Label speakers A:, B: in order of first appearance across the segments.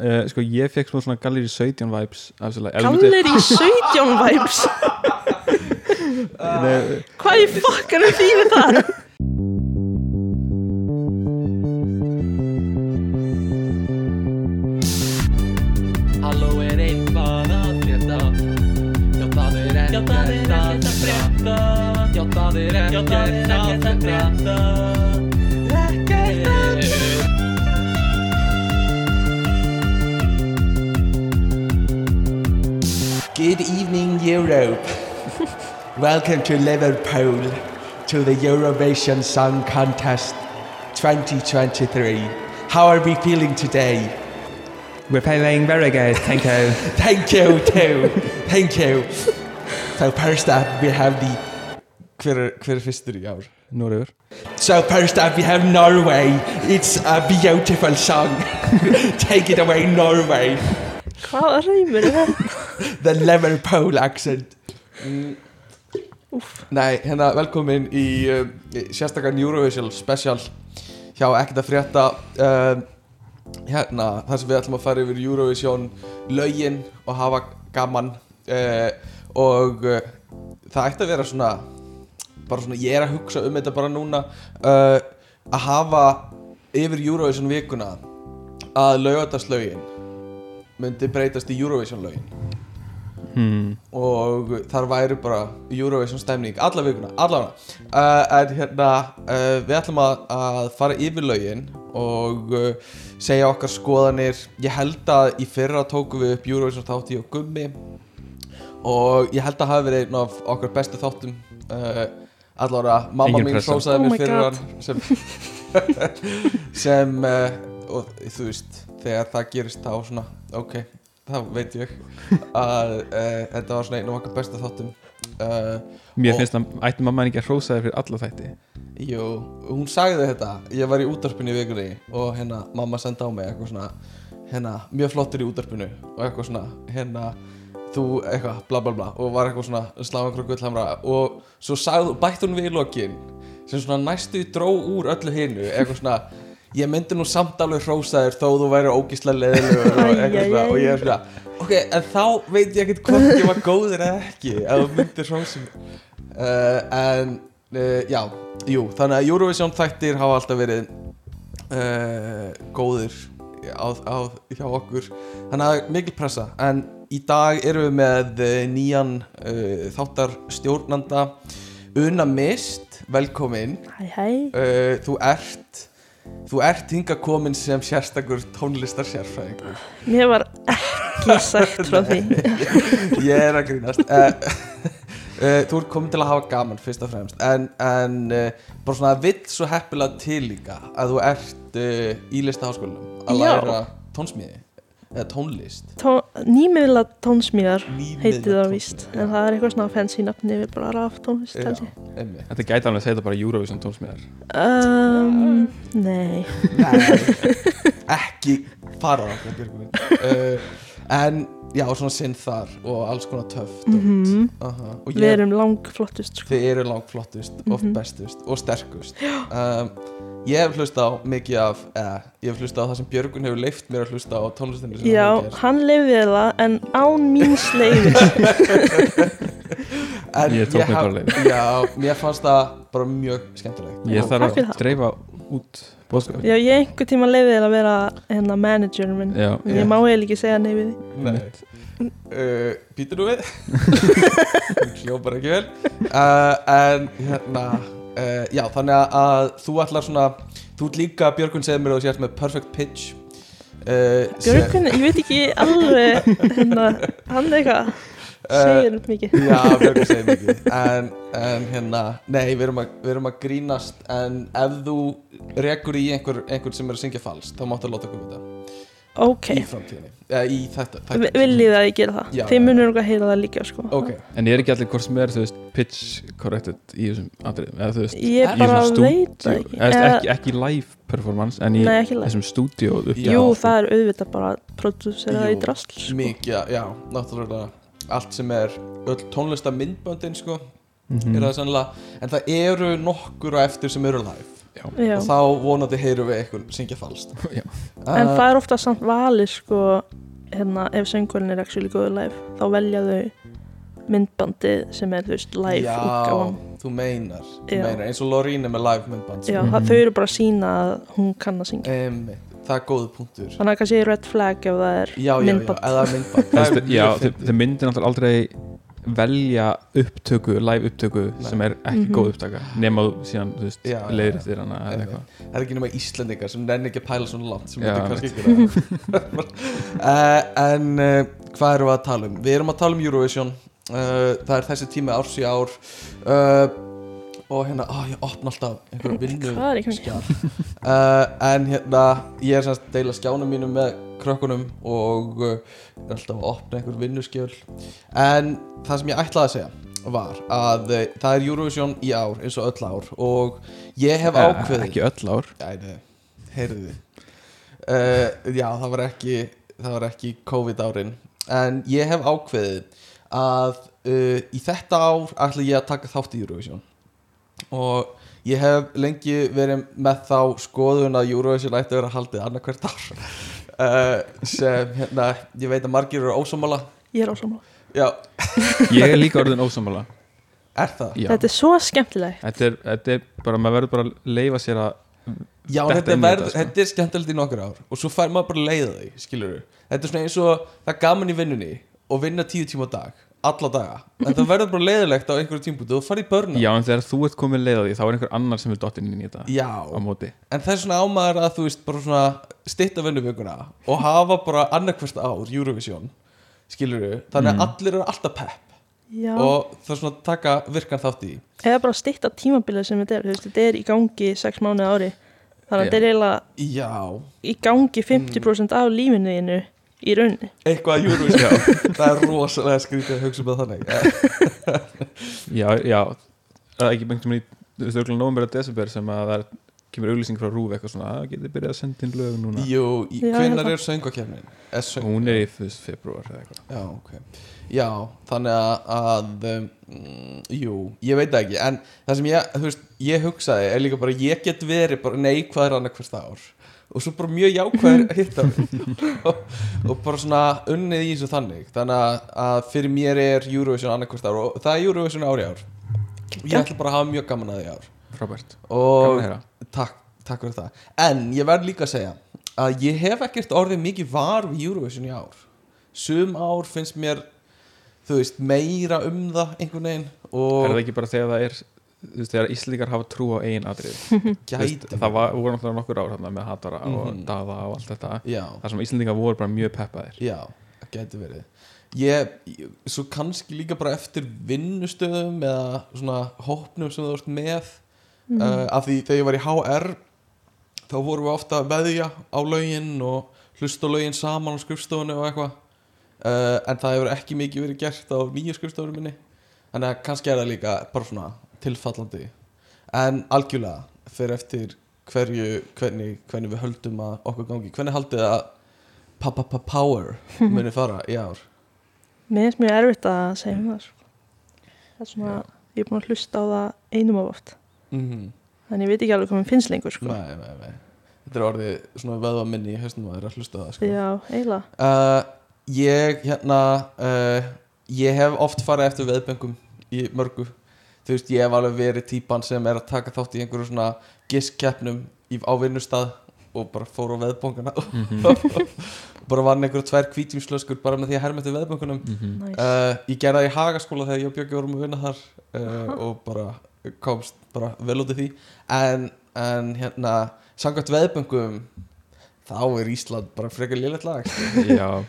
A: uh, sko ég fekk smá svona Gallery 17 vibes af þessu lag Ef þú myndir-
B: Kallir í 17 vibes
A: Nei,
B: Hvað í fokkanum þýðir það?
C: Halló er eitthvað að frétta Já það er ekkert að frétta Já það er ekkert að frétta Ekkert að frétta
D: Good evening, Europe. Welcome to Liverpool to the Eurovision Song Contest 2023. How are we feeling today?
E: We're playing very good, thank you.
D: Thank you, too. Thank you. So, first up, we have the. Hver er, hver er fyrstur í ár?
A: Noregur
D: So, first up, we have Norway. It's a beautiful song. Take it away, Norway.
B: Hvaða reymur er það?
D: The Liverpool accent Nei, hérna velkomin í um, í sérstakann Eurovision special hjá ekkert að frétta um, hérna, þar sem við ætlum að fara yfir Eurovision lögin og hafa gaman uh, og uh, það ætti að vera svona bara svona, ég er að hugsa um þetta bara núna uh, að hafa yfir Eurovision vikuna að lögataslögin myndi breytast í Eurovision lögin
A: hmm.
D: og þar væri bara Eurovision stemning alla vikuna, allavega uh, en hérna, uh, við ætlum að, að fara yfir lögin og uh, segja okkar skoðanir ég held að í fyrra tókum við upp Eurovision þátti og gummi og ég held að hafi verið einn af okkar bestu þáttum uh, allavega, mamma
A: Engin
D: mín
A: pressa.
B: Oh
D: hrósaði
B: my
D: mér fyrir hann sem, sem uh, og þú veist, þegar það gerist þá svona, ok, það veit ég að uh, þetta var svona einn af okkar besta þáttum uh,
A: Mér
D: Og-
A: finnst að ætti mamma ekki að hrósa þér fyrir alla þætti
D: Jú, hún sagði þetta Ég var í útarpinu í vikunni Og hérna, mamma sendi á mig eitthvað svona Hérna, mjög flottur í útarpinu Og eitthvað svona, hérna Þú, eitthvað, bla bla bla Og var eitthvað svona, slá einhverju gullhamra Og svo sagði, bætti hún við í lokin Sem svona næstu dró úr öllu hinu Eitthvað svona, ég myndi nú samt alveg hrósa þér Þó þú væri ógíslega leðilegur Og eitthvað svona, og ég er svona Ok, en þá veit ég ekkert hvort ég var góður eða ekki Ef þú myndir hrósa mér uh, en uh, já, jú, þannig að Eurovision þættir hafa alltaf verið uh, góðir á, á, hjá okkur þannig að það er mikil pressa en í dag erum við með eh, nýjan uh, þáttarstjórnanda Una Mist, velkomin
B: Hæ hæ
D: uh, þú ert þú ert hinga komin sem sérstakur tónlistar
B: Mér var ekki sagt frá því
D: ég er að grínast uh, uh, þú ert komin til að hafa gaman fyrst og fremst en, en uh, bara svona vill svo heppilega til líka að þú ert uh, í listaháskólanum
B: Já.
D: að læra tónsmíði eða tónlist
B: Tó, Nýmiðla tónsmíðar heiti það
D: Nýmiðla
B: víst
D: tónsmíðar.
B: En það er eitthvað svona fancy nafni við bara raf tónlist
D: Já,
B: held ég.
D: einmitt.
A: Þetta gæti alveg að segja þetta bara Eurovision tónsmiðar
B: um, Nei
D: Nei, ekki fara á það Björgvin. uh, en já, svona sinn þar og alls konar töft mm
B: Mhm.
D: og
B: Við
D: ég,
B: erum langflottust sko.
D: þið eru langt flottust og
B: Mhm.
D: bestust og sterkust um, ég hef hlusta á mikið af eða, ég hef hlusta á það sem Björgun hefur leift mér að hlusta á tónlistinu sem
B: Já,
D: hún gerir.
B: hann lifði það en án mín sleifis
D: En
A: Ég tók mér
D: haf-
A: bara leyfi.
D: Já, mér fannst það bara mjög skemmtilegt
A: Ég
B: takk
A: þarf
B: fyrir
A: að
B: það.
A: dreifa út bóðskap
B: Já, ég einhver tíma lifði það að vera hérna managerinn minn
A: Já,
B: Ég má eiginlega ekki segja nei við því
D: Nei uh, Býtur þú við? Hún Hljópar ekki vel uh, En hérna uh, Já, þannig að, að þú ætlar svona Þú ert líka, Björgun segir mér að þú sért með perfect pitch uh,
B: Björgun, ég veit ekki alveg hérna, hann er eitthvað
D: Eh, uh,
B: segir mikið
D: Já, Björgun segir mikið en, en hérna, nei, við erum, að, við erum að grínast En ef þú rekur í einhver, einhver sem er að syngja falskt Þá máttu að láta okkur við það
B: Ok,
D: Í framtíðinni Eða í þetta,
B: Vi-
D: þetta.
B: viljið það að ég gera það
D: Já,
B: Þið
D: já.
B: munur okkur að heyra það líka sko
D: Ok,
A: En ég er ekki allir hvort sem er, þú veist, pitch corrected í þessum atriðum Eða þú veist,
B: Ég
A: í
B: bara
A: þessum
B: veit
A: stúdíó-
B: það
A: eða, þú
B: ekki
A: veist, Eh,
B: Eða-
A: ekki, ekki live performance En í
B: Nei, ekki live.
A: þessum stúdíu
D: Já.
B: Jú, það er auðvitað bara að prodúsera það í
D: Jú,
B: drasl sko.
D: mikið, já, já, náttúrulega allt sem er, öll
A: Mhm.
D: tónlista myndböndin sko, er það sannlega en það eru nokkur á eftir sem eru live
B: já.
D: og þá vonandi heyrum við einhvern syngja falskt
A: Já.
B: En
D: Eh,
B: það er ofta samt valið sko hérna, ef söngurinn er actually góður live þá velja þau myndbandið sem er þú veist live
D: Já,
B: útgáfan
D: þú meinar, þú
B: Já.
D: meinar eins og Lorín er með live myndband
B: Já,
D: sko.
B: mm
A: Mhm.
B: þau eru bara að sína að hún kann að syngja
D: Einmitt, Það er góð punktur Já,
B: Þannig að kannski red flag ef það er
D: já, já,
B: myndband.
D: eða
A: Það
D: myndband Það er
A: veist, já,
D: mjög
A: þau,
D: fyndið.
A: þau myndir náttúrulega aldrei velja upptöku, live upptöku
D: Nei.
A: sem er ekki
B: Mhm.
A: góð upptaka nema þú síðan, þú veist,
D: Já, já,
A: leiðir
D: já.
A: eftir hana eða
D: Einmitt.
A: eitthvað
D: Það er ekki nema Íslendingar sem nenni ekki að pæla svona langt sem
A: Já,
D: myndi kannski ekki uh, En uh, hvað erum við að tala um? Við erum að tala um Eurovision uh, Það er þessi tími árs í ár uh, Og hérna, á, ég opna alltaf einhverja vinnu
B: Hvað er í gangi?
D: skjál uh, En hérna, ég er semst að deila skjánum mínum með krökkunum og uh, er alltaf að opna einhver vinnuskjöl En það sem ég ætlaði að segja var að uh, það er Eurovision í ár eins og öll ár og ég hef
A: Eh,
D: ákveðið
A: Ekki öll ár
D: Æ, nei, heyrðu uh, Já, það var ekki það var ekki COVID árin en ég hef ákveðið að uh, í þetta ár ætla ég að taka þátt í Eurovision og ég hef lengi verið með þá skoðun að Eurovision ætti að vera haldið annarkvært ár uh, sem hérna, ég veit að margir eru ósámála
B: Ég er ásamlega
D: Já,
A: Ég er líka orðin ósamála
D: er það?
A: Já,
B: Þetta er svo skemmtilegt
A: þetta er, þetta er bara, maður verður bara að leifa sér að
D: Já,
A: detta
D: þetta,
A: inn í
D: verð,
A: þetta, sko.
D: þetta er skemmtilegt í nokkur ár og svo fær maður bara að leiða því, skilur Þetta er svona eins og það er gaman í vinnunni og vinna tíu tíma á dag, alla daga en það verður bara leiðilegt á einhverju tímpúti og þú farið í börna
A: Já, en þegar þú ert komin leið á því þá er einhver annar sem er dottinn inn í þetta á móti
D: en það er svona ámaður að þú veist bara svona stitta vinnuvikuna og hafa bara annarkvæmst ár Eurovision, skilur þannig að
A: Mhm.
D: allir eru alltaf pepp
B: Já,
D: og það er svona að taka virkan þátt í
B: eða bara stýtta tímabilið sem þetta er þú veist, Þetta er í gangi í sex mánuði á ári Þannig
A: Já.
B: að þetta er eiginlega
D: Já,
B: í gangi 50% af lífinu þínu í rauninni
D: eitthvað að Eurovision það er rosalega skrítið að hugsa um það þannig Eh,
A: Já, já, það er ekki bengt sem í þú veist, auðvitað november að desember sem að það er, kemur auglýsing frá Rúf eitthvað svona að getið byrjað að senda inn lög núna
D: Jú,
B: Já, ég held
D: hvenær
B: það.
D: er söngakefnin? Er söng...
A: Hérna. Hún er í februar eða eitthvað
D: Já, ok Já, þannig að, að mm, Jú, ég veit það ekki En það sem ég, þú veist, ég hugsaði Er líka bara, ég get verið bara neikvæður annað hvert ár Og svo bara mjög jákvæður hitt á og, og bara svona unnið í þessu þannig Þannig að, að fyrir mér er Eurovision annað hvert ár Og það er Eurovision ári ár Og ég ætla bara að hafa mjög gaman að því í ár
A: Frábært,
D: Og
A: gaman að heyra
D: takk, takk fyrir það En ég verð líka að segja að ég hef ekkert orðið mikið var við Eurovision í ár Sum ár finnst mér þú veist, meira um það einhvern veginn
A: Er það
D: og
A: ekki bara þegar það er þú veist, þegar Íslendingar hafa trú á eigin atrið
D: gæti
A: Það var, voru náttúrulega nokkur ár þarna með Hatara og
D: Mhm.
A: Dada og allt þetta
D: Já,
A: þar sem Íslendingar voru bara mjög peppaðir
D: já, gæti verið Ég, ég- svo kannski líka bara eftir vinnustöðum eða svona hópnum sem þú ert með mm. af því þegar ég var í HR þá vorum við ofta að veðja á lögin og hlusta á lögin saman á skrifstofunni og eitthvað uh, en það hefur ekki mikið verið gert á nýju skrifstofunni minni þannig að kannski er það líka bara svona tilfallandi en algjörlega fyrir eftir hverju, hvernig, hvernig við höldum að okkur gangi hvernig haldið þið að pa-pa-pa-power muni fara í ár
B: Mér finnst mjög erfitt að segja um það sko. Það er svona, ég er búin að hlusta á það einum of oft
D: mm
B: Þannig ég veit ekki alveg hvað mér finnst lengur sko.
D: nei, nei, nei þetta er orðið svona veðva minni í hausnum að þeirra hlusta á það sko.
B: Já, eiginlega
D: Uh, ég hérna uh, ég hef oft farið eftir veðböngum í mörgu þú veist ég hef alveg verið típan sem er að taka þátt í einhverju svona giskkeppnum í- á vinnustað og bara fór á veðbönguna
A: Mhm.
D: bara vann einhverju tvær kvítjumslöskur bara með því að herma eftir veðböngunum
A: Mhm.
B: Næs.
D: uh, ég gerði það í hagaskóla þegar ég og Björki vorum að vinna þar uh, og bara komst bara vel út af því en, en hérna samkvæmt veðböngum þá er Ísland bara frekar lélegt lag
A: Já,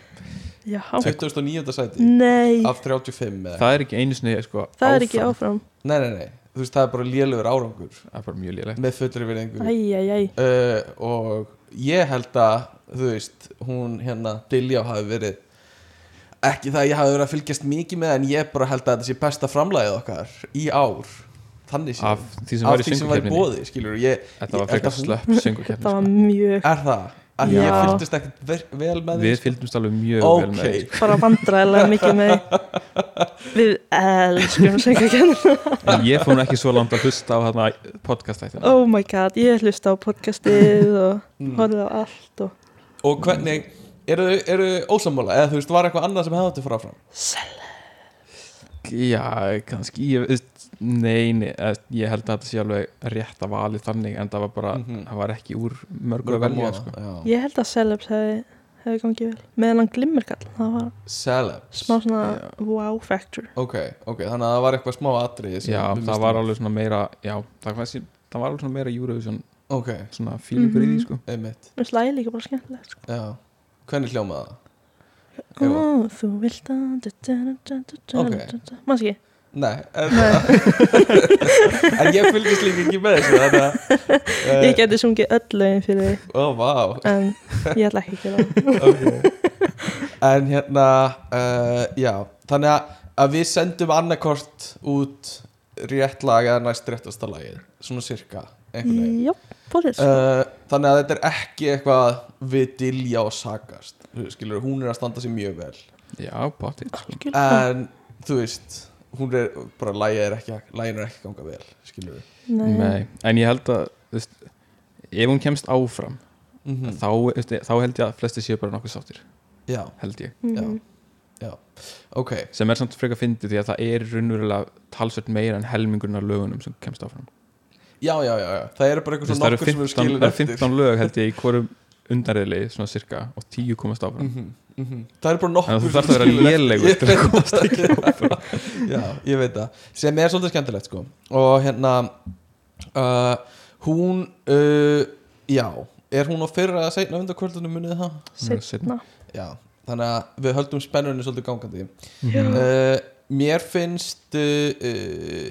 B: Já,
D: 29. sæti
B: nei,
D: af 35 eða
A: það er ekki einu sinni sko,
B: það er ekki
A: áfram.
B: áfram
D: nei, nei, nei, þú veist það er bara lélegur árangur
A: Það er bara mjög lélegt
D: með fullri verðingu
B: Æj, æj, æj
D: uh, og ég held að þú veist, hún hérna Diljá hafi verið ekki það að ég hafi verið að fylgjast mikið með en ég bara held að þetta sé besta framlagið okkar í ár, þannig sé
A: Af því sem var í
D: því sem var í
A: söngukeppninni
D: bóði, skilur ég,
A: Þetta
D: ég-
A: var frekar
D: hún-
A: slöpp sko.
B: Þetta
A: söngukeppni
B: var mjög
D: er það að ég
B: Já.
D: fylgdist ekkert ver- vel með því
A: Við fylgdumst alveg mjög vel
D: ok,
A: með því, sko.
B: bara vandræðilega mikið með við elskum söngakennina
A: En ég fór nú ekki svo langt að hlusta á þarna podcastættina
B: oh my god, ég hlusta á podcastið og
D: Mm.
B: horfði á allt og
D: og hvernig eru þau- eru þau ósammála eða þú veist, var eitthvað annað sem hefði átti að fara fram
A: Já, kannski ég, veist, Nei, nei, eh, ég held að þetta sé alveg rétt að valið þannig en það var bara,
D: Mhm.
A: það var ekki úr mörgur að velja sko.
D: sko.
B: ég held að Celebs hefði hefði gangið vel meðan hann glimmerkall, það var
D: celebs
B: smá svona wow factor
D: ok, ok, þannig að það var eitthvað smá atrið
A: Já, það var alveg svona meira Já, það, var, það var alveg svona meira Eurovision
D: ok,
A: svona fílingur í því
B: Mhm.
A: sko.
D: einmitt,
B: mér slæði líka bara skemmtilegt sko.
D: já hvernig hljómaði það? Jú.
B: Ó, Oh, þú vilt að
D: Ok.
B: manns ekki
D: Nei, en, en ég fylgist líka ekki með þessu þannig að eh, oh,
B: ég geti sungið öll lögin fyrir því
D: Ó, vá
B: en ég ætla ekki að gera það
D: En hérna, uh, já Þannig að, að við sendum annarkort út rétt lag eða næst réttasta lagið Svona cirka, einhvern veginn
B: jú, bóðis
D: uh, Þannig að þetta er ekki eitthvað við dilja og sakast Þú Skilur, hún er að standa sér mjög vel
A: Já, potið sko.
B: algjörlega
D: En, þú veist, hún er bara lagið er ekki, lagið er ekki að ganga vel Skilur við
A: Nei, en ég held að þú veist, ef hún kemst áfram þá, þú veist, þá held ég að flesti séu bara nokkuð sáttir,
D: Já,
A: held ég
B: Mhm.
D: ok
A: sem er samt frekar fyndið því að það er raunverulega talsvert meira en helmingurinn af lögunum sem kemst áfram
D: Já, já, já, já, það eru bara
A: Þú
D: eitthvað
A: veist,
D: svona
A: það eru
D: nokkur sem eru
A: 15,
D: skilin
A: það eru
D: eftir
A: 15 lög held ég í hverjum undarriðlegi svona cirka og 10 komast áfram
D: -hmm, mm -hmm. Það er bara nokkur
A: Þannig að þú þarft að vera lélegur til að
D: komast ekki áfram Já, ég veit það Sem er svolítið skemmtilegt sko Og hérna uh, Hún uh, Já, er hún á fyrra að segna undan kvöldunum munið það?
B: seinna
D: Já, þannig að við höldum spennunni svolítið gangandi
A: Mhm.
B: Já.
D: uh, Mér finnst uh, uh,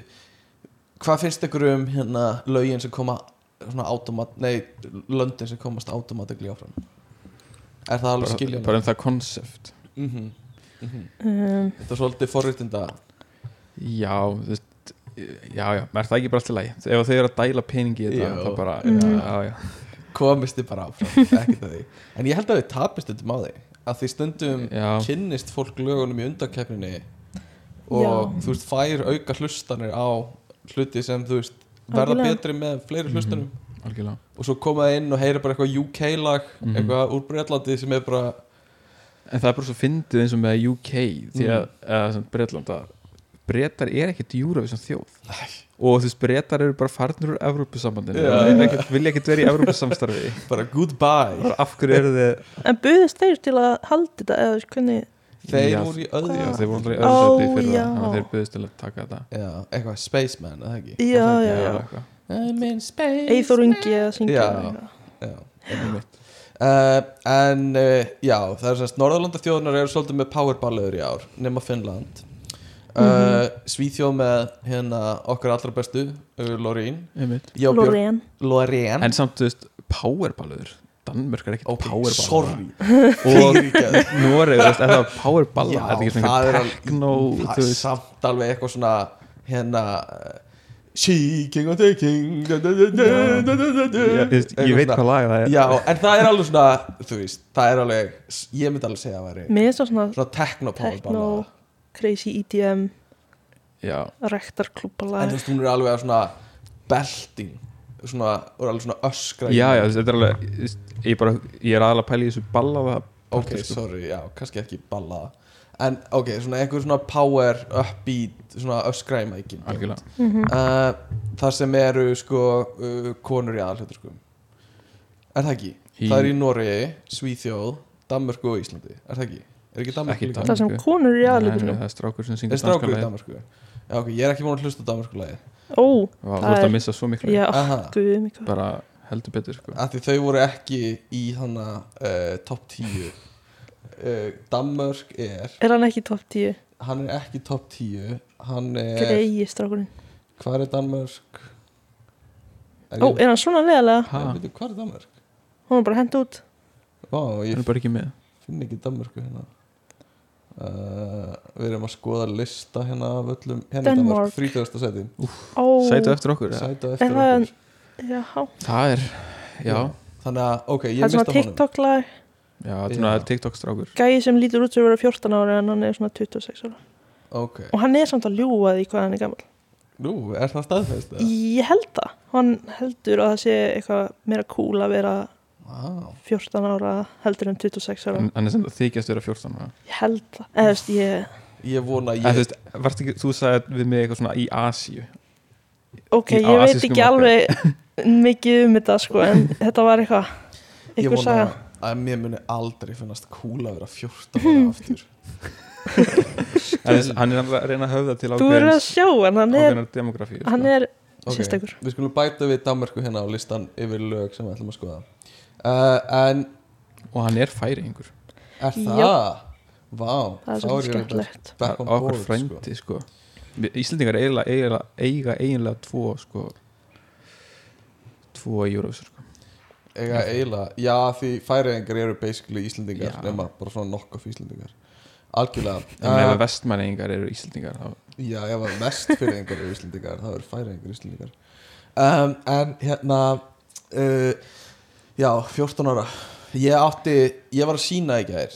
D: Hvað finnst ykkur um hérna lögin sem koma svona automat, nei, löndin sem komast automatikli áfram? Er það alveg
A: bara,
D: skiljanlegt?
A: bara um það konsept
D: mm
B: um,
D: Þetta er svolítið forritinda
A: já, þú veist já, já, er það ekki bara allt í lagi ef þau eru að dæla peningi í
D: Já.
A: þetta þá bara,
B: Mhm.
A: já, já,
D: komist þið bara áfram ekkert að því. en ég held að þið tapist þetta máði að því stundum
A: já,
D: kynnist fólk lögunum í undarkeppninni og
B: Já.
D: þú veist fær auka hlustanir á hluti sem þú veist verða
B: Algjörlega.
D: betri með fleiri hlustanum
A: algjörlega
D: og svo koma það inn og heyra bara eitthvað UK lag
A: Mhm.
D: eitthvað úr Breitlandi sem er bara
A: en það er bara svo fyndið eins og með UK því að,
D: Mm.
A: eða sem Bretland að Bretar er ekkert Eurovision þjóð og þú veist, Bretar eru bara farnir úr Evrópusambandinu,
D: Já.
A: þeir eru ekkert- vilja ekkert vera í Evrópusamstarfi,
D: bara goodbye
A: bara af hverju eru þið
B: en buðist þeir til að halda þetta eða hvernig
D: þeir
A: Já.
D: voru í
A: Já,
D: öðru
B: Hvað?
A: þeir voru alltaf í
B: Ó,
A: öðru seti fyrir
B: já.
A: það þannig að þeir buðist til að taka þetta
D: já, eitthvað spaceman eða ekki
B: já, já,
A: Eða
B: já
A: eitthvað.
D: I'm in space
B: Eithor Ungi að syngja
D: Já.
B: eða eitthvað.
D: Já, einmitt. uh, en uh, já, það er semst Norðurlanda þjóðunar eru svolítið með powerballegur í ár nema Finnland uh,
A: Mhm.
D: Svíþjóð með hérna okkar allra bestu uh, Lorín Já, Björn-
B: Lorraine
D: Lorén
A: en samt, þú veist, powerballur Danmörk er ekkert
D: Ok,
A: powerball
D: sorry
A: og
D: Fyrirgefðu.
A: Noreg, þú veist, er það powerball
D: Já,
A: er það ekki svona
D: það er
A: eitthvað
D: alveg-
A: techno
D: Það
A: þú
D: er
A: veist,
D: samt alveg eitthvað svona hérna uh, She king of the king da, da, da, da,
A: Já.
D: da, da, da, da.
A: ég, þú veist, ég veit
D: Eitthvað
A: hvað lag það
D: svona.
A: er
D: Já, en það er alveg svona, þú veist, það er alveg, ég myndi alveg segja að það væri
B: mér finnst það svona
D: Svona techno-powerballa
B: techno crazy E EDM
A: já,
D: en
B: rektarklúbalag
D: þú veist hún er alveg að svona belting svona, og er alveg svona öskra í-
A: já, já, þú veist, þetta er alveg þú veist, ég, bara, ég er aðalega að pæla í þessu ballaða
D: ok,
A: parti, sko.
D: sorry, já, kannski ekki balla en ok, svona einhver svona power upbeat, svona öskra í mækin
A: algjörlega,
B: Mhm.
D: uh, þar sem eru sko uh, konur í aðalhjóttur sko er það ekki?
A: Í-
D: það er í Noregi, Svíþjóð Danmörku og Íslandi, er það ekki? er ekki Danmörku
A: Ekki
D: líka?
A: Dan-
B: það sem konur eru í
A: Nei, nei,
B: aðlutunum
A: það er strákur sem
D: er
A: syngur
D: strákur í
A: lagið.
D: Danmörku? já, ok, ég er ekki búin að hlusta Danmörku lagi
B: ó,
A: Vá, þú
B: Það
A: ert
B: er-
A: að missa svo miklu
B: já,
D: Aha.
B: guð um mig hvað
A: bara heldur betur, sko
D: að því þau voru ekki í þannig uh, top 10 uh, Danmörk er
B: er hann ekki í topp 10?
D: hann er ekki top 10 hann er,
B: greiði strákurinn
D: hvað er Danmörk er
B: ó, er hann svona leðalega?
A: Ha,
D: veitu, hvað er Danmörk
B: hún er bara hent út
D: Vá,
A: hann
D: ég
A: er bara ekki með
D: finn ekki Danmörku hérna uh, við erum að skoða lista hérna af öllum, hérna er
B: Danmörk.
D: Danmörk, 30. seti
B: ó,
A: sætu eftir okkur, eða?
D: sæta
B: Er
D: eftir
B: það-
D: okkur
B: já,
A: það er, já
D: Já. þannig að ok,
B: það
D: ég
B: er
D: mista
B: svona
D: honum
B: TikTok lag
A: Já, þetta er svona
D: Já.
A: TikTok strákur
B: gæi sem lítur út sem að vera 14 ára en hann er svona 26 ára
D: ok,
B: og hann er samt að ljúga því hvað hann er gammal
D: nú, er það staðfest eða?
B: ég held það, hann heldur að það sé eitthvað meira cool að vera
D: Vá.
B: 14 ára heldur en 26 ára
D: Mm.
A: Hann hann er sem það þykjast vera 14 ára
B: ég held það, eða þú veist ég
D: ég vona að
A: Eða, Þú
D: ég,
A: veist, varst ekki, þú sagði við mig eitthvað svona í Asíu
B: ok,
A: Í- á
B: ég veit
A: asískum
B: ekki
A: markaði.
B: alveg mikið um þetta sko en þetta var eitthvað
D: ég
B: eitthvað
D: vona
B: saga
D: að mér muni aldrei finnast cool að vera 14 ára aftur
A: En þess- Hann er að reyna að höfða til
B: þú verður að
A: ákveðins
B: sjá hann, hann er,
A: ákveðinar demografíu
B: hann er
D: Ok,
B: sérstakur
D: Við skulum bæta við Danmörku hérna á listan yfir lög sem við ætlum að skoða uh, En
A: Og hann er færingur
D: er
B: Já.
D: það? Vá,
B: það er
D: þá
B: svolítið
D: ég reyndar
B: skemmtilegt
D: back on
A: Okkur
D: board, sko.
A: frændi, sko, sko. Íslendingar eiga, eiga, eiga eiginlega tvo, sko Tvo Eurovision, sko
D: Eiga eiginlega, já því færiðingar eru basically Íslendingar
A: Já.
D: nema bara svona nokk of Íslendingar Algjörlega
A: En ef
D: Eh,
A: að vestmæningar eru Íslendingar þá
D: Já, ef að mest fyrringar eru Íslendingar það eru færingar Íslendingar um, En hérna uh, Já, 14 ára Ég átti, ég var að sína í gær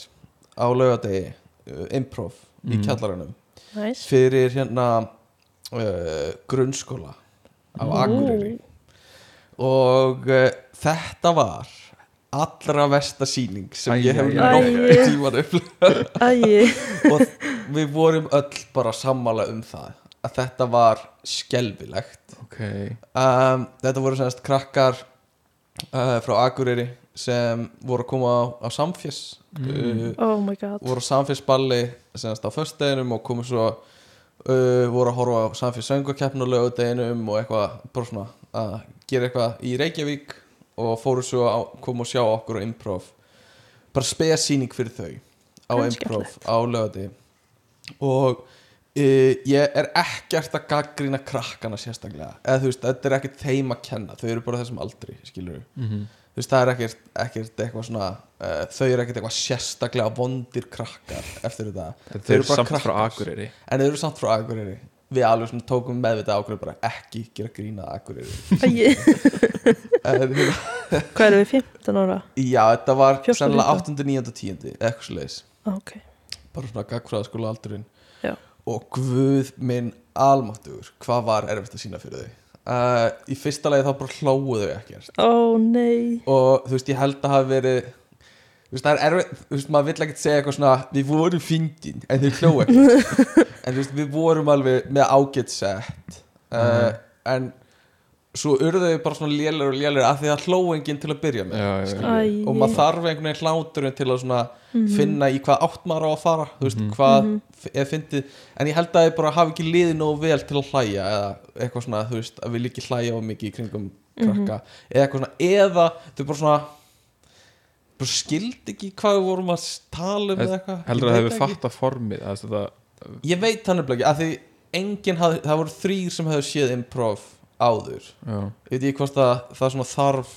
D: á laugardegi uh, improv í
A: Mhm.
D: kjallaranum
B: Nice.
D: fyrir hérna uh, grunnskóla á
B: Ú.
D: Akureyri og uh, þetta var allra versta síning sem
A: Æ,
D: ég
A: æ,
D: hef
B: æ, æ.
D: nokkuð tíman upplega
B: Æi,
D: og við vorum öll bara sammála um það að þetta var skelfilegt
A: Ok,
D: um, þetta voru semst krakkar uh, frá Akureyri sem voru að koma á, á samfjess uh,
B: oh my god
D: voru á samfélagsballi senast á föstudeginum og komu svo uh, voru að horfa á samfélagssöngakeppn og lögudeginum og eitthvað bara svona að gera eitthvað í Reykjavík og fóru svo að koma og sjá okkur á improv bara spega síning fyrir þau á
B: Það er
D: improv
B: skemmtilegt.
D: á lögudegi og uh, ég er ekkert að gaggrina krakkana sérstaklega eða þú veist, þetta er ekkert þeim að kenna þau eru bara þessum aldri, skilur við
A: Mhm.
D: þú veist, það er ekkert, ekkert eitthvað svona uh, þau eru ekkert eitthvað sérstaklega vondir krakkar eftir þetta
A: en þau eru samt frá Akureyri
D: en þau eru samt frá Akureyri við alveg svona tókum meðvitað ákveður bara ekki gera grínað Akureyri
B: Æi,
D: en, hérna,
B: hvað erum við 15 ára?
D: já, þetta var
B: 14,
D: sennilega
B: 15.
D: 8. 9. 10. eitthvað svoleiðis
B: Ah, Ok,
D: bara svona gagfræðaskóla aldurinn
B: Já.
D: og guð minn almáttugur hvað var erfitt að sína fyrir þau uh, í fyrsta lagi þá bara hlóðu þau ekkert
B: ó Oh, nei
D: og þú veist, ég held að hafa verið þú veist, það er erfið, þú veist, maður vill ekkert segja eitthvað svona, við vorum fyndin en þau hlóa ekki en þú veist, við vorum alveg með ágætt sett uh, en svo urðu þau bara svona lélir og lélir af því að hlóa enginn til að byrja með
A: Já, já, já.
D: skilurðu.
B: Æi. Mhm.
D: og maður þarf einhvern veginn hláturinn til að svona finna í hvað átt maður á að fara þú veist, hvað
A: Mhm.
D: er fyndið en ég held að þau bara hafi ekki liðið nógu vel til að hlæja eða eitthvað svona, þú veist, að við líki hlæja og mikið í kringum krakka eða eitthvað svona, eða þau bara svona bara skildi ekki hvað við vorum að tala um eða eitthvað Ég
A: Heldur að það
D: veit
A: hefur
D: ekki.
A: fatta formið að þetta,
D: ég veit þannig ekki, að því enginn hafði, það voru þrýr sem hefur séð improv áður
A: já,
D: ég veit ekki hvort að það svona þarf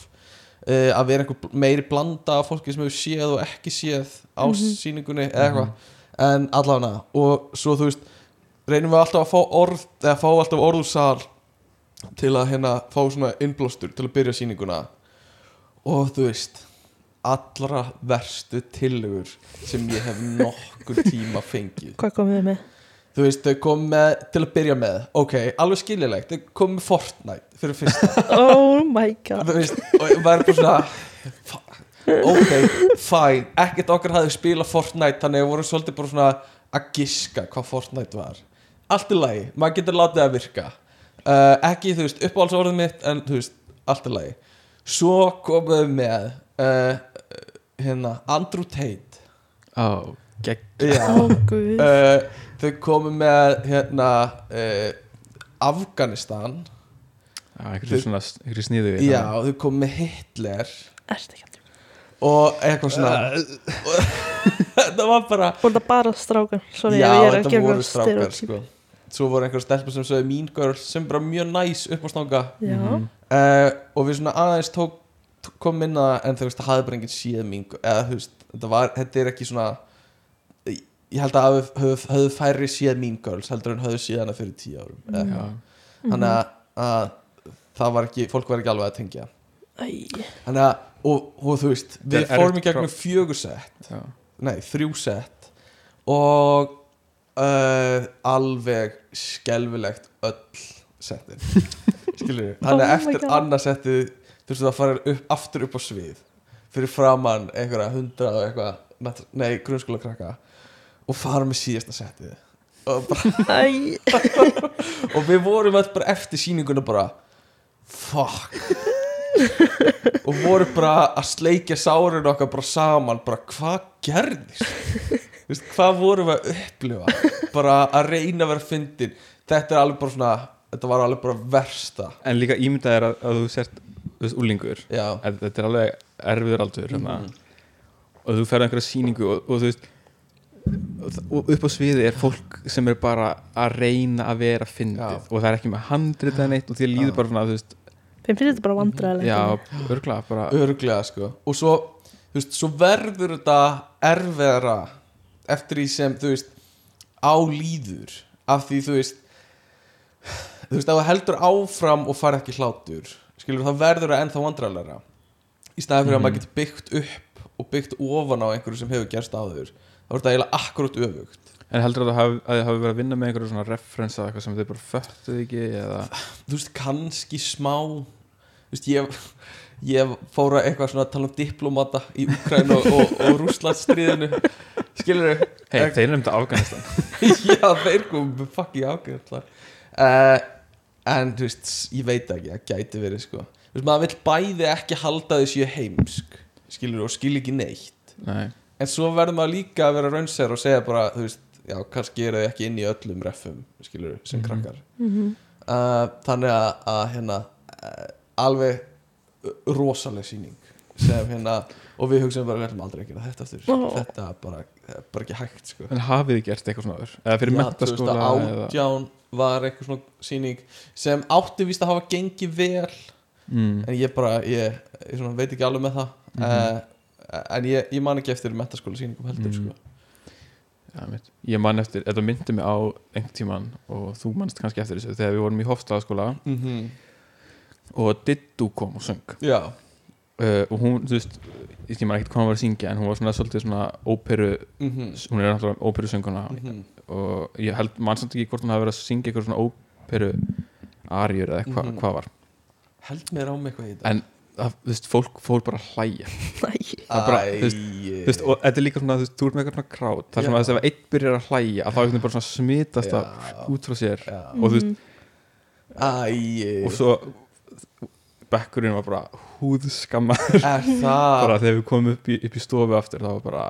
D: uh, að vera einhver bl- meiri blanda af fólki sem hefur séð og ekki séð á sýningunni eða eitthvað en allavega og svo þú veist reynum við alltaf að fá orð eða fá alltaf orðursal til að hérna fá svona innblástur til að byrja sýninguna og þú veist allra verstu tillögur sem ég hef nokkur tíma fengið
B: Hvað komum við með?
D: þú veist, þau kom með, til að byrja með ok, alveg skiljulegt, þau kom með Fortnite fyrir fyrsta
B: Oh my god
D: þú veist, og ég var bara svona "Fuck, ok, fine ekkert okkar hafði spilað Fortnite þannig að voru svolítið bara svona að giska hvað Fortnite var allt í lagi, maður getur látið að virka uh, ekki, þú veist, uppáhalds orðið mitt en þú veist, allt í lagi svo komuðu með uh, hérna, Andrew Tate
A: á, gegn
D: já
B: Ó Oh, guð
D: uh, þau komu með hérna uh, Afganistan
A: Já, einhverju svona, einhverju sniðu við
D: já, þau komu með Hitler
B: Ertu ekki að djóka?
D: og eitthvað svona þetta var bara
B: Voru það bara strákar? Sorry,
D: já,
B: ef ég er að
D: þetta
B: gera
D: voru
B: eitthvað
D: strákar
B: stereotyp.
D: sko. svo voru einhver stelpur sem sögðu Mean Girl sem bara mjög næs upp á stanga
B: Já,
A: Mhm.
D: uh, og við svona aðeins tók t- kom inn að, en þú veist, það hafði bara enginn séð Mean Girl, eða þú veist, þetta var þetta er ekki svona ég held að hafi- höfðu höfðu færri séð Mean Girls heldur en höfðu séð hana fyrir tíu árum eða eitthvað.
A: já,
B: Mhm.
D: þannig að, að það var ekki, fólk var ekki alveg að tengja
B: æi
D: þannig að og, og þú veist,
A: er
D: við
A: erfitt
D: fórum í
A: próf.
D: gegnum fjögur sett
A: já,
D: nei, þrjú sett og uh, alveg skelfilegt öll settin skilur við,
B: Oh
D: þannig að
B: my
D: eftir
B: God.
D: annað settið þú veist það farir upp, aftur upp á svið fyrir framann einhverja hundra og eitthvað, nat- nei, grunnskóla krakka og fara með síðasta settið og, bara,
B: Æ,
D: og við vorum öll bara eftir sýninguna bara fuck og voru bara að sleikja sárinu okkar bara saman, bara hvað gerðist Þú veist, hvað vorum við að upplifa bara að reyna að vera fyndin þetta er alveg bara svona þetta var alveg bara versta
A: en líka ímyndað er að, að þú sért þú veist, úlingur,
D: já,
A: en þetta er alveg erfiður aldur mm
D: Mhm.
A: og þú ferð á einhverja sýningu og, og þú veist og upp á sviði er fólk sem er bara að reyna að vera fyndið
D: Já.
A: og það er ekki með handrið eða neitt og því líður bara svona, þú veist,
B: þeim finnst þetta bara vandræðilegt
A: já, örgla bara,
D: örglega sko og svo, þú veist, svo verður þetta erfiðara eftir því sem, þú veist álýður af því, þú veist þú veist, ef það heldur áfram og fara ekki hlátur skilur, það verður það ennþá vandrarlega í staði fyrir að maður getur byggt upp og byggt ofan á einhverju sem hefur gerst áður þá er þetta eiginlega akkurát öfugt
A: en heldur að það hafi, að þið hafi verið að vinna með einhverju svona referensa eða eitthvað sem þau bara föttuð ekki eða,
D: þú veist, kannski smá þú veist, ég ég fóra eitthvað svona að tala um diplomata í Ukræn og, og, og Rúslandsstríðinu skilur þau
A: hei, þeir nefndu Afganistan
D: já, þeir komum með fucking ákveð uh, en þú veist, ég veit það ekki, það gæti verið sko þú veist, maður vill bæði ekki halda því séu heimsk skilur og skil ekki neitt
A: nei,
D: en svo verður maður líka að vera raunser og segja bara, þú veist, já, kannski eru þau ekki inn í öllum reffum, skilur, sem krakkar
B: Mhm.
D: uh, þannig að, að hérna, uh, alveg rosaleg sýning sem hérna, og við hugsaum bara, við ætlum aldrei að gera þetta aftur,
B: Ó.
D: þetta er bara, það er bara ekki hægt, sko
A: en hafið þið gert eitthvað svona aður eða fyrir
D: Já,
A: mentaskóla eða
D: 2018 var eitthvað svona sýning sem átti víst að hafa gengið vel
A: mm,
D: en ég bara, ég, ég svona, veit ekki alveg með það
A: Mhm.
D: mm en ég, ég man ekki eftir metaskóla sýningum heldur
A: Mhm.
D: sko.
A: ja, mitt. ég man eftir, þetta myndi mig á einhvern tíman og þú manst kannski eftir þessu þegar við vorum í hofstagaskóla Mhm. og Diddu kom og söng
D: já,
A: uh, og hún, þú veist, ég skil maður ekkert hvað hún var að syngja en hún var svona svolítið svona óperu
D: mhm,
A: hún er náttúrulega óperusönguna
D: mhm,
A: og ég held, mann samt ekki hvort hún hafi verið að syngja eitthvað svona óperu arjur eða hva,
D: Mhm.
A: hvað var
D: held mér á mig eitthvað í þetta
A: en, það, þú veist, fólk fór bara að hlæja
B: Æ,
A: það bara, þú veist,
D: Æi.
A: þú veist, og þetta er líka svona, þú veist, þú ert með eitthvað svona krát þar sem
D: Já.
A: að þess að ef einn byrjar að hlæja að þá er bara svona smitast
D: Já. Mhm.
A: það út frá sér
D: Já.
A: og þú veist,
B: Mhm.
D: Æi.
A: og svo bekkurinn var bara húðskamma
D: er
A: bara
D: það
A: þegar við komum upp í, upp í stofu aftur þá var bara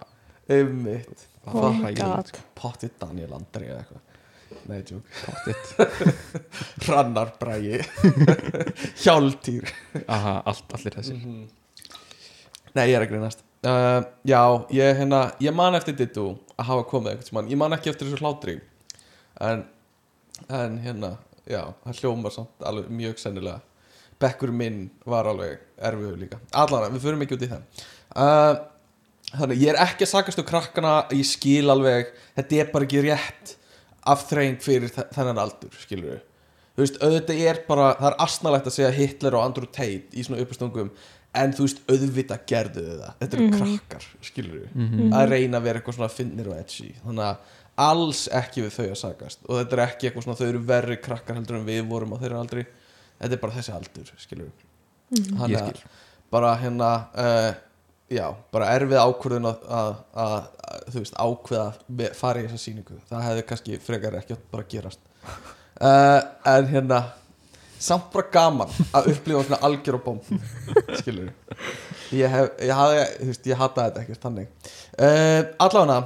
D: ummitt
B: oh my god
D: pottið Daniel Andri eða eitthvað nei, tjók,
A: pottitt
D: Hrannar Bræi Hjáltýr
A: aha, allt, allir þessi
D: Nei, ég er að grínast uh, Já, ég, hérna, ég man eftir dittu að hafa komið einhvern tímann Ég man ekki eftir þessu hlátri En, en hérna, já, það hljómar samt alveg mjög sennilega Bekkur minn var alveg erfiður líka Allara, við förum ekki út í það uh, Þannig, ég er ekki að sakast um krakkana Ég skil alveg, þetta er bara ekki rétt afþreying fyrir þe- þennan aldur, skilur við Þú veist, auðvitað er bara, það er asnalegt að segja Hitler og Andrew Tate í svona uppastungum en þú veist, auðvitað gerðu þau það þetta eru krakkar, skilur við að reyna að vera eitthvað svona finnir og edgy þannig að alls ekki við þau að sakast og þetta er ekki eitthvað svona, þau eru verri krakkar heldur en við vorum á þeirra aldri þetta er bara þessi aldur, skilur við þannig
A: Ég
D: að bara hérna uh, já, bara erfið ákvörðun að, að, að, að þú veist, ákveða að fara í þessa sýningu, það hefði kannski frekar ekki átt bara að gerast uh, en hérna samt bara gaman að upplifa svona algjör og bómb skilur ég hef, ég hafði, þú veist, ég hataði þetta ekkert þannig uh, allána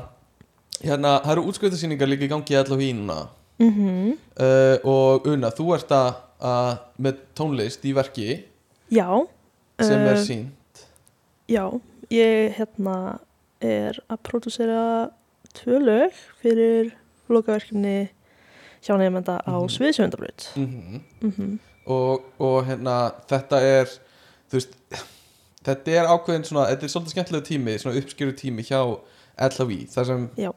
D: hérna, það eru útskriftasýningar líka í gangi í allavega hínuna
B: Mhm.
D: uh, og Una, þú ert að, að með tónlist í verki
B: Já
D: sem
B: eh,
D: er sín
B: Já, ég hérna er að pródúsera tvö lög fyrir lokaverkefni hjá nefnda á
D: Mhm.
B: Sviðsjöfundabraut
D: -hmm.
B: mm
D: og, og hérna þetta er þú veist þetta er ákveðin svona, þetta er svolítið skemmtilega tími svona uppskjöru tími hjá LHV þar sem
B: Já.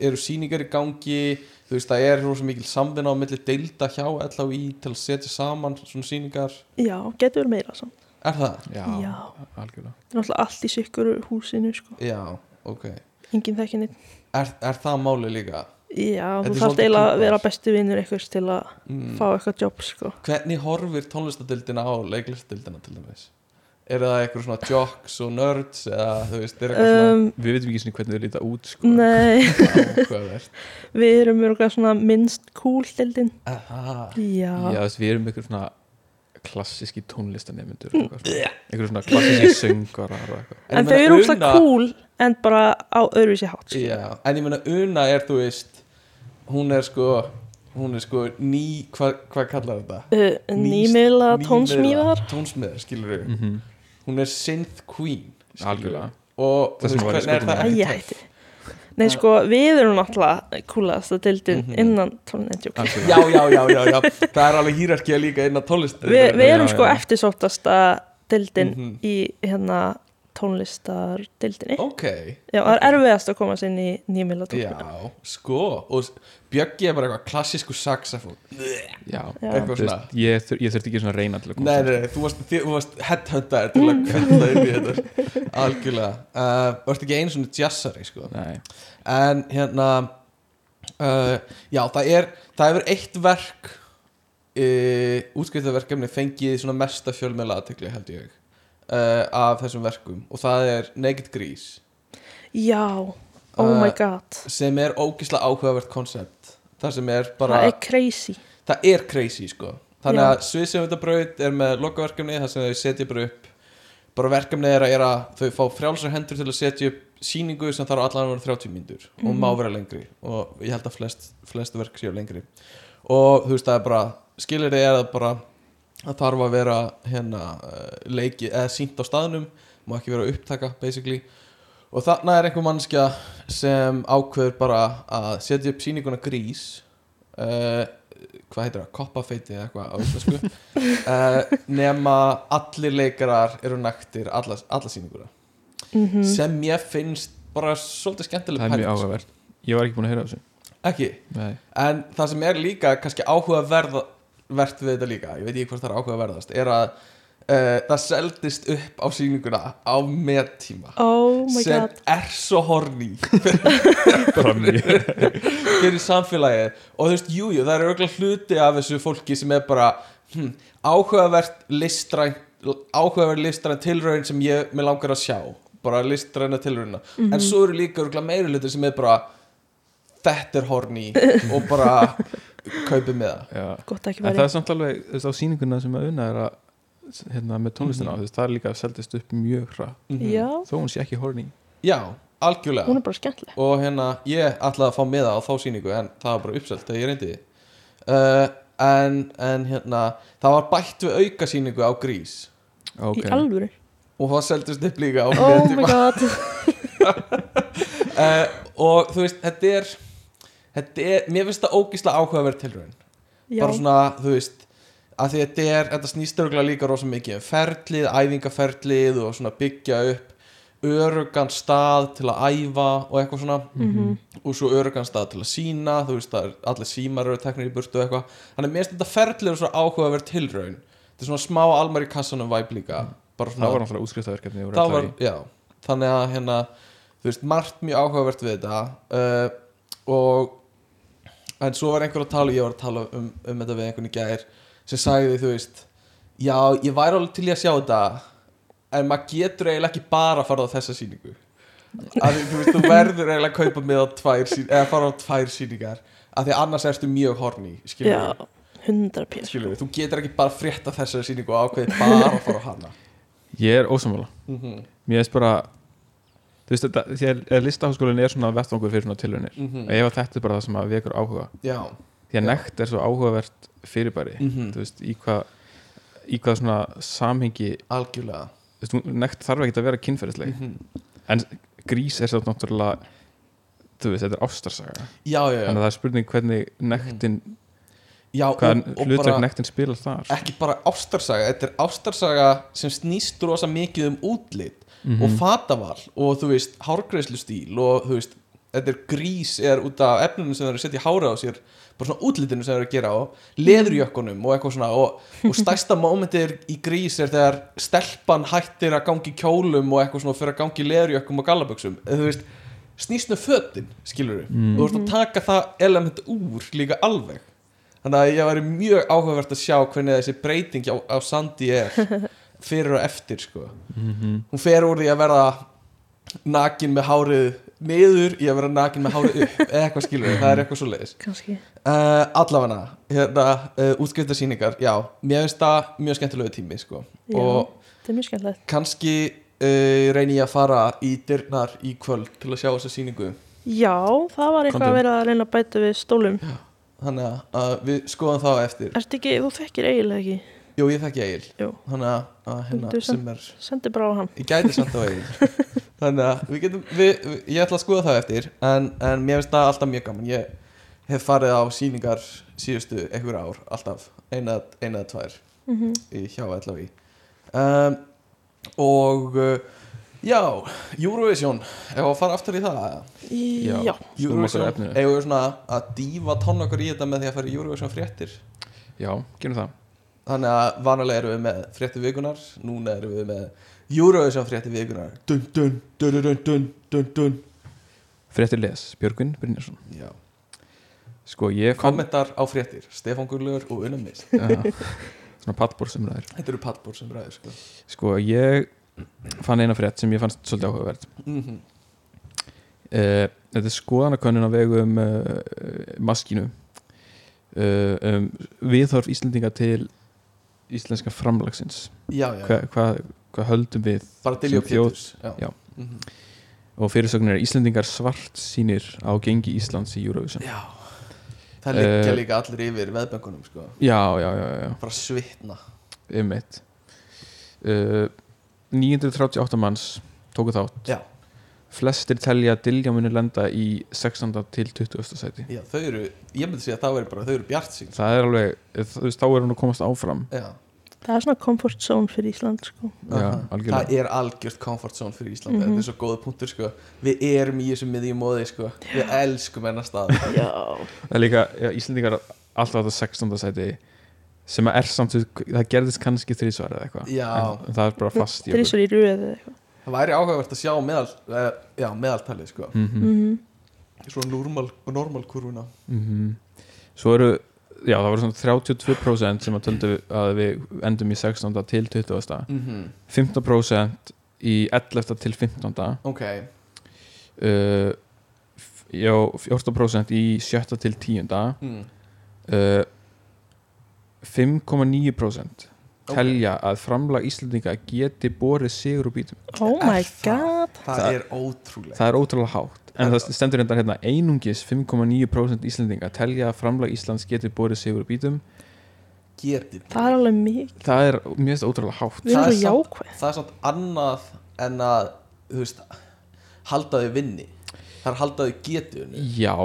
D: eru sýningar í gangi þú veist það er rosa mikil samvinna á milli deilda hjá LHV til að setja saman svona sýningar
B: Já, getur verið meira samt
D: Er það?
A: já,
B: Já.
A: algjörlega
B: Það er náttúrulega allt í sikkur húsinu sko.
D: Já, ok
B: Engin þekki neitt
D: Er, er það máli líka?
B: Já,
D: Þetta
B: þú
D: er
B: þarft
D: svolítið
B: eiginlega
D: kúpað.
B: að vera besti vinnur einhvers til að
D: Mm.
B: fá eitthvað jobb sko.
D: Hvernig horfir tónlistadildina á leiklistadildina til dæmis? Eru það eitthvað svona jocks og nerds eða þú veist, er eitthvað
B: um,
A: Við veitum ekki svona hvernig þau líta út sko.
B: Nei,
D: svona ákveðvert?
B: við erum mjög svona minnst cool deildin
D: Er það?
A: Já,
B: Já,
A: þú veist, við erum einhver svona klassíski tónlistanemendur
B: Mm.
A: einhver svona klassíski söngarar og eitthvað.
B: En þau eru úrslega cool en bara á öðruvísi hátt sko.
D: Já, en ég meina Una er, þú veist, hún er sko, hún er sko ný, hvað hva kallar þetta?
B: uh,
D: Ný-
B: Nýmiðla
D: nýmiðla-
B: tónsmíðar
D: Tónsmiðar, skilur við
A: mm -hmm.
D: Hún er synth queen skilurðu.
A: Algjörlega. Það
D: Og þú
A: sem
D: veist,
A: var í
D: hvernig er
A: skotum.
D: það
B: Æ,
D: ekki
B: ég
D: töff?
B: hætti Nei, sko, við erum náttúrulega kúlasta deildin
D: Mhm.
B: innan tónleitjók
D: Já, já, já, já, já Það er alveg hýrarkið líka inn á tónlist
B: Við við erum
A: Já,
B: sko
A: já.
B: eftirsóttasta deildin
D: Mhm.
B: í hérna tónlistar deildinni
D: Ok,
B: Já, það er erfiðast að komast inn í nýmiðla tónleitjók
D: já, sko Og s- Bjöggi er bara eitthvað klassísku saxofón
A: Já,
B: Já.
A: Þú
D: Eitthvað svona
A: veist, ég, þur, ég þurfti ekki svona að reyna til að koma
D: Nei, nei, nei, þú varst, þið, þú varst headhunter til að kvilla inn í þetta Algjörlega uh, Varst ekki einu svona jazzari, sko
A: Nei.
D: en hérna uh, já það er það hefur eitt verk uh, útskriftaverkefni fengið svona mesta fjölmjöla aðtekli held ég uh, af þessum verkum og það er Naked Grease
B: Já, oh
D: Uh,
B: my god
D: sem er ógislega áhugavert koncept það sem er bara
B: Það er crazy
D: það er crazy sko þannig
B: Já.
D: að Sviðsefndabraut er með lokaverkefni þar sem þau setja bara upp bara verkefni þeirra er að þau fá frjálsar hendur til að setja upp sýningu sem þarf allan að vera 30 mínútur og má vera lengri og ég held að flest, flest verk séu lengri og þú veist það er bara skilirði er að bara að þarf að vera hérna eh, leiki eða sínt á staðnum má ekki vera upptaka basically og þarna er einhver mannskja sem ákveður bara að setja upp sýninguna grís uh, hvað heitir það, koppafeiti eða eitthvað á íslensku uh, nema allir leikarar eru nægtir alla, alla sýninguna
B: Mhm. Hmm.
D: sem ég finnst bara svolítið skemmtileg
A: Það er mjög
D: pæling, sko.
A: áhugavert Ég var ekki búin að heyra af þessu
D: ekki,
A: Nei.
D: en það sem er líka kannski áhugavert við þetta líka ég veit ekki hvort það er áhugaverðast er að uh, það seldist upp á sýninguna á meðtíma
B: Oh my
D: sem
B: god
D: er svo horny
A: Bara mjög
D: fyrir samfélagið og þú veist, jújú, jú, það er auðvitað hluti af þessu fólki sem er bara hm, áhugavert listræn áhugaverð listræn tilraun sem ég mér langar að sjá, bara listræna tilrauna
B: Mhm.
D: en svo eru líka auðvitað meiri hluti sem er bara þetta er horny og bara kaupið með það
A: Já.
B: Gott
A: En
B: ekki
A: það
B: verið
A: er samt alveg, þú veist, á sýninguna sem að unna er að hérna með tónlistina mm -hmm. það er líka að seldist upp mjög hra
B: Já,
A: þó hún sé ekki horny
D: Mhm. Já, algjörlega
B: hún er bara skemmtileg
D: og hérna ég ætlaði að fá miða á þá sýningu en það var bara uppselt þegar ég reyndi uh, en, en hérna það var bætt við auka sýningu á grís
B: Í alvöru
D: og það seldist upp líka á
B: Oh
D: netinu.
B: my god
D: uh, og þú veist, þetta er, þetta er mér finnst það ógislega áhugaverð tilraun
B: Já,
D: bara svona, þú veist að því þetta er, þetta snýst örgulega líka rosa mikið um ferlið, æfingaferlið og svona byggja upp örugan stað til að æfa og eitthvað svona
A: Mhm.
B: Mhm.
D: og svo örugan stað til að sína þú veist, það er allir símar eru teknir í burtu og eitthvað þannig að mér finnst þetta ferlið er svo áhugaverð tilraun þetta er svona smá almar í kassanum væp líka bara svona
A: það var náttúrulega útskriftaverkefni ég voru
D: það
A: að
D: var,
A: klára í.
D: já, þannig að hérna, þú veist, margt mjög áhugavert við þetta uh, og en svo var einhver að tala ég var að tala um, um þetta við einhvern í gær sem sagði, þú veist já, ég væri alveg til í að sjá þetta en maður getur eiginlega ekki bara að fara á þessa sýningu að því, þú veist, þú verður eiginlega að kaupa með á tvær sýn, eða fara á tvær sýningar af því að annars ertu mjög horny skilur
B: já, hundra pér
D: skilur þú getur ekki bara að frétta þessari sýningu og ákveði bara að fara á hana
A: ég er ósamála
D: mm -hmm.
A: mér finnst bara þú veist þetta, því að listaháskólinn er svona vettvangur fyrir svona tilunir mm
D: Mhm.
A: ef að þetta er bara það sem að vekur áhuga
D: já,
A: því að nekt er svo áhugavert fyrirbæri
D: Mhm.
A: þú veist, í hvað í hvað svona samhengi
D: algjörlega
A: þú veist, hún- nekt þarf ekki að vera kynferðisleg
D: -hmm.
A: en grís er þetta náttúrulega þú veist, þetta er ástarsaga
D: já, já,
A: þannig að
D: já,
A: það er spurning hvernig nektin
D: já
A: hvaða
D: og, og
A: hlutverk
D: bara
A: nektin spilar þar
D: ekki bara ástarsaga, þetta er ástarsaga sem snýst
A: Mhm.
D: rosa mikið um útlit og fataval og þú veist, hárgreislu stíl og þú veist, þetta er grís er út af efnunum sem það er að setja í hára á sér bara svona útlitinu sem það er að gera á leðurjökkunum og eitthvað svona og, og stærsta mómentið er- í grís er þegar stelpan hættir að gangi kjólum og eitthvað svona og fyrir að gangi leðurjökkum og gallaböksum þú veist, snýstnu fötin skilur við, mm. þú veist að taka það element úr líka alveg þannig að ég væri mjög áhugavert að sjá hvernig þessi breyting á, á Sandy er fyrir og eftir sko hún fer úr því að verða nakin með hárið niður í að vera nakin með hárið upp eða eitthvað skilur við, það er eitthvað svo leiðis
B: kannski
D: uh, allafana, hérna uh, útskriftarsýningar, já, mér finnst það mjög skemmtilegu tími sko
B: Já.
D: og
B: þetta er mjög skemmtilegt
D: kannski uh, reyni ég að fara í dyrnar í kvöld til að sjá þessa sýningu
B: já, það var eitthvað
A: Komdu.
B: að vera að reyna að bæta við stólum
D: þannig að, að við skoðum það á eftir
B: Ertu ekki, þú þekkir eiginlega ekki
D: jú, ég þekki Egil
B: Jú.
D: þannig að, að hérna,
B: Þú sem-
D: sem er
B: sendi bara á hann
D: ég gæti samt á eigin þannig að við getum, við, við, ég ætla að skoða það eftir en, en mér finnst það alltaf mjög gaman ég hef farið á sýningar síðustu einhver ár, alltaf eina eina eða tvær í hjá LFI um, og uh, já, Eurovision ef að fara aftur í það eða?
A: Já.
B: já,
A: Snúum okkur að efninu.
D: eigum við svona að dífa tónn okkur í þetta með því að fara í Eurovision fréttir
A: Já, gerum það
D: Þannig að vanalega erum við með frétti vikunar Núna erum við með Eurovision frétti vikunar dun, dun, dun, dun, dun, dun, dun.
A: Fréttir les, Björgvin Brynjarsson
D: Já.
A: Sko, ég fann
D: Kommentar á fréttir Stefán Guðlaugur og Unum Mist
A: Já. Svona pallbór sem ræður
D: Þetta eru pallbór sem ræður sko.
A: Sko, ég fann eina frétt sem ég fannst svolítið áhugaverð
D: mm -hmm.
A: uh, Þetta er skoðanakönnun á vegum uh, maskínu uh, um, Viðhorf Íslendinga til íslenska framlagsins
D: Já, já,
A: Hvað hva, hva höldum við
D: bara til Jók
A: sem þjóð-
D: Péturs Já,
A: já.
D: Mm
A: og fyrirsögnir er Íslendingar svart sínir á gengi Íslands í Eurovision
D: já. Það liggja
A: Eh.
D: líka allir yfir veðböngunum sko.
A: Já, já, já, já,
D: Bara svitna
A: einmitt uh, 938 manns tóku þátt
D: Já,
A: Flestir telja að Dilja muni lenda í 16. til 20. sæti
D: já þau eru Ég myndi segja að það veri bara Þau eru bjart sín
A: Það er alveg, eh, þú veist, þá er hún að komast áfram
D: Já,
B: það er svona comfort zone fyrir Ísland sko.
A: Já,
D: Aha.
A: algjörlega
D: það er algjört comfort zone fyrir Ísland þetta er svo góða punktur sko við erum í þessu miðjum móði sko við elskum hennar stað
B: já,
A: Það er líka, já, Íslendingar alltaf þetta 16. sæti sem að er samt, það gerðist kannski þrísvar eða eitthvað
D: Já.
A: En það er bara fast í okkur.
B: þrísur í röð eða eitthvað
D: það væri áhugavert að sjá meðal, uh, já, meðaltalið sko
A: Mhm,
B: Mhm.
D: svona normal, normal kurvuna
A: mhm. Svo eru, já, það voru svona 32% sem að töldu að við endum í 16. til 20.
D: Mhm.
A: 15% í 11. til 15.
D: ok,
A: Uh, f- já, 14% í 7. til 10.
D: mm.
A: Uh, 5,9%
D: Ok.
A: telja að framlag Íslendinga geti borið sigur og bítum
B: oh my
D: Er það?
B: god
D: það
A: Það-
D: er ótrúlega
A: það er ótrúlega hátt en það stendur hérna, hérna einungis 5,9% Íslendinga telja að framlag Íslands geti borið sigur og bítum
D: getið
B: það er alveg mikið,
A: það er mjög ótrúlega hátt
B: við
D: Það
B: erum
D: er
B: svo
D: samt-
B: jákvæð
D: það er samt annað en að þú veist halda þau vinni það er halda þau getið vinni.
A: já,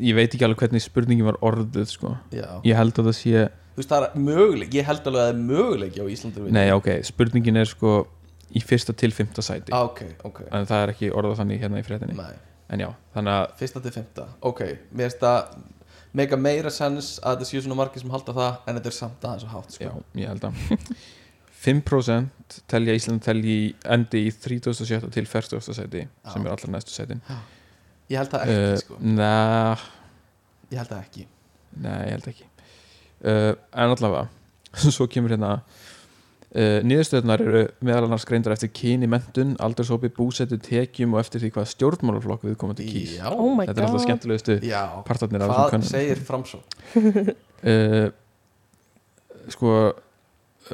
A: ég veit ekki alveg hvernig spurningin var orðuð sko.
D: já,
A: ég held að það sé
D: þú veist það er möguleg ég held alveg að það er möguleg á Íslandi að vinna.
A: nei ok, spurningin er sko í fyrsta til fymta sæti
D: Ah, ok, ok
A: en það er ekki orðað þannig hérna í fréttinni
D: Nei.
A: en já, þannig að
D: Fyrsta til fymta, ok Mér finnst það mega meira sens að þetta séu svona margir sem halda það en þetta er samt aðeins og hátt sko.
A: Já, ég held að 5% telja Ísland telji í- endi í 37. til 40. seti sem er allra næstu setin
D: Ég held Ah, það ekki,
A: uh,
D: sko
A: Nei,
D: Ég held það ekki
A: nei, ég held ekki uh, En allavega svo kemur hérna uh, Niðurstöðnar eru meðal annars greindar eftir kyni, mentun, aldurshópi, búsetu, tekjum og eftir því hvað stjórnmálaflokk við komum til kýr
D: Já,
B: oh my
A: Þetta er alltaf
B: god,
A: skemmtilegustu
D: já
A: partarnir af þessum
D: Hvað
A: könnunum.
D: segir framsó?
A: uh, Sko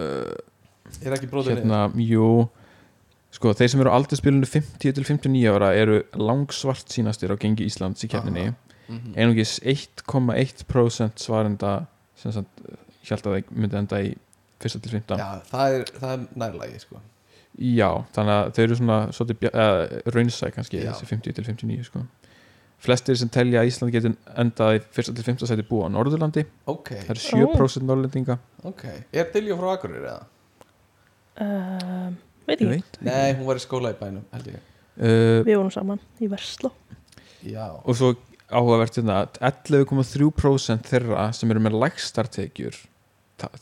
A: eh,
D: Er ekki bróðið hérna.
A: hérna, jú sko, þeir sem eru á aldurspilinu 50 til 59 ára eru langsvart sínastir á gengi Íslands í keppninni
D: Mhm.
A: einungis 1,1% svarenda sem sagt hjælt að þeir myndi enda í fyrsta til 15
D: Já, það er, það er nærlægi sko.
A: Já, þannig að þau eru svona, svona uh, raunsæ kannski,
D: Já.
A: þessi 50 til 59 sko. flestir sem telja að Ísland getur endað í fyrsta til 15 sæti búa á Norðurlandi
D: Ok,
A: það eru 7% Norðurlandinga
D: ok Er Diljó frá Akureyri eða?
B: um, veit
A: Ég
B: ekki
A: veit.
D: Nei, hún var í skóla í bænum, held ég
A: uh,
B: við vorum saman í Versló
D: já,
A: og svo áhugavert hérna að 11,3% þeirra sem eru með lægstartekjur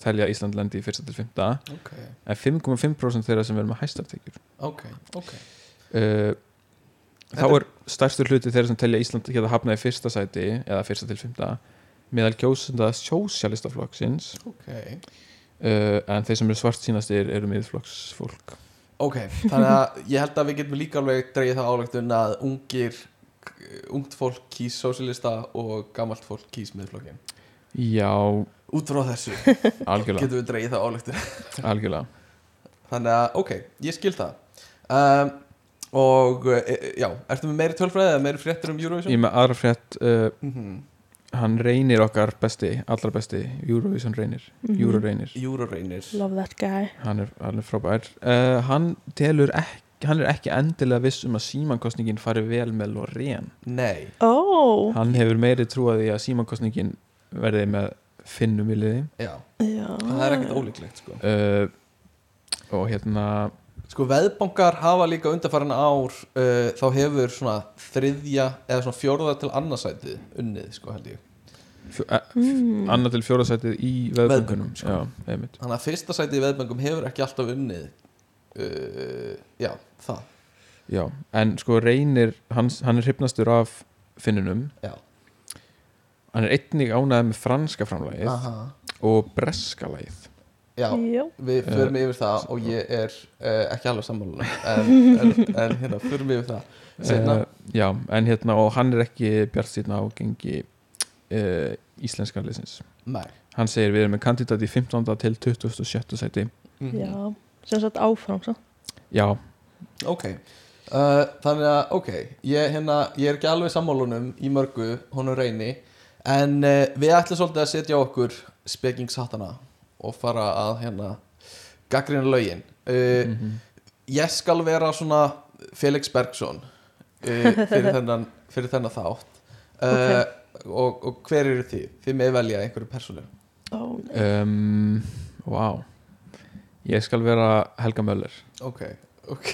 A: telja að Ísland lendi í fyrsta til fymta
D: ok,
A: en 5,5% þeirra sem eru með hæstartekjur
D: ok, ok
A: uh, þá
D: Þetta-
A: er stærstur hluti þeirra sem telja að Ísland hérna hafnaði fyrsta sæti eða fyrsta til fymta meðal kjósenda sjósjalistaflokksins
D: Ok,
A: uh, en þeir sem eru svart sínastir eru miðflokksfólk
D: ok, þannig að ég held að við getum líka alveg dreigið þá álöktun að ungir, ungt fólk kýs sósilista og gamalt fólk kýs miðflokkin.
A: já,
D: Út frá þessu
A: algjörlega,
D: getum við dreigið þá álöktun.
A: algjörlega.
D: Þannig að, ok, ég skil það. Um, og, e, e- já, ertu með meiri tölfræði eða meiri fréttir um Eurovision?
A: ég er með aðra frétt uh,
D: Mm -hmm.
A: hann reynir okkar besti, allra besti Eurovision reynir,
B: Mhm.
A: Euro reynir
D: Euroreynir.
B: Love that guy
A: hann er, hann er frábær uh, hann telur ekki hann er ekki endilega viss um að símankostningin fari vel með Loreen
D: Nei,
B: Ó,
A: hann hefur meiri trú að því að símankostningin verði með finnum í liði
D: já,
B: já
D: það er ekkert ólíklegt, sko.
A: uh, og hérna
D: Sko veðbankar hafa líka undarfæran ár uh, þá hefur svona þriðja eða svona fjórða til annarsætið unnið sko held ég
A: fjó, eh,
B: Mm.
A: annað til fjórasætið í veðböngunum
D: Veðbönkunum, sko.
A: já, einmitt
D: Þannig að fyrsta sætið í veðböngum hefur ekki alltaf unnið uh, Já, það
A: já, en sko reynir hann, hann er hrypnastur af finnunum
D: Já.
A: hann er einnig ánæði með franska framlagið
D: Aha.
A: og breska lagið
D: Já,
B: Já,
D: við
A: Eh,
D: förum yfir það og ég er uh, ekki alveg sammála honum, en, en, en hérna, förum yfir það Seinna.
A: Eh, já, en hérna og hann er ekki bjart síðan á gengi uh, íslenska leysins
D: Nei
A: hann segir við erum með kandidat í 15. til 27. sæti
D: Mhm.
B: já Sem sagt áfram sko. svo
A: já,
D: Ok uh, Þannig að, ok ég, hérna, ég er ekki alveg sammálunum í mörgu honum reyni En uh, við ætlum svolítið að setja á okkur spekingshattana og fara að hérna gaggrina lögin uh, Ég skal vera svona Felix Bergson uh, fyrir, þennan, fyrir þennan þátt uh, og, og hver eru þið? Þið með velja einhverju persónu
B: Ó,
A: um, wow ég skal vera Helga Möller
D: Ok, ok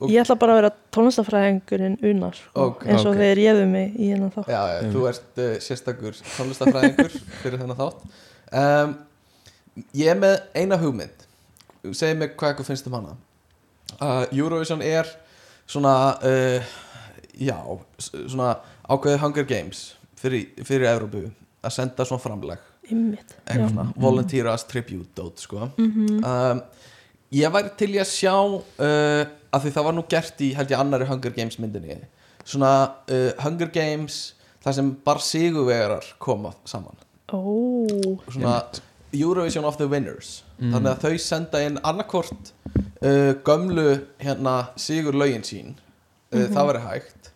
D: Ok.
B: Ég ætla bara að vera tónlistafræðingurinn unar sko,
D: Ok,
B: eins og
A: ok.
B: þeir réðu mig í hennan þá
D: Já, já
A: Um.
D: þú ert uh, sérstakur tónlistafræðingur fyrir þennan þátt um, Ég er með eina hugmynd Segðu mig hvað eitthvað finnst um hana uh, Eurovision er svona uh, já, s- svona ákveðið Hunger Games fyrir, fyrir Evrópu að senda svona framleg
B: Ymmit
D: eitthvað svona, volunteer as tribute dot, sko. um, ég væri til í að sjá uh, að því það var nú gert í held ég annari Hunger Games myndinni svona uh, Hunger Games þar sem bara sigurvegarar koma saman
B: Ó,
D: svona Eurovision of the Winners þannig að þau senda inn annarkort uh, gömlu hérna sigurlaugin sín uh, það væri hægt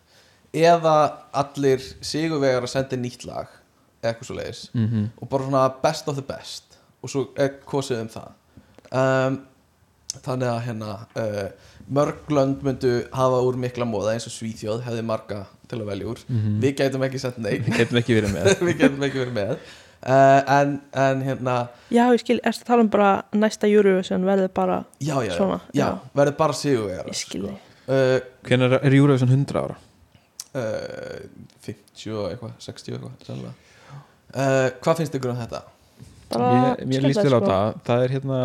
D: eða allir sigurvegarar sendi nýtt lag eða eitthvað svo leiðis
A: mm
D: og bara svona best of the best og svo er kosið um það um, þannig að hérna uh, mörg lönd myndu hafa úr mikla móða eins og Svíþjóð hefði marga til að velja úr við gætum ekki sendt neitt
A: getum ekki verið með
D: við gætum ekki verið með uh, en, en hérna
B: já ég skil, erstu að tala um bara næsta Eurovision verði bara
D: já, já, já,
B: Svona,
D: já,
B: já.
D: verður bara sigurvegar
B: Ég skil þig
D: uh,
A: hvenær er Eurovision 100 ára
D: uh, 50 og eitthvað 60 og eitthvað sennilega. uh, hvað finnst ykkur um þetta?
B: Bara
A: mér, mér líst vel á
B: skemmtilegt, sko.
A: það það er hérna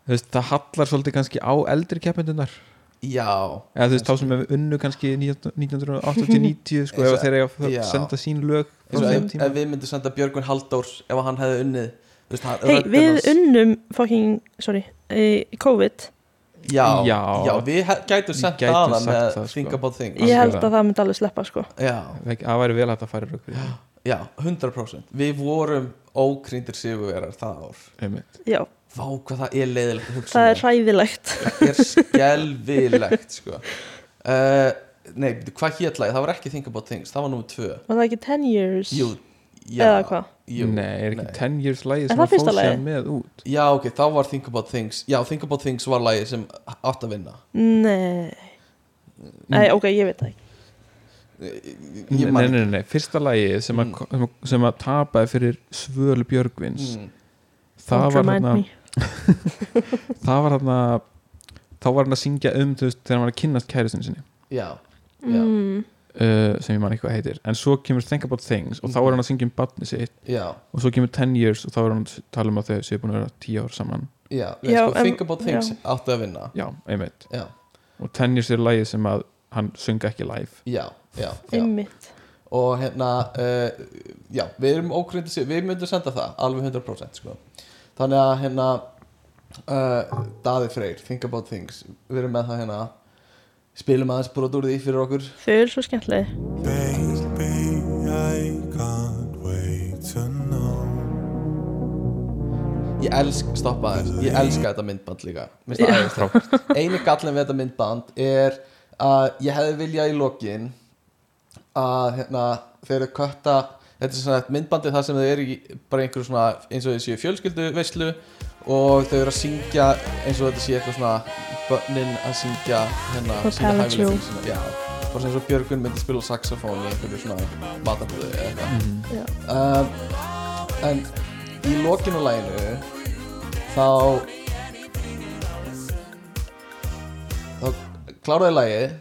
A: þú veist, það hallar svolítið kannski á eldri keppendunnar
D: já,
A: eða þú veist þá sem hefur unnu kannski 1980-90 sko ef
D: Eins og-
A: þeir eiga að
D: já.
A: senda sín lög á
D: eins og
A: þeim
D: ef,
A: tíma
D: ef við myndum senda Björgvin Halldórs ef hann hefði unnið þú veist, hann-
B: Hei,
D: röddin
B: við
D: hans-
B: unnum fucking, sorry, e, COVID
D: já, já.
A: Já.
D: við he- gætum
A: Við
D: sent
A: gætum
D: aðan
A: sagt
D: með
A: það, sko.
D: Think About Things
B: Ég held
A: Algjörlega.
B: að það myndi alveg sleppa sko
D: já,
A: Ekki- það væri vel hægt að fara í rök fyrir því.
D: já, 100% við vorum ókrýndir sigurverar það ár
A: Einmitt.
B: Já,
D: Vá hvað það er leiðilegt að hugsa
B: það
D: um
B: er hræðilegt
D: það er skelvilegt sko. uh, Nei, bíddu, hvað hétlaði? Það var ekki Think About Things, það var númer tvö
B: Var það ekki 10 years?
D: Jú, já,
B: Eða hvað?
D: jú,
A: nei, er ekki
D: nei.
A: 10 years lagið
B: Er
A: sem
B: það
A: að fór
B: fyrsta lagið?
A: sér með út
D: Já, ok, þá var Think About Things Já, Think About Things var lagið sem átt að vinna
B: Nei Nei, ok, ég veit það ekki
D: Eh, Ég
A: nei,
D: man
A: nei, nei, nei, fyrsta lagið sem, að
D: Mm.
A: ko- sem, að- sem að tapaði fyrir Svölu Björgvins
D: Mm.
A: það,
B: Don't
A: var
B: remind
A: þarna,
B: me.
A: það var þarna þá var hann að syngja um þú veist, þegar hann var að kynnast kæristin sinni
D: Já, Já.
B: mm,
A: uh, sem ég man eitthvað heitir en svo kemur Think About Things og þá er hann að syngja um batni sitt
D: já,
A: og svo kemur 10 Years og þá er hann að tala um að þau séu búin að vera 10 ár saman
D: já, já
B: Já,
D: sko,
B: em,
D: Think About Things
B: já.
D: átti að vinna
A: já, einmitt
D: já,
A: og 10 Years er lagið sem að hann sunga ekki live
D: já, já, já.
B: einmitt
D: og hérna uh, já, við erum ókreyndi sér við myndum senda það, alveg 100% sko. þannig að hérna uh, Daði Freyr, Think About Things við erum með það hérna spilum aðeins brot úr því fyrir okkur
B: Þau eru svo skemmtileg
F: Baby, I can't wait to know.
D: ég elsk, stoppa aðeins, ég elska þetta myndband líka Mér finnst það æðislegt. eini gallin við þetta myndband er að ég hefði viljað í lokin að hérna þeir eru kötta þetta er svona myndbandið það sem þau eru í bara einhverju svona eins og þau séu fjölskyldu veislu og þau eru að syngja eins og þetta sé eitthvað svona bönnin að syngja hérna
B: Og
D: sína
B: Palette
D: hæfileika
B: Show.
D: sína. já, bara eins og Björgun myndi spila á saxofón í einhverju svona matabúðu eða eitthvað
B: Já.
D: um, en í lokinu læginu þá þá kláraði lægið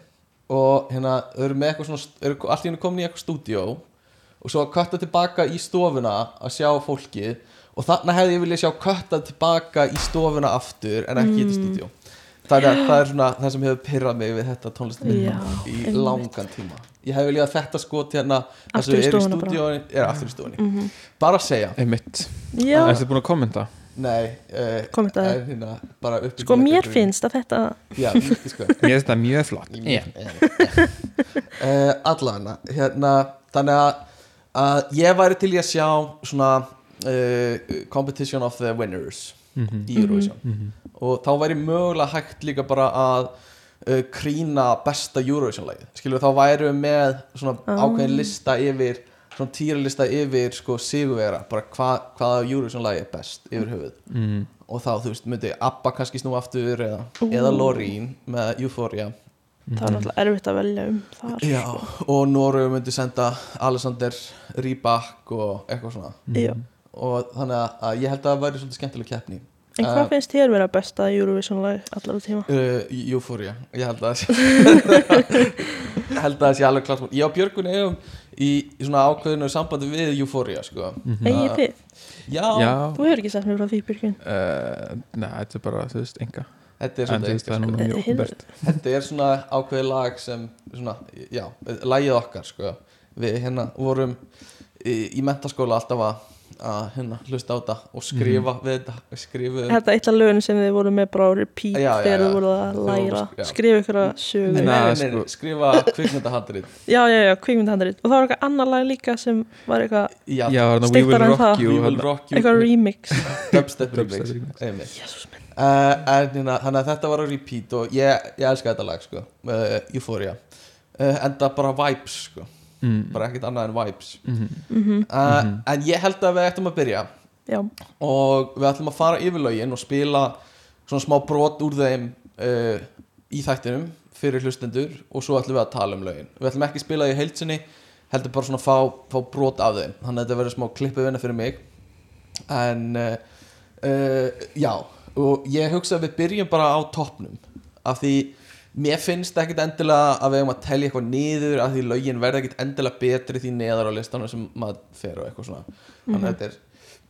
D: og hérna þau eru með eitthvað svona eru allt í hennu komin í eitthvað stúdíó og svo að kötta tilbaka í stofuna að sjá fólkið og þarna hefði ég viljað sjá kötta tilbaka í stofuna aftur en
B: Mm.
D: ekki í stúdíó Það er, það er svona það sem hefur pyrrað mig við þetta tónlistamindband
B: Já,
D: í
B: einmitt.
D: langan tíma Ég hefði viljað þetta skot hérna það
B: Aftur
D: sem
B: í
D: er í
B: stofuna bara. Mhm.
D: stúdíóinu er aftur í stúdíóinu Bara að segja,
A: einmitt,
B: Já,
A: ertu búin að kommenta?
D: nei uh,
B: Kommentaðu.
D: er hérna bara upp
B: sko mér finnst að þetta
D: Já, ég sko
A: mér finnst það mjög flott
D: yeah. uh, allan hérna, þannig að, að ég væri til í að sjá svona uh, competition of the winners í
B: Mhm.
D: Eurovision og þá væri mögulega hægt líka bara að uh, krýna besta Eurovision lagið skilur þá væri við með svona
B: Ah.
D: ákveðin lista yfir svona týralista yfir sko sigurvera bara hva, hvaða Eurovision lagið er best yfir höfuð mm. og þá þú veist myndi Abba kannski snú aftur eða, eða Lorín með Euphoria
B: það er náttúrulega erfitt að velja um þar
D: Mhm. Já, og Noregu myndi senda Alexander Rybak og eitthvað svona
B: Já.
D: og þannig að- að ég held að það væri svolítið skemmtileg keppni
B: En hvað finnst þér vera besta Eurovision lag allara tíma?
D: Uh, Euphoria, ég held að það sé held að það sé alveg klart mál. ég og Björgun eigum í, í svona ákveðinu sambandi við Euphoria sko.
B: Egið þið?
D: já,
A: já,
B: Þú hefur ekki sagt mér frá því Björgun
A: uh, neða, þetta er bara, þú veist, enga
D: þetta er sko.
A: en þú
D: svona,
A: veist, það er núna mjög
B: Þetta er
A: ofinbært
D: þetta er svona ákveði lag sem svona, já, lagið okkar sko. við hérna vorum í, í mentaskóla alltaf að, að hérna, hlusta á þetta og skrifa
A: Mhm.
D: við þetta skrifuðum
B: Þetta er eitt af lögun sem þið voru með bara á repeat
D: Já, já,
B: þegar
D: já.
B: þið voru að
D: Þau voru-
B: læra
D: já.
B: skrifa ykkur að sögu
D: Nei,
A: Nei,
D: nei, nei,
A: sko-
D: nei, skrifa kvikmyndahandrið
B: Já, já, já, kvikmyndahandrið og það var eitthvað annar lag líka sem var eitthvað,
D: Já,
A: já, þarna We
B: Steyptar
A: Will
B: en
A: Rock
B: það.
A: You
D: We Will
A: þarna-
D: Rock You
B: eitthvað remix
D: Dubstep
A: Dubstep
D: remix
A: remix.
D: einmitt.
B: Jésús minn
D: uh, En hérna, þannig að þetta var að repeat og ég, ég elska þetta lag sko uh, Euphoria uh, Enda bara vibes sko Bara ekkert annað en vibes uh,
A: Mhm.
D: En ég held að við ættum að byrja
B: Mhm. Já,
D: og við ætlum að fara yfir lögin og spila svona smá brot úr þeim uh, í þættinum fyrir hlustendur og svo ætlum við að tala um lögin við ætlum ekki að spila þau í heilsinni heldur bara svona að fá, fá brot af þeim þannig að þetta verður smá klippið vinna fyrir mig en uh, uh, já, og ég hugsa að við byrjum bara á toppnum af því mér finnst ekkit endilega að við hefum að telja eitthvað niður af því lögin verða ekkit endilega betri því neðar á listanum sem maður fer og eitthvað svona þannig að þetta er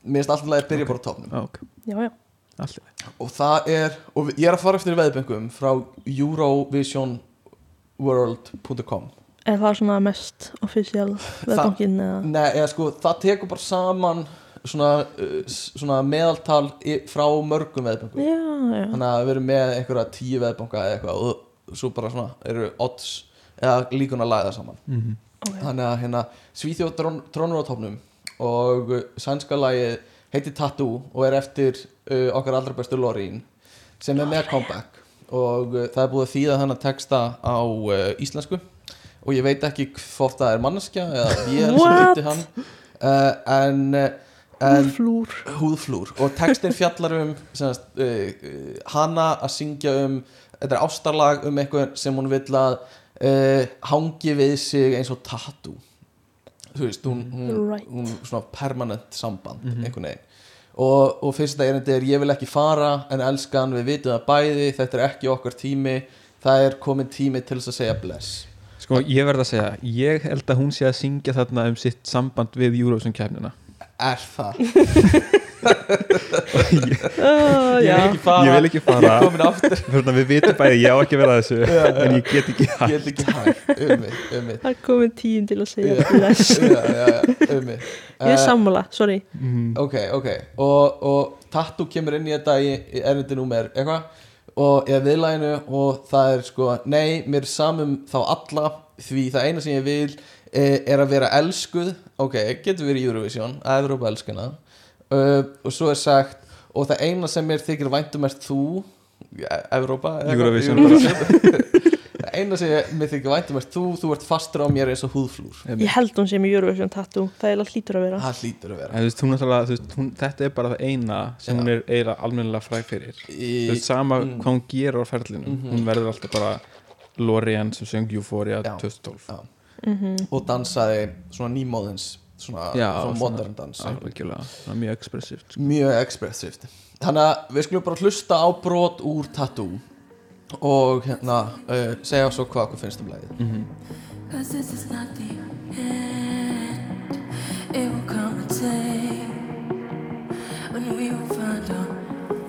D: mér finnst alltaf að byrja bara á toppnum
A: Já, Ah, ok,
B: já, já,
A: allt í lagi.
D: og það er, og við- ég er að fara eftir veðbengum frá eurovisionworld.com
B: er það svona mest offisíal veðbankinn eða
D: Nei, eða sko, það tekur bara saman svona, uh, s- svona meðaltal í- frá mörgum veðbengum
B: Já, já,
D: þannig að við erum með einhverja tíu veðbanka eða eitthvað og svo bara svona eru odds eða líkun að læða saman
B: ok
D: þannig að hérna Svíþjóð drón, trónur á topnum og uh, sænska lagið heitir Tattoo og er eftir uh, okkar allra bestu Lorín sem er með comeback og uh, það er búið að þýða þannig texta á uh, íslensku og ég veit ekki hvort það er manneskja eða ég er sem
B: What?
D: þýtti hann uh, en, uh, en
B: Flúr
D: húðflúr og textin fjallar um semast, uh, uh, hana að syngja um þetta er ástarlag um eitthvað sem hún vill að uh, hangi við sig eins og tattoo þú veist, hún, hún,
B: Right.
D: hún svona permanent samband einhvern veginn og, og fyrsta erindi er ég vil ekki fara en elskan við vitum það bæði þetta er ekki okkar tími það er komin tími til þess að segja bless
A: Sko, ég verð að segja, ég held að hún sé að syngja þarna um sitt samband við Eurovision kefnina
D: Er það?
B: Ó,
D: Ég vil
B: já.
D: ekki fara
A: Ég vil ekki fara.
D: Ég er komin aftur
A: Þannig að við vitum bæði, ég á ekki verið að þessu En ég get ekki
D: Ég vil ekki hægt Um mig, um mig
B: Það er komin tíum til að segja
D: Já.
B: bless.
D: Já, já, já, um mig
B: Ég er sammála, sorry.
D: Ok, ok Og, og tattoo kemur inn í þetta í, í erindi númer eitthvað og ég viðlæginu og það er sko nei, mér er samum þá alla því það eina sem ég vil e, er að vera elskuð ok, getur verið Eurovision, Evrópa elskana uh, og svo er sagt og það eina sem mér þykir væntum er þú E- Evrópa eða eitthvað,
A: Eurovision.
D: það eina sem ég- mér þykir væntum er þú þú ert fastur á mér eins og húðflúr
B: Ég held hún sem í Eurovision tattoo. Það er alltaf hlýtur að vera.
D: það hlýtur að vera
A: En þú veist, hún náttúrulega, þú veist, hún, þetta er bara það eina sem
D: Já.
A: hún er eiginlega almennilega fræg fyrir
D: Í- mm. Mhm.
A: Þú veist, sama hvað hún gerur á ferlinum Hún verður alltaf bara Lorian sem söng Euphoria
D: Já.
A: 2012
D: Já. og dansaði svona nýmóðins svona, svona modern dans
A: Algjörlega, svona mjög expressivt sko.
D: mjög expressivt þannig að við skulum bara hlusta á brot úr tattoo og hérna uh, segja svo hvað okkur finnst um lagið
G: Cause this is not the end. It will come a day when we will find our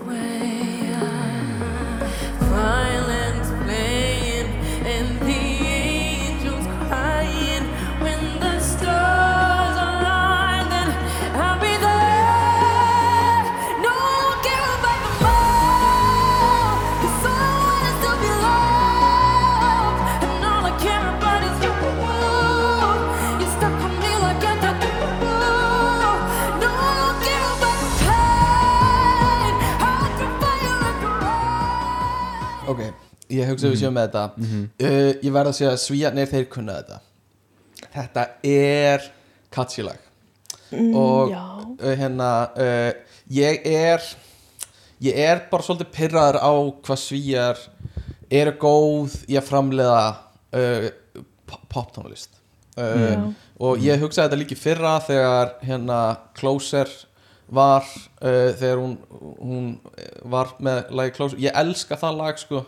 G: way. out. Violence playing and the angels crying. When the stars align, then I'll be there. No one cares about the more. 'Cause I wanna still be loved. And all I care about is you. You stuck on me like a tattoo. No one cares about the pain. Heart from fire like a rock.
D: ok, ég hugsa við séum með þetta uh, ég verð að segja að svíjarnir þeir kunna þetta þetta er katsilag og
B: Mm, já.
D: uh, hérna uh, ég er ég er bara svolítið pirraður á hvað svíjar eru góð í að framleiða uh, pop- poptónlist uh,
B: Já.
D: og ég hugsaði þetta líki fyrra þegar hérna Closer var uh, þegar hún, hún var með lagi Closer, ég elska það lag sko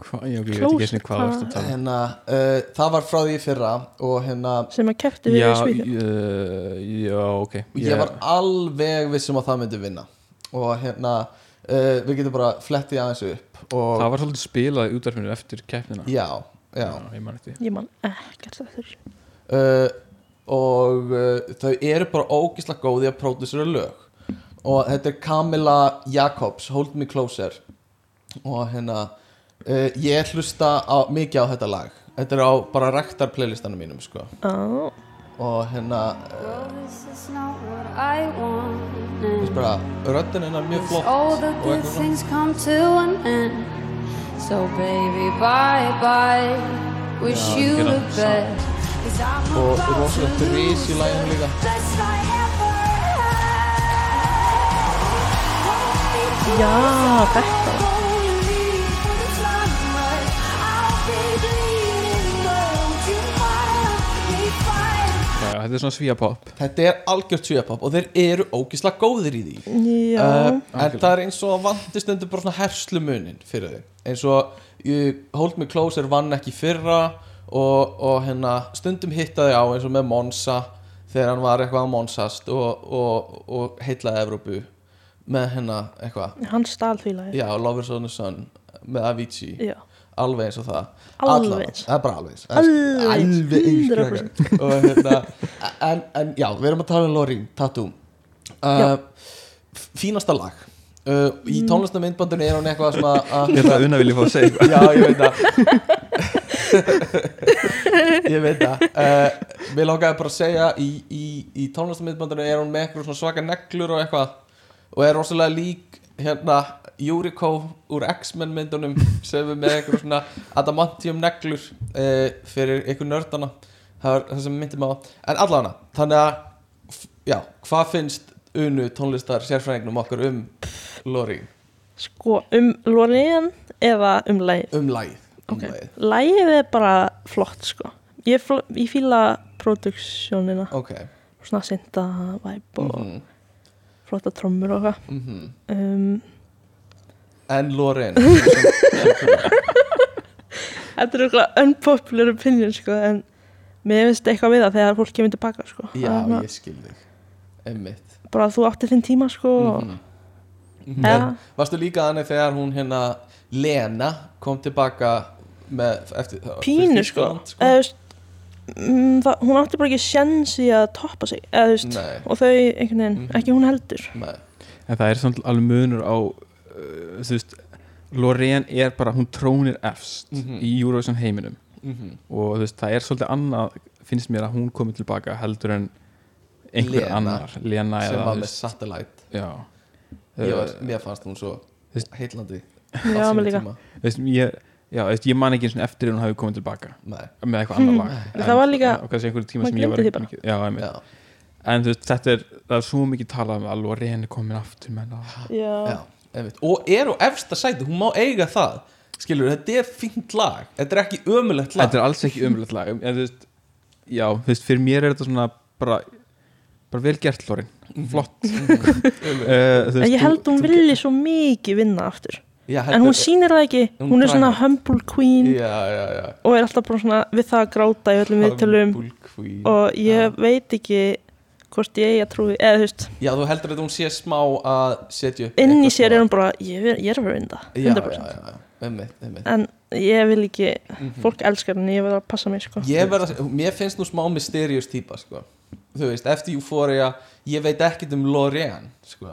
A: Hva, já, ok, Ég veit
B: Close,
A: ekki einu hvað það
B: hvað-
A: varst að tala um.
D: hérna, uh, það var frá því í fyrra og hérna
B: Sem að kefti við
A: Já,
B: í Svíðan.
A: uh, já, ok
D: ég var alveg vissum að það myndi vinna og hérna uh, við getum bara flettið aðeins upp og
A: Það var svolítið spilað í útvarfinu eftir keppnina
D: Já, já
A: ég man eftir því.
B: Ég man ekkert það þurr.
D: uh, Og uh, þau eru bara ógislega góð í að pródusera lög Og þetta er Camilla Jacobs, Hold Me Closer Og hérna uh, Ég hlusta á, mikið á þetta lag Þetta er á bara rektar playlistanum mínum sko
B: Á,
D: Og hérna uh,
H: Well, this is not what I
D: þess
H: wanted.
D: bara, röddinn hennar er mjög flott
H: All the
D: og
H: good
D: eitthvað svona.
H: things come to an end. So baby, bye bye. Wish
A: Ja,
H: you
A: genau.
H: the best. 'Cause I'm
D: Og
H: about to
D: rosalegt ris í
H: lose
D: læginu líka
H: the best I ever had.
B: já, þetta.
A: Já, já, Þetta er svona svíapopp
D: Þetta er algjört svíapop og þeir eru ógislega góðir í því
B: Já,
D: uh, en það er eins og að vandi stundu bara svona herslumunin fyrir þau eins og uh, Hold Me Closer vann ekki í fyrra og, og hérna stundum hittaði á eins og með Monsa þegar hann var eitthvað að Monsast og, og, og heitlaði Evrópu með hérna eitthvað
B: hann stál því lagi.
D: já, Lovers on the Sun með Avicii
B: Já.
D: alveg eins og það
B: Alveg
D: Allavega.
B: eins.
D: það er bara alveg eins
B: Alveg eins.
D: alveg eins
B: 100%.
D: krakkar. og hérna en, en já, við erum að tala um Lorín, Tattoo uh, f- fínasta lag uh, í tónlistamindbandinu er hún eitthvað uh, sem að-
A: Ég held að
D: að
A: Una vilja fá að segja eitthvað.
D: já, ég veit það ég veit það uh, við langaði bara að segja í, í, í tónlistamindbandinu er hún með eitthvað svona svaka neglur og eitthvað og er rosalega lík hérna Júrikó úr X-Men myndunum sem er með eitthvað svona adamantium neglur uh, fyrir einhver nördana það er það sem myndi maður en allavega, þannig að f- já, hvað finnst unu tónlistar sérfræðingnum okkar um Lori,
B: Sko, um Loreen eða um lagið.
D: um lagið um
B: Ok.
D: lagið.
B: Lagið er bara flott, sko. Ég, fl ég fíla produksjónina.
D: ok,
B: Svona synda væp og
D: mhm
B: flotta trommur og eitthvað.
D: mhm
B: Um,
D: En Loren
B: Þetta er eitthvað unpopular opinion sko en mér finnst eitthvað við það þegar fólk kemur tilbaka sko
D: Já,
B: Að hérna,
D: ég skil þig Emmitt
B: Bara þú átti þinn tíma sko
D: Mhm.
B: mm -hmm.
D: Varstu líka þannig þegar hún hérna Lena kom tilbaka með eftir
B: Pínu
D: fyrir
B: sko,
D: Þýskaland,
B: eða þú veist mm, það, Hún átti bara ekki sjens í að toppa sig eða, þú veist,
D: Nei.
B: og þau einhvern veginn,
D: Mhm.
B: ekki hún heldur
D: Nei,
A: en það er samt alveg munur á uh, þú veist Loreen er bara, hún trónir efst
D: Mhm.
A: í Eurovision heiminum
D: mhm.
A: og þú veist, það er svolítið annað finnst mér að hún komið tilbaka heldur en einhver
D: Lena.
A: annar Lena
D: sem
A: eða
D: var
A: þú
D: með
A: veist,
D: satellite
A: já
D: ég var,
A: Uh,
D: Mér fannst hún svo
A: þú veist-
D: heitlandi á
B: Já,
D: sínum
B: mér líka
D: tíma.
A: þú veist, ég, já, þú veist, ég man ekki einu sinni eftir að hún hafi komið tilbaka
D: Nei,
A: með eitthvað annað lag
B: En það var líka-
A: og kannski einhverju tíma
B: maður
A: sem ég var
B: gleymdi því
A: ekki
B: bara.
A: mikið, já, einmitt.
D: já,
A: en þú veist, þetta er, það er svo mikið talað um að Loreen er komin aftur með það
B: Já,
D: já, einmitt Og er á efsta sæti, hún má eiga það Skilur, þetta er fínt lag Þetta er ekki ömulegt lag
A: þetta er alls ekki umlögt lag en þú veist, já, þú veist, fyrir mér er þetta svona bara, bara vel gert Lorin
D: Mhm.
A: flott uh, þú
B: en ég
A: þú-
B: held hún
A: þú-
B: vilji svo mikið vinna aftur
D: já,
B: En hún sýnir það ekki,
D: Hún
B: hún er svona
D: dragar.
B: humble queen
D: Já, já, já
B: og er alltaf bara svona við það að gráta í öllum viðtölum
D: Humble Queen.
B: og ég veit ekki hvort ég eigi að trúi eða þú veist,
D: Já, þú heldur að hún sé smá að setja upp
B: inn í
D: eitthvað
B: sér um
D: svona-
B: er hún bara ég, er- ég er að vera vinda,
D: Já,
B: 100%
D: já, já, já, einmitt, einmitt
B: en ég vil ekki, fólk elskar henni ég vil að passa mig sko
D: Ég verð að, mér finnst nú smá mysterious típa, sko Þú veist, eftir Euphoria, ég veit ekkit um Lorraine, sko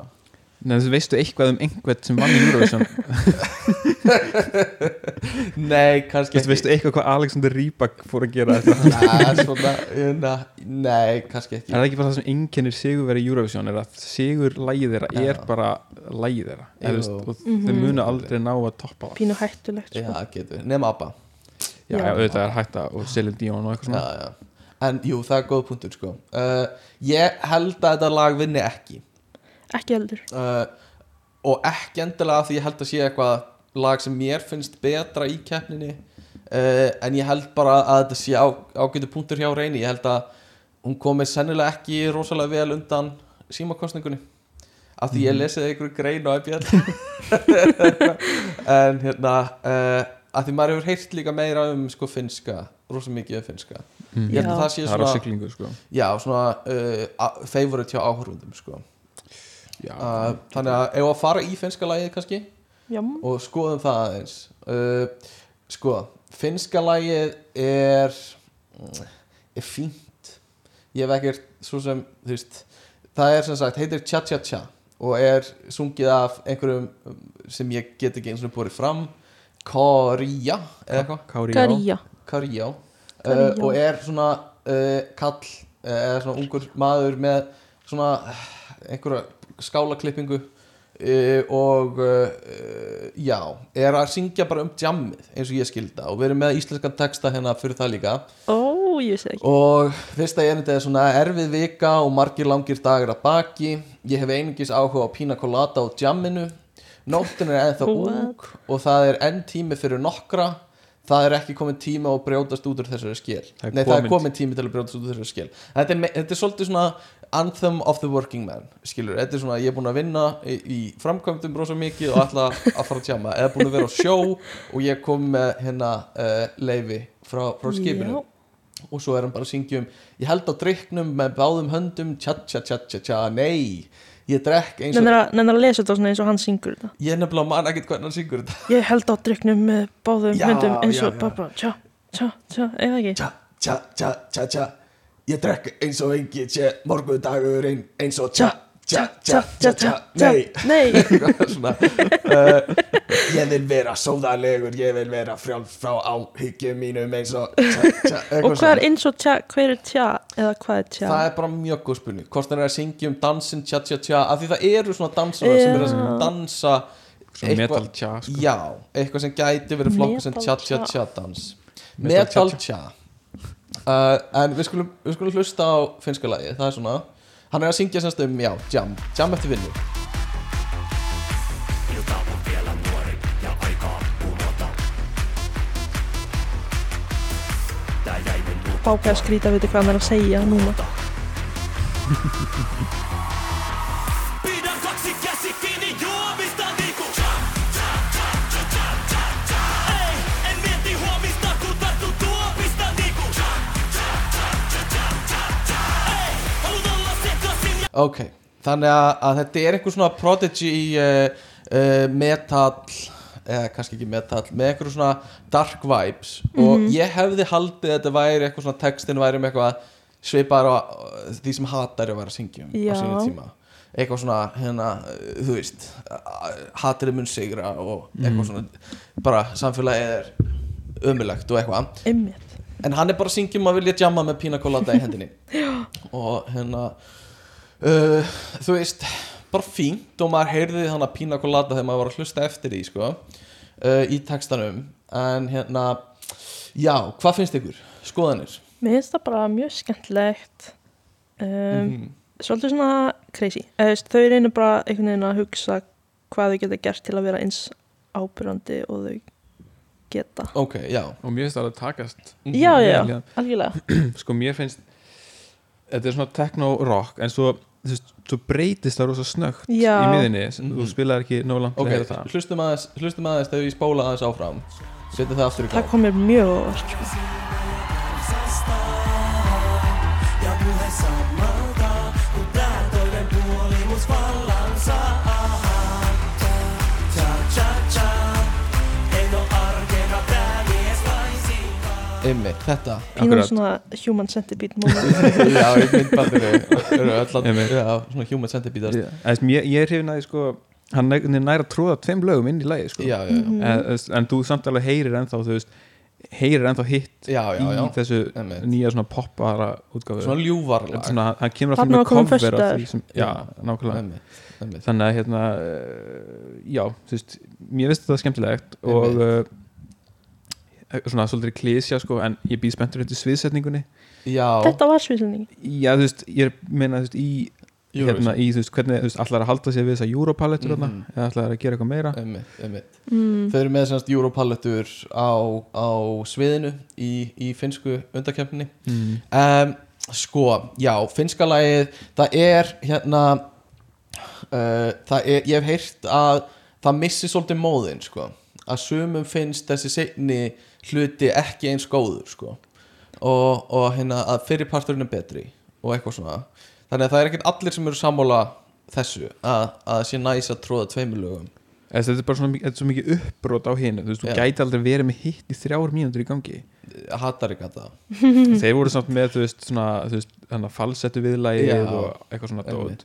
A: Nei, þú veistu eitthvað um einhvern sem vann í Eurovision Þú
D: Nei, kannski
A: veist, veistu eitthvað hvað Alexander Rybak fór að gera eftir það?
D: Nei, svona, na, nei, kannski ekki
A: Er það ekki bara það sem einkennir sigur verið í Eurovision er að sigur lægið þeirra er bara lægið þeirra eða, þú veist,
D: Jú.
A: og þau munu aldrei ná að toppa það
B: Mhm. pínu hættulegt sko.
D: Já, getur, nema Abba
A: Já, já, auðvitað er hætta og Celine Dion og eitthvað
D: já,
A: svona
D: já. En jú, það er góð punktur, sko uh, Ég held að þetta lag vinni ekki
B: ekki heldur
D: uh, og ekki endilega af því ég held að sé eitthvað lag sem mér finnst betra í keppninni uh, en ég held bara að þetta sé á, ágætu punktur hjá reyni ég held að hún komi sennilega ekki rosalega vel undan símakostningunni af því ég lesið einhverju grein á IBL en hérna uh, af því maður hefur heyrt líka meira um sko finska, rosa mikið um finska ég held að
B: Já.
D: það sé
A: Mhm. Það er á
D: svona,
A: siglingu, sko
D: já, svona uh, a- favorite hjá áhörfundum sko
A: Já,
D: Uh, þannig að ef að fara í finnska lagið kannski
B: já,
D: og skoðum það aðeins uh, sko, finnska lagið er mm, er fínt ég hef ekkert svo sem þú veist, það er sem sagt, heitir Tja Tja Tja og er sungið af einhverjum um, sem ég get ekki eins og búið fram Korea eða eitthvað
A: Kári já
B: Garja
D: Karjá
B: Karjá.
D: uh, og er svona uh, kall uh, eða svona ungur maður með svona uh, einhverja skálaklippingu uh, og uh, uh, já, er að syngja bara um djammið eins og ég skilda og við erum með íslenskan texta hérna fyrir það líka
B: ó, ég vissi það ekki
D: og fyrsta erindi er svona erfið vika og margir langir dagar að baki ég hef einungis áhuga á pina colada og jamminu nóttin er ennþá ung og það er enn tími fyrir nokkra það er ekki komin tími að brjótast út úr þessari skil
A: Það er
D: nei það er
A: kominn
D: komin tími til að brjótast út úr þessari skil þetta er, me- þetta er svolítið svona anthem of the working man skilur, þetta er svona ég er búin að vinna í, í framkvæmdum brosa mikið og ætla að fara að tjama eða búin að vera á sjó og ég kom með hérna uh, leifi frá, frá skipinu
B: Já.
D: og svo er hann bara að syngja um ég held á drikknum með báðum höndum tja tja tja tja tja, nei ég drekk eins og
B: nennar að, nennar að lesa þetta svona eins og hann syngur þetta
D: ég er nefnilega mann ekkert hvernig hann syngur þetta
B: ég held á dryknum með báðum
D: Já,
B: höndum eins
D: já,
B: og
D: já.
B: bara tja, tja, tja, eða ekki
D: tja tja tja tja tja ég drekk eins og engi tja, morgun dagurinn eins og tja
B: tja,
D: tja tja tja tja, nei
B: nei
D: svona, uh, ég vil vera sóðalegur ég vil vera frjálf frá áhyggjum mínum eins og tja, tja,
B: og hvað er eins og tja, hver er tja eða hvað er tja
D: það er bara mjög góð spurning hvort hann er að syngja um dansin tja tja tja af því það eru svona dansarar sem eru að
B: Já.
D: dansa
A: Svona metal tja, sko.
D: já, eitthvað sem gæti verið flokku sem
B: Metal
D: tja tja
B: tja.
D: tja dans
A: Metal tja
D: metal tja uh, en við skulum, við skulum hlusta á finnska lagi, það er svona hann er að syngja semst um, já, jam, jam eftir vinnu
B: bákæða skrýta að vita hvað hann er að segja núna
C: Pidä kaksi käsi kiinni juomista niinku Ei, en mieti huomista kun
D: Ok, þannig að, að þetta er einhver svona prodigy í uh, uh, metal eða kannski ekki metal, með einhverjum svona dark vibes og ég hefði haldið að þetta væri eitthvað svona textin væri um eitthvað svipar á uh, því sem hatari var að syngja um
B: Já.
D: á sínum tíma eitthvað svona, hérna, uh, þú veist uh, hatrið mun sigra og eitthvað svona, bara samfélagið er ömulegt og eitthvað
B: Einmitt.
D: en hann er bara að syngja um að vilja jamma með pina colada í hendinni og hérna uh, þú veist, bara fínt og maður heyrði þannig að pina colada þegar maður var að hlusta eftir því sko, uh, í textanum en hérna já, hvað finnst ykkur? Skoðanir?
B: Mér finnst það bara mjög skemmtilegt um,
D: Mhm.
B: Svolítið svona crazy Eða, þú veist, Þau reynir bara einhvern veginn að hugsa hvað þau geta gert til að vera eins ábyrrandi og þau geta
D: ok, já Mhm.
A: og mér finnst það alveg takast
B: Já, já, já,
A: Vel,
B: algjörlega
A: sko mér finnst þetta er svona techno-rock en svo, þú veist, svo breytist það rosa snögt
B: Já.
A: í miðinni, þú spilaði ekki nóg langt
D: Mhm. ok,
A: að heyra það
D: hlustum aðeins, hlustum aðeins þegar ég spóla aðeins áfram setja það aftur í
B: Það
D: gang
B: kom mér mjög á óvart sko.
D: einmitt, þetta
B: Pínum
A: Akkurat.
B: svona human centipede moment
D: já, í myndbandinu eru öll að,
A: Einmitt.
D: já, svona human centipede já,
A: Ég- eða, þú veist, ég er hrifin að því, sko hann er næra að tróða tveim lögum inn í lagi sko.
D: já,
B: Mhm.
D: já,
A: en, þú veist, en þú samt alveg heyrir ennþá þú veist, heyrir ennþá hitt
D: já, já, já.
A: í þessu
D: Einmitt.
A: nýja svona poppara útgáfu
D: svona
A: En
D: ljúvarlag
A: svona, hann kemur alltaf með
B: Þarna var komin
A: cover af
B: föstudagur.
A: því sem, já, nákvæmlega
D: Einmitt, einmitt.
A: þannig að hérna eh, já, þú veist, mér finnst þetta skemmtilegt og uh, svona svolítið klísja sko en ég býð spenntur eftir sviðsetningunni
D: Já,
B: Þetta var sviðsending
A: já, þú veist, ég meina þú veist, í,
D: Eurovision.
A: hérna, í þú veist, hvernig þú veist, allar að halda sér við þessa Europalettur mm
D: Mhm.
A: eða allar að gera eitthvað meira
B: Hérna-
D: einmitt, einmitt.
B: Mhm. Mm.
D: Þau eru með semst Europalettur á, á sviðinu í, í finnsku undakefninni
A: mm.
D: um, Sko, já, finnska lagið það er hérna uh, það er, ég hef heyrt að það missi svolítið móðin sko. að sumum finnst þessi seinni hluti ekki eins góður sko. og, og hérna að fyrirparturinn er betri og eitthvað svona þannig að það er ekkert allir sem eru sammála þessu að, að sé næs að tróða tveimur lögum
A: Eða, þetta er bara svona mikið- þetta er svo mikið uppbrot á hinu þú veist, þú
D: Já.
A: gæti aldrei verið með hitt í þrjár mínútur í gangi
D: hattar ekki að það
A: þeir voru samt með þú veist, svona, þú veist þannig að falsettu viðlægið
D: Já,
A: og eitthvað svona dót
D: einmitt.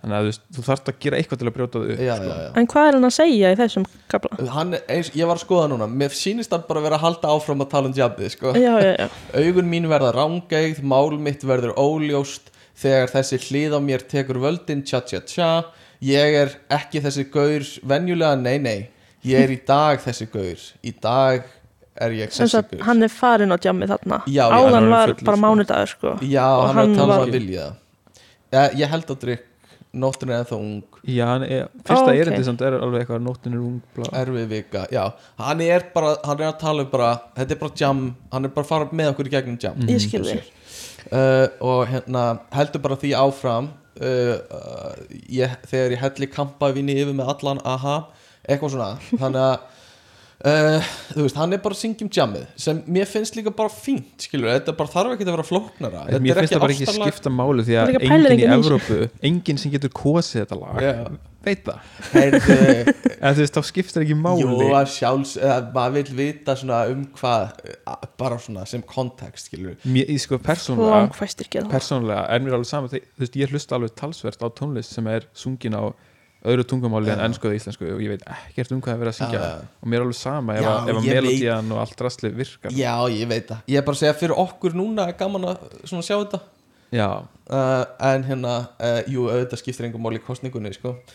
A: þannig að þú, veist, þú þarft að gera eitthvað til að brjóta þau upp
D: já,
A: sko.
D: já, já.
B: En hvað er hann að segja í þessum kapla?
D: Hann, er- eins, ég var að skoða núna mér sýnist hann bara að vera að halda áfram að tala um jabbið sko.
B: Já, já, já,
D: augun mín verða rángeigð, mál mitt verður óljóst þegar þessi hlið á mér tekur völdin tja tja tja ég er ekki þessi gaur venjulega nei nei ég er í dag þessi gaur í dag er ég
B: sem
D: þessi
B: sagt,
D: gaur
B: hann er farin á djammið þarna
D: Já, já, hann
B: Áðan
A: er
B: var
A: fullur,
B: bara
A: sko.
B: mánudagur sko
D: já,
B: og
D: hann er
B: hann
D: að tala um
B: var-
D: að vilja það ég, ég held að drikk nóttin er það ung
A: Já, hann er, fyrsta
B: Ó, ok.
A: okay. erindi samt er alveg eitthvað nóttin er ung bla.
D: erfið vika, já hann er bara, hann er að tala um bara þetta er bara jam, hann er bara að fara með okkur í gegnum jam Mm-hmm.
B: Ég skil þig
D: uh, og hérna heldur bara því áfram uh, uh, ég, þegar ég helli kampavíni yfir með allan aha eitthvað svona þannig að uh, þú veist, hann er bara að syngja um jammið sem mér finnst líka bara fínt skilur, þetta bara þarf ekki að vera flóknara
A: En Mér finnst það bara ekki
D: ástarlag.
A: skipta máli því
B: Það
A: að
B: er ekki að pæla
A: enginn í
B: enginn í
A: Evrópu enginn sem getur kosið þetta lag
D: Já.
A: veit það,
D: Heyrðu,
A: en þú veist þá skiptir ekki máli
D: Jú, að sjálfs, eða maður vil vita svona um hvað, eh, bara svona sem kontekst, skilur
A: Mér, ég sko persónulega
B: Langfæstir gera það
A: persónulega er mér alveg saman þú veist, ég hlusta alveg talsvert á tónlist sem er sungin á öðru tungumáli en ennsku eða íslensku og ég veit ekkert um hvað það verið að syngja
D: Já, já.
A: og mér er alveg sama ef,
D: Já,
A: að- ef að
D: ég veit.
A: melodían og allt rastli virkar
D: Já, ég veit það. Ég er bara að segja fyrir okkur núna er gaman að svona sjá þetta
A: já,
D: uh, en hérna, uh, jú, auðvitað skiptir engum mál í kostningunni, sko uh,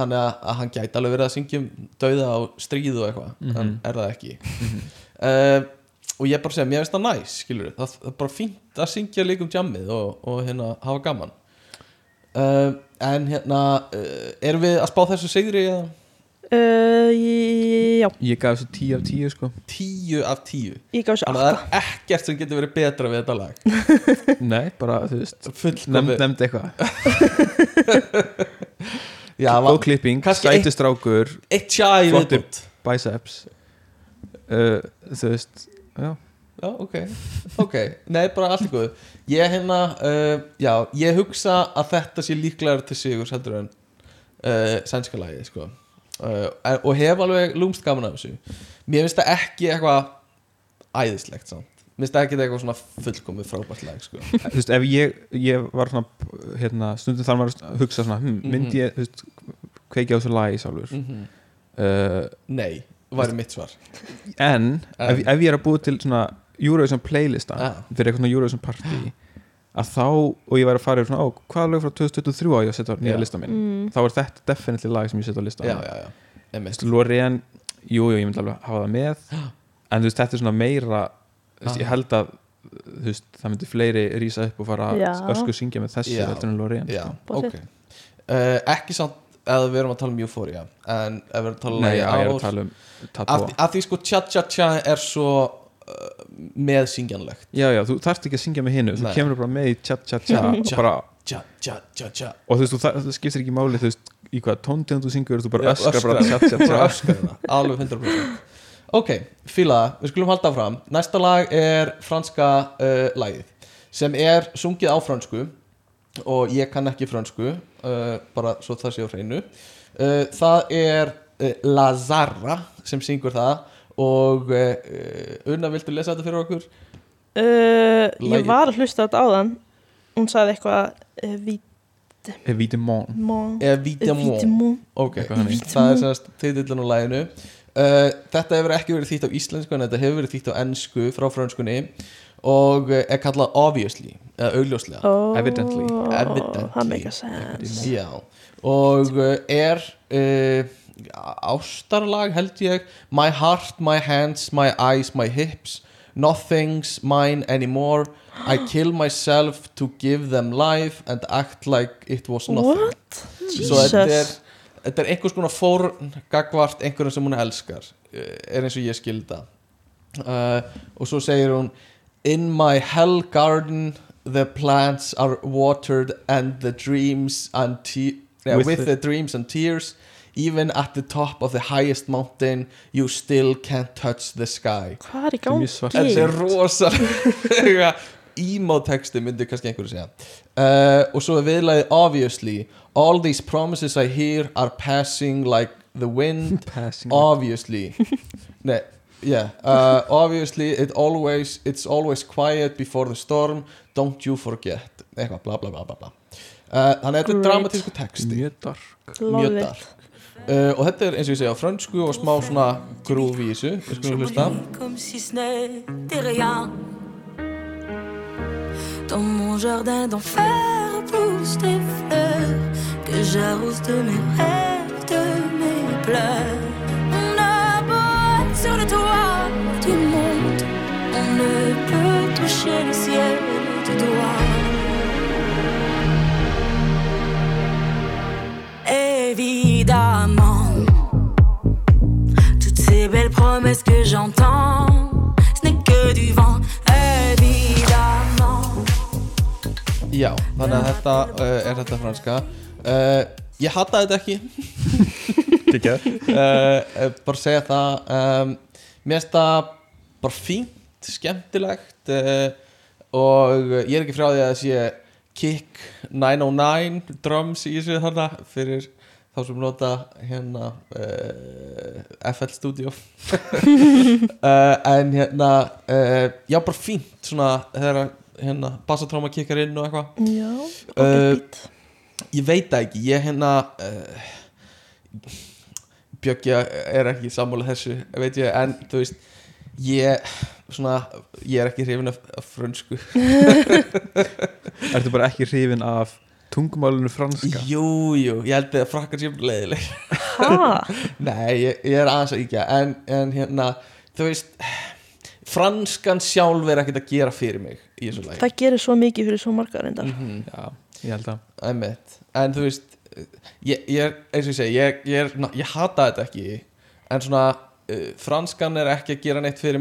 D: þannig að, að hann gæti alveg verið að syngja um dauða á stríð og eitthvað en er það ekki uh, og ég er bara að segja, mér finnst það næs skilur, það, það er bara fínt að syngja líka um jammið og, og hérna, hafa gaman uh, en hérna uh, erum við að spá þessu sigri eða?
B: uh, í- Já,
A: ég gaf þessu 10 af 10 sko.
D: 10 af 10
B: ég gaf þessu
D: Þannig að það
B: 8
D: er ekkert sem getur verið betra við þetta lag
A: nei, bara þú veist nefnd,
D: Fullkomið
A: nefnd eitthvað,
D: Já, það
A: góð
D: var
A: klipping
D: kannski eitt-
A: sætistrákur,
D: eitt sjá í
A: Flottur.
D: viðbútt
A: biceps uh, þú veist já,
D: Já, ok, ok, nei bara allt í góðu Ég hérna, uh, já, ég hugsa að þetta sé líklegar til sigur heldur en uh, sænska lagi sko. uh, en- og hef alveg lúmst gaman af þessu Mér finnst það ekki eitthvað æðislegt samt Mér finnst það ekki eitthvað svona fullkomið frábært lag sko.
A: þú veist, ef ég, ég var svona hérna, stundum þar maður að hugsa svona hm, myndi ég, þú veist, kveikja á þessu lagi sjálfur
D: Mm.
A: uh,
D: Nei, væri mitt svar
A: en ef, ef ég er að búa til svona Eurovision playlista
D: Ah.
A: fyrir eitthvað svona Eurovision party að þá, og ég væri að fara yfir svona ó, hvaða lög frá 2023 á ég að setja á nýja
D: Já.
A: lista minn
B: Mm.
A: þá er þetta definitely lag sem ég setja á lista
D: Já, já, já, emist
A: Loreen, jú, jú, ég myndi alveg hafa það með en þú veist, þetta er svona meira þú veist,
D: Ah.
A: ég held að þú veist, það myndi fleiri rísa upp og fara
B: Já.
A: ösku syngja með þessu
D: Já.
A: heldur en Loreen sko.
D: Já,
B: Bóðið.
D: ok uh, Ekki samt að við erum að tala um Euphoria En ef við erum að tala um
A: Nei,
D: lagið
A: já, ég er
D: Hours-
A: að tala um
D: af,
A: Tatoa
D: af því sko tja-tja-tja er svo uh, meðsyngjanlegt
A: Já, já, þú þarft ekki að syngja með hinu Þú
D: Nei.
A: kemur bara með í tja tja tja og,
D: Tja.
A: bara,
D: tja-tja-tja-tja
A: og þú veist, þú, það, það skiptir ekki máli Þú veist, í hvaða tóntegund þú syngur Þú bara
D: Já,
A: öskar bara
D: öskrar.
A: tja tja
D: bara
A: tja
D: öskar hérna, alveg 100% ok, fíla það, við skulum halda fram næsta lag er franska uh, lagið sem er sungið á fransku og ég kann ekki fransku uh, bara svo það sé á hreinu uh, það er uh, Lazara sem syngur það og uh, Una, viltu lesa þetta fyrir okkur?
B: Uh, ég
D: Lagið.
B: var að hlusta á þetta áðan hún sagði eitthvað eh, uh,
A: Evidemon
B: Vítamón
D: Eða Vítamón Ok,
A: Eitthvað þannig.
D: það er semast titillin á læginu uh, Þetta hefur ekki verið þýtt á íslensku en þetta hefur verið þýtt á ennsku frá franskunni og uh, er kallað obviously, eða augljóslega
A: Evidently.
B: Það
D: Evidently.
B: make a Oh, sense
D: Já, og uh, er uh, ástarlag held ég My heart, my hands, my eyes, my hips Nothing's mine anymore I kill myself to give them life and act like it was nothing
B: What?
D: Svo
B: Jesus
D: þetta er, þetta er einhvers konar fórn gagvart einhverjum sem hún elskar eh, er eins og ég skilda uh, og svo segir hún In my hell garden the plants are watered and the dreams and te- yeah, with,
A: With
D: the dreams and tears even at the top of the highest mountain you still can't touch the sky
B: Hvað er í
A: er
B: gangi?
A: mjög svart.
D: Þetta er rosalega Emo-texti myndi kannski einhverju segja uh, Og svo er viðlagið Obviously All these promises I hear are passing like the wind
B: Mm.
A: Passing
D: Obviously Nei, yeah uh, Obviously it always, it's always quiet before the storm Don't you forget Eitthvað bla bla bla bla bla Uh, þannig að þetta er
B: Great.
D: dramatísku texti
A: Mjög dark
B: Love
D: mjög
B: it.
D: dark uh, og þetta er eins og ég segja á frönsku og smá svona groove í þessu við skulum hlusta
G: Comme si ce n'était rien. Dans mon jardin d'enfer poussent des fleurs que j'arrose de mes rêves, de mes pleurs. On a beau être sur le toit du monde, on ne peut toucher le ciel du doigt. Évidemment. Toutes ces belles promesses que j'entends, ce n'est que du vent, évidemment.
D: Já, þannig að þetta uh, er þetta franska uh, Ég hata þetta ekki uh, uh, Bara segja það um, Mér finnst það bara fínt, skemmtilegt uh, Og ég er ekki frá því að það sé Kick 909 drums í þessu þarna Fyrir þá sem nota hérna uh, FL Studio uh, En hérna, uh, já bara fínt svona þegar hérna bassatróma kikkar inn og eitthvað
B: Já,
D: Uh,
B: ágætt bít
D: ég veit það ekki ég hérna uh, Bjöggi er ekki sammála þessu veit ég, en þú veist ég, svona, ég er ekki hrifin af, af frönsku
A: Ertu bara ekki hrifin af tungumálinu
D: sko.
A: franska
D: jú, jú, ég held að frakkar sér leðileg
B: Hæ?
D: nei, ég, ég er aðeins að íkja en, en hérna, þú veist franskan sjálf er ekkert að gera fyrir mig í þessu lagi Mhm.
B: Það gerir svo mikið fyrir svo margar reyndar
A: Já, ég held að
D: Æmitt. en þú veist ég, ég er, eins og ég segi ég, ég, er, ná, ég hata þetta ekki en svona uh, franskan er ekki að gera neitt fyrir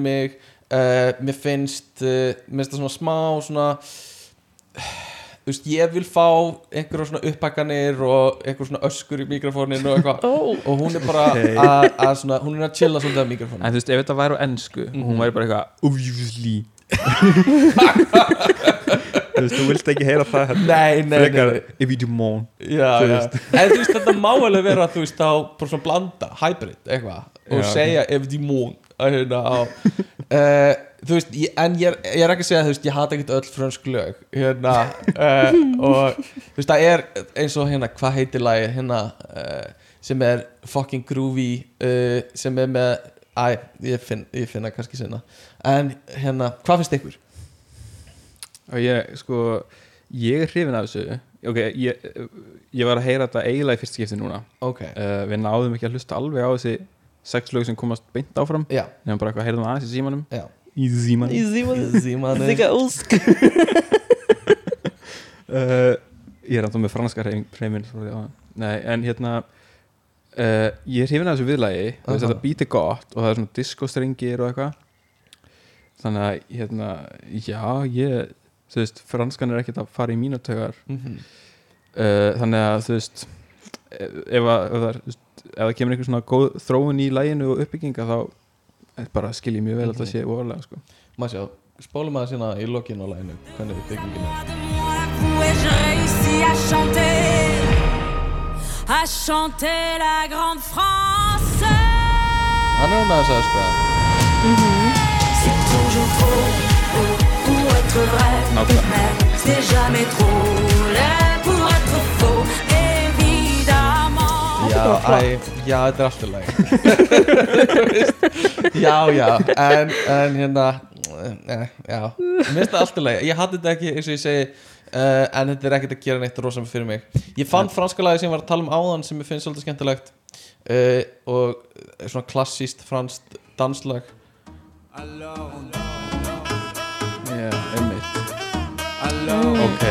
D: Eh, mig uh, mér finnst uh, mér finnst það svona smá svona þú veist, ég vil fá einhverja svona upphækkanir og einhverja svona öskur í mikrofónin og eitthvað
B: Ó,
D: og hún er bara að, að svona, hún er að chilla svolítið af mikrofónin
A: En þú veist, ef þetta væri á ennsku Hún væri bara eitthvað Obviously Þú veist, þú vilt ekki heyra það hérna.
D: Nei, nei, nei,
A: Frekar,
D: nei.
A: If you do moan
D: Já,
A: Þú
D: já.
A: veist.
D: En þú veist, þetta má alveg vera þú veist, þá bara svona blanda, hybrid eitthvað, og
A: Já,
D: segja ef því mún að hérna á uh, þú veist, ég, en ég er, ég er ekki að segja þú veist, ég hata ekkert öll frönsk lög hérna, uh, og þú veist, það er eins og hérna, hvað heitir lagið hérna, uh, sem er fucking groovy uh, sem er með, æ, ég finn ég finna kannski sinna, en hérna hvað finnst ykkur?
A: Og ég, sko Ég er hrifin af þessu Ok, ég, ég var að heyra þetta eiginlega í fyrst skipti núna
D: Ok,
A: uh, Við náðum ekki að hlusta alveg á þessi Sex lög sem komast beint áfram
D: já,
A: Nefnum bara eitthvað að heyrðum aðeins í símanum
D: já
A: Í símanum
D: Zímanir.
B: þig að úsk
A: uh, ég er áttu með franska hreiminn hreiminn frá því áðan. Nei, en hérna uh, ég er hrifin af þessu viðlægi uh -huh.
D: Aha.
A: þetta býti gott og það er svona diskostringir og eitthvað þannig að hérna, já, ég þú veist, franskan er ekkert að fara í mínu tögar
D: Mhm.
A: uh, þannig að þú veist eh, ef, að, ef, það, er, þú veist, ef það kemur einhver svona góð þróun í læginu og uppbygginga þá er bara skil ég mjög vel að það sé ofalega sko.
D: maður sjá, spólum að sína í lokin á læginu hvernig við byggingin er
I: de moi coup et je réussis à chanter, à chanter la grande France.
D: hann er hann að segja sko
I: C'est toujours trop beau pour être vrai, mais c'est jamais trop laid pour être faux, évidemment.
D: já, æ, já, þetta er alltaf læg Þú veist, já, já en, en hérna eh, já, mér finnst það alltaf læg ég hatt þetta ekki, eins og ég segi uh, en þetta er ekkert að gera neitt rosa fyrir mig ég fann franska lagi sem ég var að tala um áðan sem ég finnst svolítið skemmtilegt uh, og eh, svona klassíst franskt danslag
A: Já, einmitt Ok,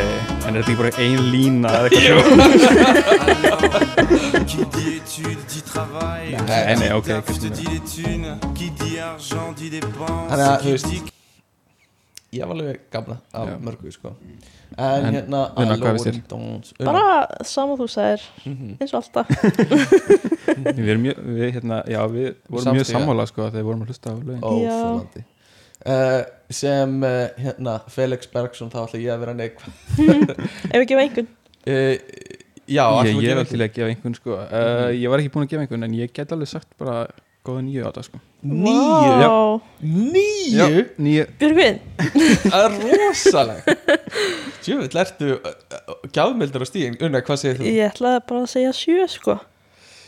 A: en er þetta ekki bara ein lína eða eitthvað
J: Qui dit études dit travail.
A: Nei, nei, ok,
J: Taf te
A: kannski
J: dit les thunes. Qui dit argent dit dépenses.
D: Þannig að,
J: Qui
D: þú veist,
J: dit
D: ég var alveg gamla af
A: Já.
D: mörgu sko. en,
A: En,
D: hérna
A: Una,
D: að
A: hvað finnst
D: Lauren
A: þér? Mhm.
D: Dons- Una.
B: bara sama þú segir eins og alltaf
A: Við erum mjög, við hérna, já, við vorum
D: Samstiga.
A: mjög sammála sko þegar við vorum að hlusta á lögin
D: óþólandi uh, sem uh, hérna Felix Bergson þá ætla ég að vera neikvæð
B: ef ekki með einhvern
A: Eh,
D: uh, já,
A: Ég,
D: ætlum
A: ég
D: við
A: er
D: ekki Mm.
A: til að gefa einhvern sko uh, Ég var ekki búin að gefa einhvern en ég get alveg sagt bara góða nýju á þetta sko
D: níu,
B: Vá.
D: níu
A: Nýju,
B: Björgvin,
D: það er rosaleg tjöfitt lertu uh, uh, gjafmildur á stíðin, unna hvað segir þú?
B: ég ætlaði bara að segja sjö sko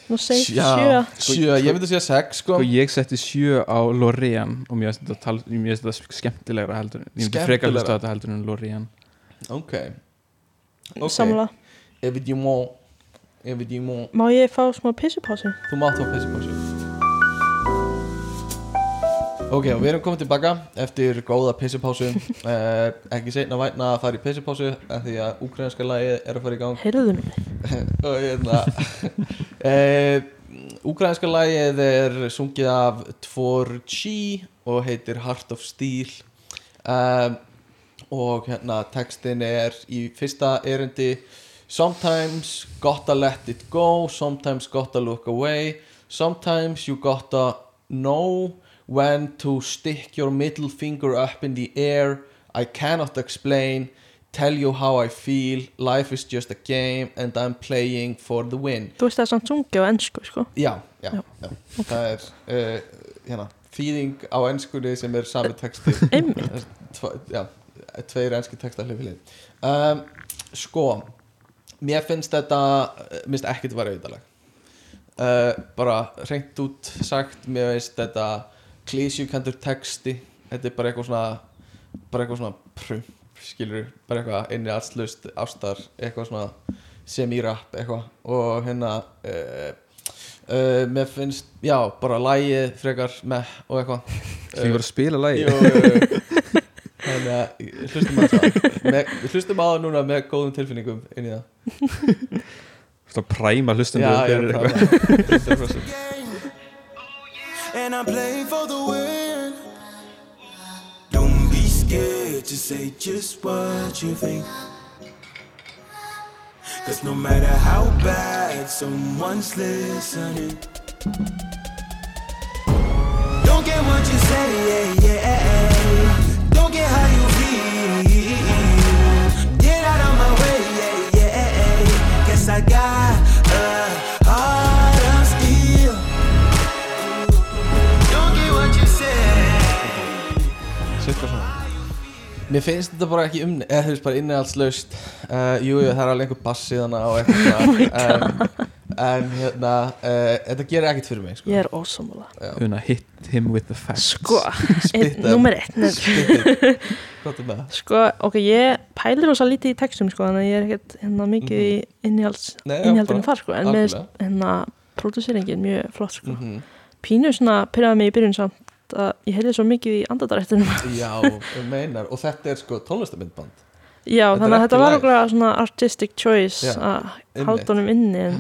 B: nú segir
D: Já,
B: sjö
D: sjö, ég myndi að segja sex sko
A: sko ég setti sjö á Loreen og mér finnst þetta, tal- mér finnst þetta skemmtilegra heldur en- Ég myndi frekar
D: Skemmtilegra? Eh.
A: hlusta á þetta heldur en Loreen
D: ok,
B: okay.
D: ok ef ég má ef ég má,
B: má ég fá smá pissupásu
D: þú mátt þá pissi pásu ok, og við erum komið tilbaka eftir góða pissipásu uh, ekki seinna væna að fara í pissipásu af því að ukrainska lagið er að fara í gang
B: heyrðu nú
D: og hérna e, Úkrainska lagið er sungið af Tvorchi og heitir Heart of Steel um, og hérna textin er í fyrsta erindi Sometimes gotta let it go Sometimes gotta look away Sometimes you gotta know when to stick your middle finger up in the air I cannot explain Tell you how I feel Life is just a game and I'm playing for the win
B: þú veist það er samt sungi á ennsku sko
D: Já, já, já.
B: Já.
D: það er uh, hérna, þýðing á ennskunni sem er sami texti
B: Einmitt.
D: Tva, já, tveir ennski texta hlifilið um, sko mér finnst þetta eh, mér finnst ekkert vera auðvitaðleg uh, bara reynt út sagt mér finnst þetta klísjukendur texti þetta er bara eitthvað svona bara eitthvað svona prump skilur, bara eitthvað inni allslust ástar, eitthvað svona sem í rap eitthvað og hérna uh, uh, mér finnst, já, bara lægið frekar með og eitthvað
A: Því ég var að spila
D: Jú,
A: lagi
D: jú, jú. Þannig að hlustum á það með, Hlustum á það núna með góðum tilfinningum inn í það
A: Svo præma hlustendur fyrir eitthvað.
D: eitthvað
J: And I'm playing for the win. Don't be scared to say just what you think.
F: Cause no matter how bad, someone's listening. Don't get what you say, yeah, yeah. Don't get how you feel. Get out of my way, yeah, yeah. Guess I got a heart of steel. Don't get what you say.
A: Sirka svona
D: Mér finnst þetta bara ekki um eða þú veist bara innihaldslaust uh, Jú, jú, það er alveg einhver bass í þannig á
B: Oh
D: eitthvað um, En hérna, uh, þetta gerir ekkert fyrir mig sko.
B: Ég er ósámála
A: Una, hit him with the facts
B: Sko, einn-
D: Spytta.
B: númer eitt nei.
D: Spytta. Hvað er með það?
B: Sko, ok, ég pælir rosa lítið í textum sko, þannig að ég er ekkert hérna mikið í innhalds,
D: Nei, Mhm. já,
B: innhaldinu
D: bara
B: þar sko, en með
D: algjörlega.
B: hérna pródúseringin mjög flott sko.
D: Mhm.
B: Pínu svona pyrraði mig í byrjun samt að ég heyrði svo mikið í andadarættunum
D: Já, ég meinar Og þetta er sko tónlistamindband
B: Já, þannig
D: Þetta er
B: að
D: ekki
B: þetta var
D: live.
B: okkur svona artistic choice
D: Já,
B: að
D: einmitt.
B: halda honum inni en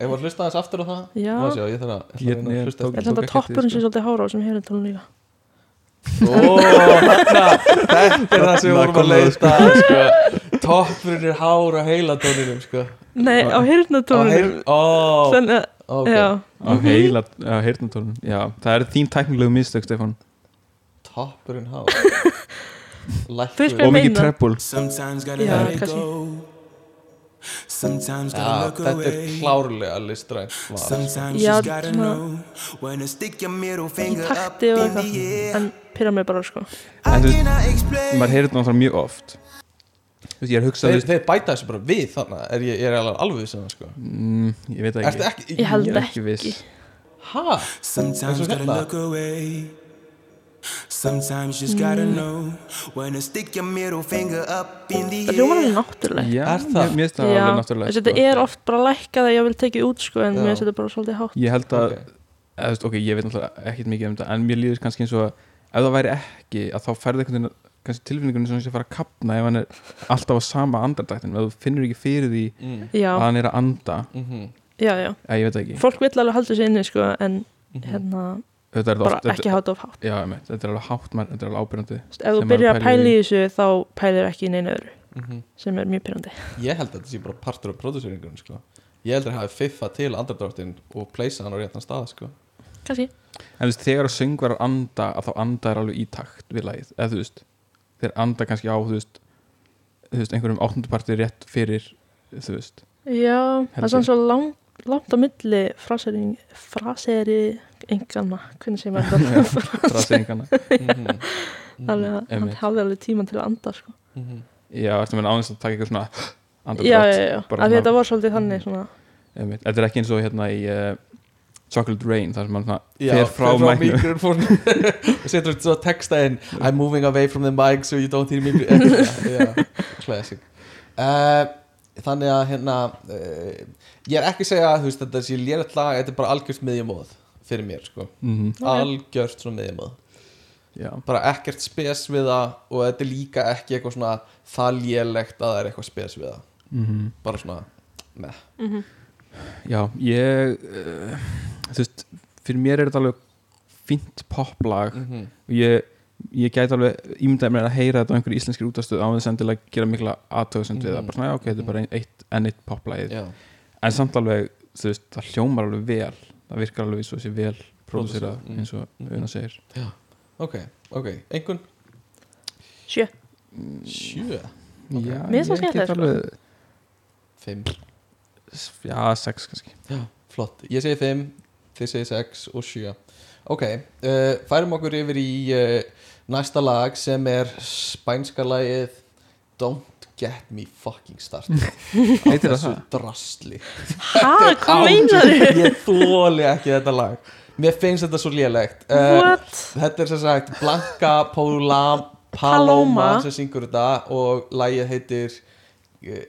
D: Ef var hlusta aðeins aftur á það
B: Já.
D: Má sjá, ég þarf að, ég þarf að reyna
A: Ég- ég-
D: að hlusta
B: er
D: eftir
A: Hérna tók
B: þetta
A: ekki eftir því,
B: toppurinn
A: sko.
B: sem er svolítið hárá sem hefur þetta líka
D: Ó, þetta Þetta er það sem við vorum að leita að, sko. Toppurinn er hár á heilatóninum sko.
B: Nei, á
D: Á
B: heyrnatónunum
D: heil- Ó,
B: Þannig að,
D: ok
B: já
A: Á heila, á heyrnatólun Já, það er þín tæknilegu mistök, Stefán
D: Toppurinn hár
B: Þú veist
D: Lækkuð
B: hvað-
A: Og mikið
B: meina.
A: treppul
F: Sometimes gotta
B: Já,
F: let it
B: kannski.
F: go. Sometimes
D: Já,
F: gotta look
D: þetta er
F: away.
D: klárlega listrænt val.
F: Sometimes
B: Já,
F: you gotta
B: svona-
F: know when to stick your middle
B: Í
F: finger up
B: takti og
F: in
B: eitthvað
F: the air.
B: En pyrra mig bara sko
F: I
A: En þú-
F: cannot explain.
A: Maður heyrir þetta náttúrulega mjög oft Þú veist, Ég er hugsað
D: Þeir,
A: þú veist,
D: þeir bæta þessu bara við þarna Er ég, ég er alveg alveg sem það sko
A: mm, Ég veit það ekki
D: Ertu ekki
B: Ég held
A: Ég er
B: ekki
A: ekki viss
D: Hæ?
F: Sometimes
D: Eins og
F: gotta
D: hérna.
F: look away. Sometimes just gotta know when to stick your middle finger up in the
B: Það hljómar
F: air.
B: alveg náttúrulega
A: Já,
D: Er það?
A: mér- mér finnst það
B: Já,
A: alveg
B: þessi
A: náttúrulega
B: þetta
A: sko.
B: er oft bara lækkað að ég vil tekið út sko en
D: Já.
B: mér finnst þetta bara svolítið hátt
A: Ég held að
D: Ok.
A: eða, þú veist, ok, ég veit náttúrulega ekkert mikið um þetta en mér líður kannski eins og að ef það væri ekki að þá færði einhvern veginn kannski tilfinningunum sem sé að fara að kapna ef hann er alltaf á sama andardrættin ef þú finnur ekki fyrir því
D: Mm.
B: Já,
A: að hann er að anda
D: Mm
B: já, já
A: eða ég veit það ekki
B: Fólk vill alveg halda sér inni sko en
D: Mhm.
B: hérna
A: þetta er
B: bara
A: oft, þetta,
B: ekki hátt of hátt
A: já, emitt, þetta er alveg hátt mann, þetta er alveg ábyrjandi
B: Þú veist, Ef þú
A: Sem maður
B: byrjar að
A: pælir í.
B: pæla í þessu þá pælir ekki í neina öðru sem er mjög pyrrandi
D: Mhm. Ég held að þetta sé bara partur af pródúseringunum sko Ég heldur að hafi fiffa til andardráttinn og pleysa hann á réttan stað sko
B: Kanski
A: en þú veist, þegar að söngvar að anda að þá anda er alveg í takt við lagið eða þú veist, þeir anda kannski á þú veist, þú veist einhverjum áttunduparti rétt fyrir þú veist,
B: Já, það
A: Held
B: er svona
A: ég.
B: svo langt, langt á milli frasering, fraseri engana, hvernig segir maður þetta
A: fraseyringana
D: Mhm.
B: þannig að hann
A: einmitt.
B: hafði alveg tíman til að anda sko.
D: Mhm.
A: já, eftir að ánægst að taka eitthvað svona andardrátt
B: Já, já, já,
A: bara
B: af því
A: svona-
B: þetta var svolítið þannig svona,
A: Einmitt. Þetta er ekki eins og hérna í uh, Chocolate Rain þar sem hann svona
D: Já,
A: fer frá mæknu
D: mikrofónu og setur þetta svo texta inn I'm moving away from the mic so you don't hear me Já, classic uh, Þannig að hérna uh, Ég er ekki að segja að þú veist þetta sé lérið lag Þetta er bara algjört miðjumóð fyrir mér sko
A: mm
D: Algjört svona miðjumóð
A: Já,
D: bara ekkert spes við það og þetta er líka ekki eitthvað svona það lélegt að það er eitthvað spes við það
A: mm
D: bara svona, meh
A: já ég uh, þú veist, fyrir mér er þetta alveg fínt poplag
D: mm
A: og ég, ég gæti alveg ímyndaði mér að heyra þetta á einhverju íslenskir útastöð á þess endilega að gera mikla aðtöðsend við það
D: Mhm.
A: bara svona, já, ok, þetta er bara ein- eitt enn eitt poplagið
D: já,
A: en samt alveg, þú veist, það hljómar alveg vel það virkar alveg svo sé vel pródúsera
D: Pródúserað, mm.
A: eins og
D: Mhm.
A: Una segir
D: ok, ok, einhvern
B: sjö,
D: sjö, Ok.
A: Já,
B: Mér finnst það
A: ég get
B: skemmtilegt, sko.
A: alveg
D: fimm,
A: já, sex kannski
D: flott ég segi fimm, þið segi sex og sjö ok, uh, færum okkur yfir í uh, næsta lag sem er spænska lagið Don't Get Me Fucking Started á
A: Heitir það
D: þessu
A: það?
D: drasli
B: ha, hvað meinar þau?
D: ég þóli ekki þetta lag mér finnst þetta svo lélegt Eh,
B: What?
D: Þetta er sem sagt Blanca Paula Paloma
B: Paloma.
D: sem syngur þetta og lagið heitir eh,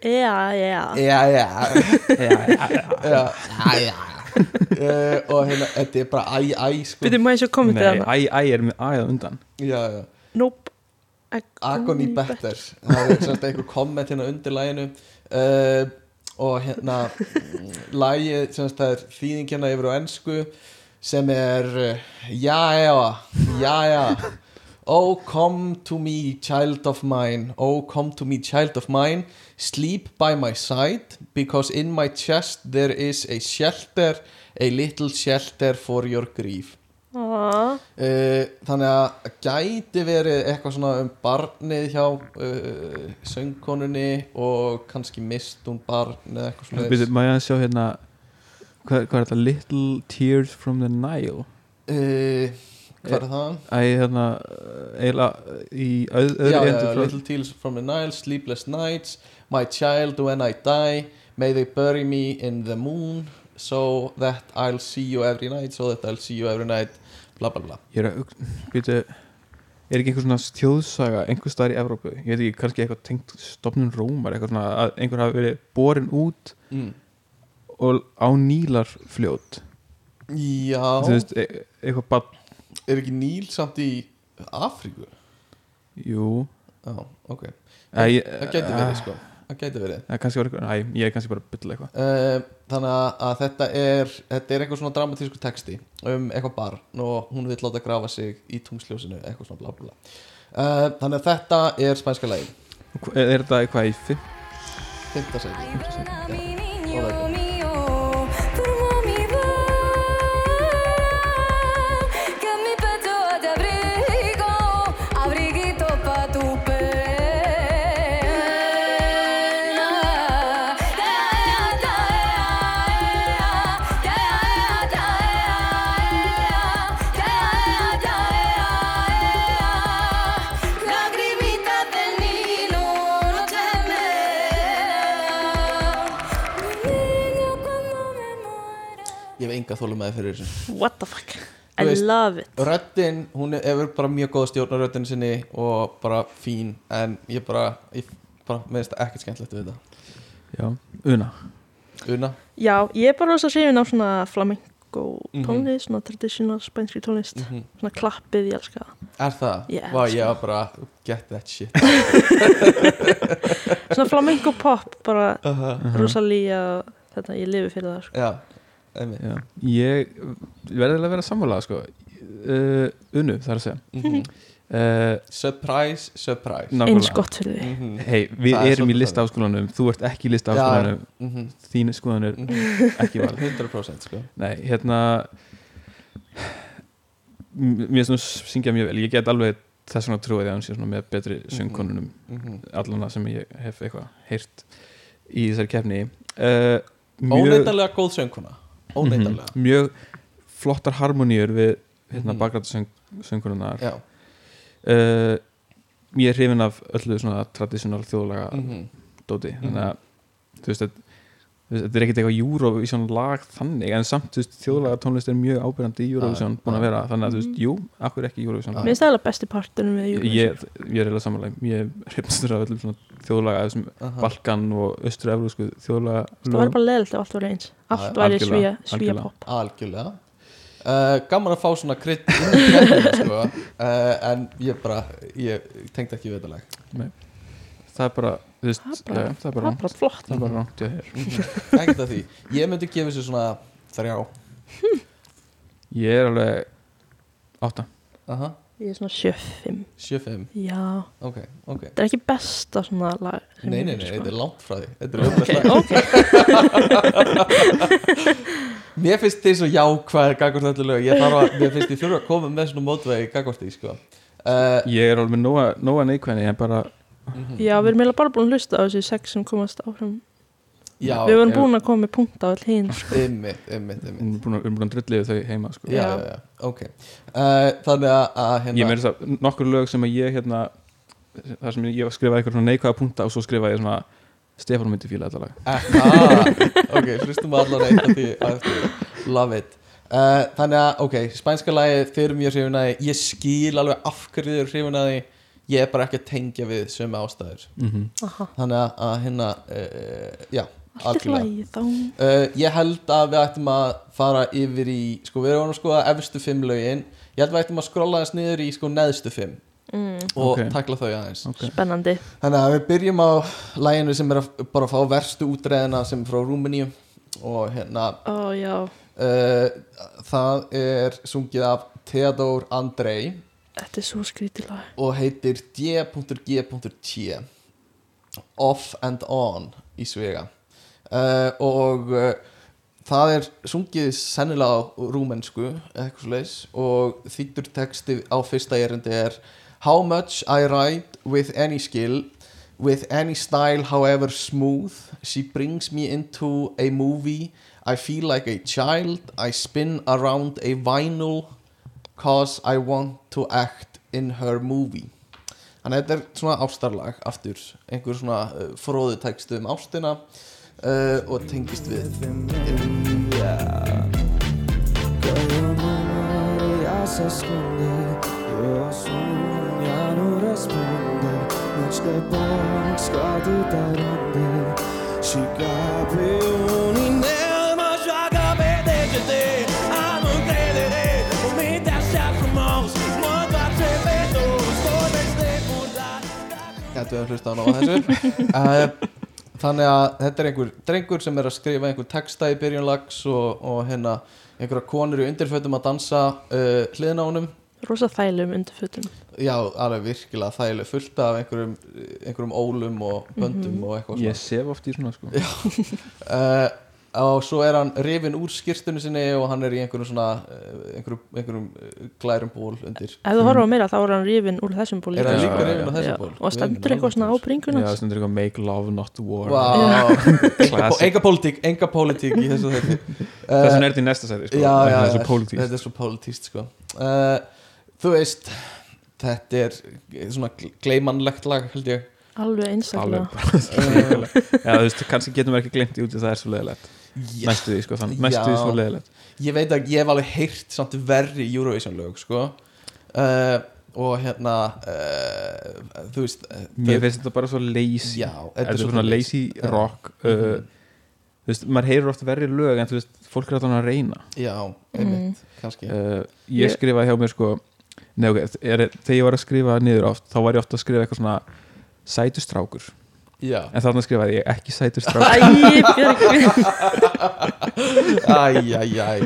B: Já, já,
D: Já, já Já, já, já Eh, Og hérna, þetta er bara æ, æ, sko
B: byrjum maður eins og komið til
A: Nei,
B: hana
A: æ, æ er með æða undan
D: Já, já
B: Nope
D: Agony Better Það er semst einhver komment hérna undir læginu uh, Og hérna Lægi, semst það er hérna þýðingina yfir á ensku Sem er uh, Já, já, já, já Oh come to me child of mine Oh come to me child of mine Sleep by my side Because in my chest there is a shelter A little shelter for your grief
B: Ah.
D: Eh, Þannig að gæti verið eitthvað svona um barnið hjá uh, söngkonunni og kannski mist hún barn eða eitthvað svona
A: Býtu, má ég að sjá hérna hvað, hvað er þetta? Little Tears from the Nile
D: uh,
A: Eh,
D: Hvað er það?
A: Æ, hérna eiginlega í öð-
D: Já,
A: öðru
D: já,
A: endur frá
D: Little Tears from the Nile, Sleepless Nights My Child When I Die May They Bury Me in the Moon So That I'll See You Every Night So That I'll See You Every Night bla bla bla
A: Ég er að, hugsa- býtu er ekki einhver svona þjóðsaga einhver staðar í Evrópu, ég veit ekki, kannski eitthvað tengt stofnun rómar, eitthvað svona að einhver hafi verið borin út
D: Mm.
A: og á nýlarfljót
D: Já,
A: þú veist, e eitthvað bad,
D: er ekki Níl samt í Afríku?
A: jú
D: Já, ok
A: Æ, Ah.
D: Það gæti verið sko Það gæti verið
A: Það kannski var eitthvað, næ, ég er kannski bara að bylla eitthvað
D: Eh, þannig að, að þetta er þetta er eitthvað svona dramatísku texti um eitthvað barn og hún vil láta grafa sig í tungsljósinu, eitthvað svona bla bla bla uh, þannig að þetta er spænska lagi
A: Og hva- Er þetta eitthvað í fimm?
D: Fynda sig
I: Lagrimitas del Nilo, no temer.
D: Ég hef enga þólu með fyrir þessu
B: What the fuck
D: Þú
B: I
D: veist,
B: love it
D: Röddin, hún er- hefur bara mjög góða stjórn á röddinu sinni og bara fín en ég bara, ég bara meðist ekkert skemmtilegt við þetta
A: Já, una
D: Una,
B: Já, ég er bara rosa hrifin á svona flamenco
D: Mhm.
B: tónlist svona traditional spænskri tónlist
D: Mhm.
B: svona klappið, ég elska það
D: er það?
B: Ég
D: Vá,
B: elska
D: ég var bara, get that shit
B: svona flamenco pop bara
D: Aha.
B: rosa lía þetta, ég lifi fyrir það sko.
D: Já, einmitt
A: Já, ég verði að vera sammála sko. uh, Unu, það er að segja
D: Mhm.
A: uh,
D: Surprise, surprise
A: nákvæmlega.
B: Eins gott fyrir þig.
D: Mhm.
A: Hey, Við
D: Það er
A: erum í
D: svolítið
A: listaháskólanum, þú ert ekki í listaháskólanum
D: Já, mhm.
A: Þín skoðan er
D: Mhm.
A: ekki val
D: 100% sko.
A: Nei, hérna m- Mér finnst hún syngja mjög vel Ég get alveg þess vegna trúið að hún sé svona með betri söngkonunum
D: Mhm.
A: allana sem ég hef eitthvað heyrt í þessari kefni uh,
D: Óneitanlega góð söngkona Óneitanlega Mhm.
A: Mhm. mjög flottar harmoníur við hérna, mm -hmm. bakgrættasöngurinnar
D: Já.
A: uh, ég er hrifin af öllu svona tradisjonal þjóðlaga
D: Mhm.
A: dóti
D: Mhm.
A: þannig að þú veist að þú veist, þetta er ekkert eitthvað Eurovision lag þannig en samt þú veist, þjóðlaga tónlist er mjög ábyrjandi í Eurovision búin að vera þannig að þú veist, jú, akkur ekki Eurovision
B: Mér finnst það alveg besti parturinn við
A: ég,
B: Mhm.
A: ég
B: Eurovision.
A: ég er eiginlega samanlega ég er hrifnastur af öllum svona þjóðlaga þessum
D: Aha.
A: Balkan og östur-evrósku þjóðlaga
B: Það væri bara leðilt ef allt væri eins Allt væri svíja, svíja pop
D: Algjörlega uh, Gaman að fá svona krydd inn í kreddina, sko. uh, En ég bara Ég tengd ekki við þetta lag
A: Nei. það er bara þú veist,
D: Það er
A: bara,
D: bara-
A: það er bara,
D: það er
A: rangt.
D: bara flott.
A: það er bara rangt hjá þér
D: Ekkert að því Ég myndi gefa þessu svona þrjá
A: ég er alveg átta
D: Aha.
B: Ég er svona 7-5
D: 7-5
B: Já
D: Ok, ok
B: Þetta er ekki besta svona lag sem
D: Nei,
B: ég
D: nei, nei,
B: hef, sko.
D: þetta er langt frá því Þetta er auðvitað Mér finnst því svo jákvæð gagvart öllu lög Ég þarf að, mér finnst því þurfa að koma með svona mótvegi gagvart því, sko
A: ég er alveg nóga, nóga neikvæðni en bara
B: Ok Já, við erum eiginlega bara búin að hlusta á þessu sex sem komast áfram
A: Já,
B: Við vorum
A: ég-
B: búin að koma með punkt á all hinn
D: Ymmit, ymmit, ymmit
A: við erum búin að- við erum búin að drillið þau heima sko.
D: Já, já, já, ok uh, Þannig að, að hérna,
A: ég meira þess að nokkur lög sem að ég hérna, þar sem ég skrifaði eitthvað svona neikvæða punta og svo skrifaði ég svona Stefán myndi fíla þetta lag
D: ah, ok, hlustum allan eitt af því á eftir. Love it uh, Þannig að, ok, spænska lagi Þeir eru mjög hrifin að því Ég skil alveg af hverju þau eru hrifin að því Ég er bara ekki að tengja við sömu ástæður
A: Mhm.
B: Aha.
D: Þannig að, að hérna uh, Já,
B: Allt í lagi þá.
D: Uh, ég held að við ættum að fara yfir í, sko við erum að skoða efstu fimm lögin, ég held að við ættum að skrolla þess niður í sko neðstu fimm
B: Mm.
D: og
B: Ok.
D: takla þau aðeins
A: okay.
B: Spennandi
D: Þannig að við byrjum á læginu sem er að bara fá verstu útreðina sem er frá Rúmeníu og hérna eh,
B: Ó, já
D: uh, það er sungið af Theodor Andrei
B: Þetta er svo skrítið lag
D: og heitir d.g.t Off and On í Svega uh, og uh, það er sungið sennilega á rúmensku eitthvað svo leis og þýttur texti á fyrsta erindi er How much I ride with any skill with any style however smooth she brings me into a movie I feel like a child I spin around a vinyl cause I want to act in her movie Þannig að þetta er svona ástarlag aftur, einhver svona uh, fróðu textu um ástina uh, og tengist við
F: jag så skunde Jag sonia nu responde Much the bong ska du ta ronde Chicape un inel ma jaga bete que te Amo credere Un mita sa frumos Mot va te vedo Stones de curda
D: Gætu að hlusta á nóg þessu uh, Þannig að þetta er einhver drengur sem er að skrifa einhver texta í byrjun lags og, og hérna einhverja konur í undirfötum að dansa uh, hliðin á honum
B: Rosa þælum undir fötum
D: Já, alveg virkilega þægileg fullt af einhverjum, einhverjum ólum og böndum
B: Mhm.
D: og eitthvað
A: Ég sef oft í svona sko
D: uh, og svo er hann rifin úr skýrstunni sinni og hann er í einhverjum svona eh, einhverjum, einhverjum eh, glærum ból undir
B: Ef þú horfum á meira þá er hann rifin úr þessum ból
D: Mm. Er hann líka
B: Já,
D: rifinn á
B: já,
D: þessum
B: já.
D: ból?
B: Og stendur eitthvað svona á bringuna
A: Já, það stendur eitthvað make love not war
D: Vá, enga,
A: Classic.
D: enga pólitík enga pólitík í þessu þetta
A: Þess vegna er þetta í næsta sæti, sko.
D: Eh, já, já,
A: Þetta er svo pólitískt.
D: þetta er svo pólitíst sko. uh, þú veist þetta er eh, svona gleimanlegt lag held ég
B: Alveg einstaklega.
A: Alveg Já, þú veist, kannski getum við ekki glemt í út í það er svo leiðilegt
D: Já.
A: Næstu því, sko, þannig Næstu því
D: Já.
A: svo leiðilegt
D: ég veit að ég hef alveg heyrt samt verri Eurovision lög sko. uh, og hérna uh, þú veist eh,
A: Mér
D: þau-
A: finnst þetta bara svo lazy
D: Já,
A: Þetta er svona lazy
D: Já. Mhm.
A: rock uh, Þú veist, maður heyrir oft verri lög en þú veist, fólk er alltaf að reyna
D: Já,
B: Mm.
D: einmitt, kannski
A: uh,
D: Ég-
A: Ég skrifaði hjá mér sko nei, okay, er, þegar ég var að skrifa niður oft þá var ég oft að skrifa eitthvað svona sætustrákur
D: Já.
A: en þarna skrifaði ég ekki sætustrákur
B: Æ, Björgvin
D: Æj, æj, æj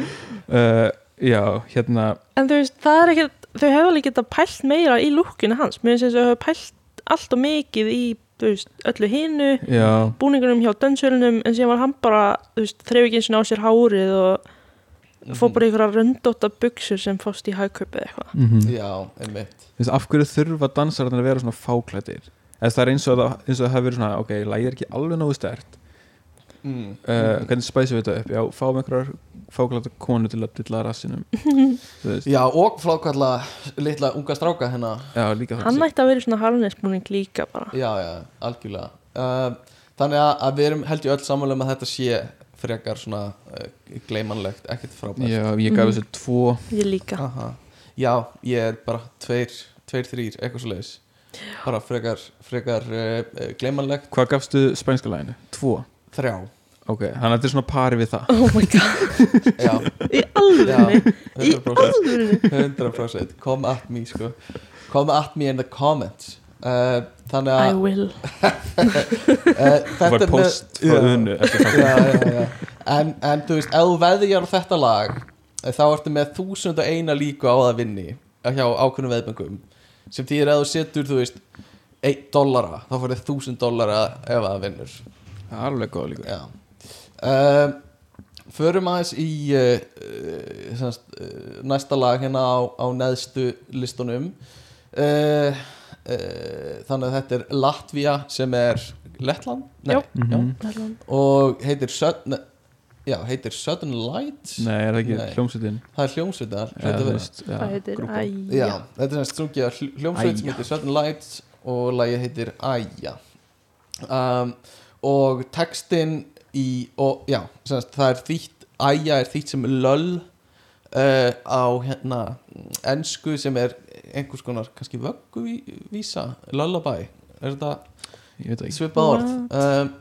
A: uh, Já, hérna
B: En þú veist, það er ekkert Þau hefur alveg getað pælt meira í lúkkinu hans Mér finnst þess að þau hefur pælt allt og mikið í þú veist, öllu hinu
A: Já.
B: búningunum hjá dönsölunum en síðan var hann bara, þú veist, þreif ekki eins og á sér hárið og
D: Mm.
B: fór bara í einhverja röndóta buksur sem fóst í hagkaupið eitthvað
A: Mhm.
D: Já, einmitt
A: Þú veist, af hverju þurfa dansararnir að vera svona fáklættir eða það er eins og það, eins og það hafi verið svona ok, lægið er ekki alveg nógu stert
D: Mm.
A: uh, hvernig spæsum við þetta upp já, fáum einhverjar fáklættar konu til að dilla rassinum Þú veist.
D: Já, og flákalla litla unga stráka hennar
A: já, líka
B: Hann ætti að vera í svona harnesbúning líka bara
D: Já, já, algjörlega uh, Þannig að, að við erum held ég öll samanlega með að þetta sé frekar svona uh, gleimanlegt, ekkert frábært
A: Já, ég gaf þessu tvo
B: Ég líka.
D: Aha. Já, ég er bara tveir, tveir, þrýr, eitthvað svo leiðis bara frekar, frekar uh, uh, gleimanlegt
A: Hvað gafstu spænska læginu? Tvo?
D: Þrjá
A: Ok, þannig að þetta er svona pari við það
B: Oh my god
D: Já.
B: Í alvörunni?
D: Já,
B: Í
D: 100%.
B: alvörunni?
D: 100% Come at me sko Come at me in the comments uh, Þannig að
B: I will.
D: uh,
A: Þú fær post frá
D: Já.
A: Unu eftir þáttinn.
D: já, já, já. En, en þú veist, ef þú veðjar á þetta lag eh, Þá ertu með þúsund og eina líku á að vinni Hjá ákveðnum veðböngum Sem þýðir að þú setur, þú veist Eitt dollara, þá færðu þúsund dollara Ef að það vinnur
A: Alveg góð líka
D: Já um, Förum aðeins í uh, uh, semst, uh, næsta lag hérna á, á neðstu listunum uh, uh, eh, Þannig að þetta er Latvia sem er Lettland?
B: Jó,
D: Nei,
A: Mhm.
B: Lettland.
D: Og heitir Sudden, já, heitir Sudden Light
A: Nei, er það ekki hljómsveitin?
D: Það er hljómsveitar
A: Já, þú veist, já, Það heitir grúpa. Æja.
D: Já, þetta er semst sungið af hl- hljómsveit sem
A: Æja.
D: heitir Sudden Light og lagið heitir Æja um, og textin í, og, já, semst það er þýtt, Æja er þýtt sem löll uh, á hérna ensku sem er einhvers konar kannski vögguvísa Lullaby, er þetta svipað orð um,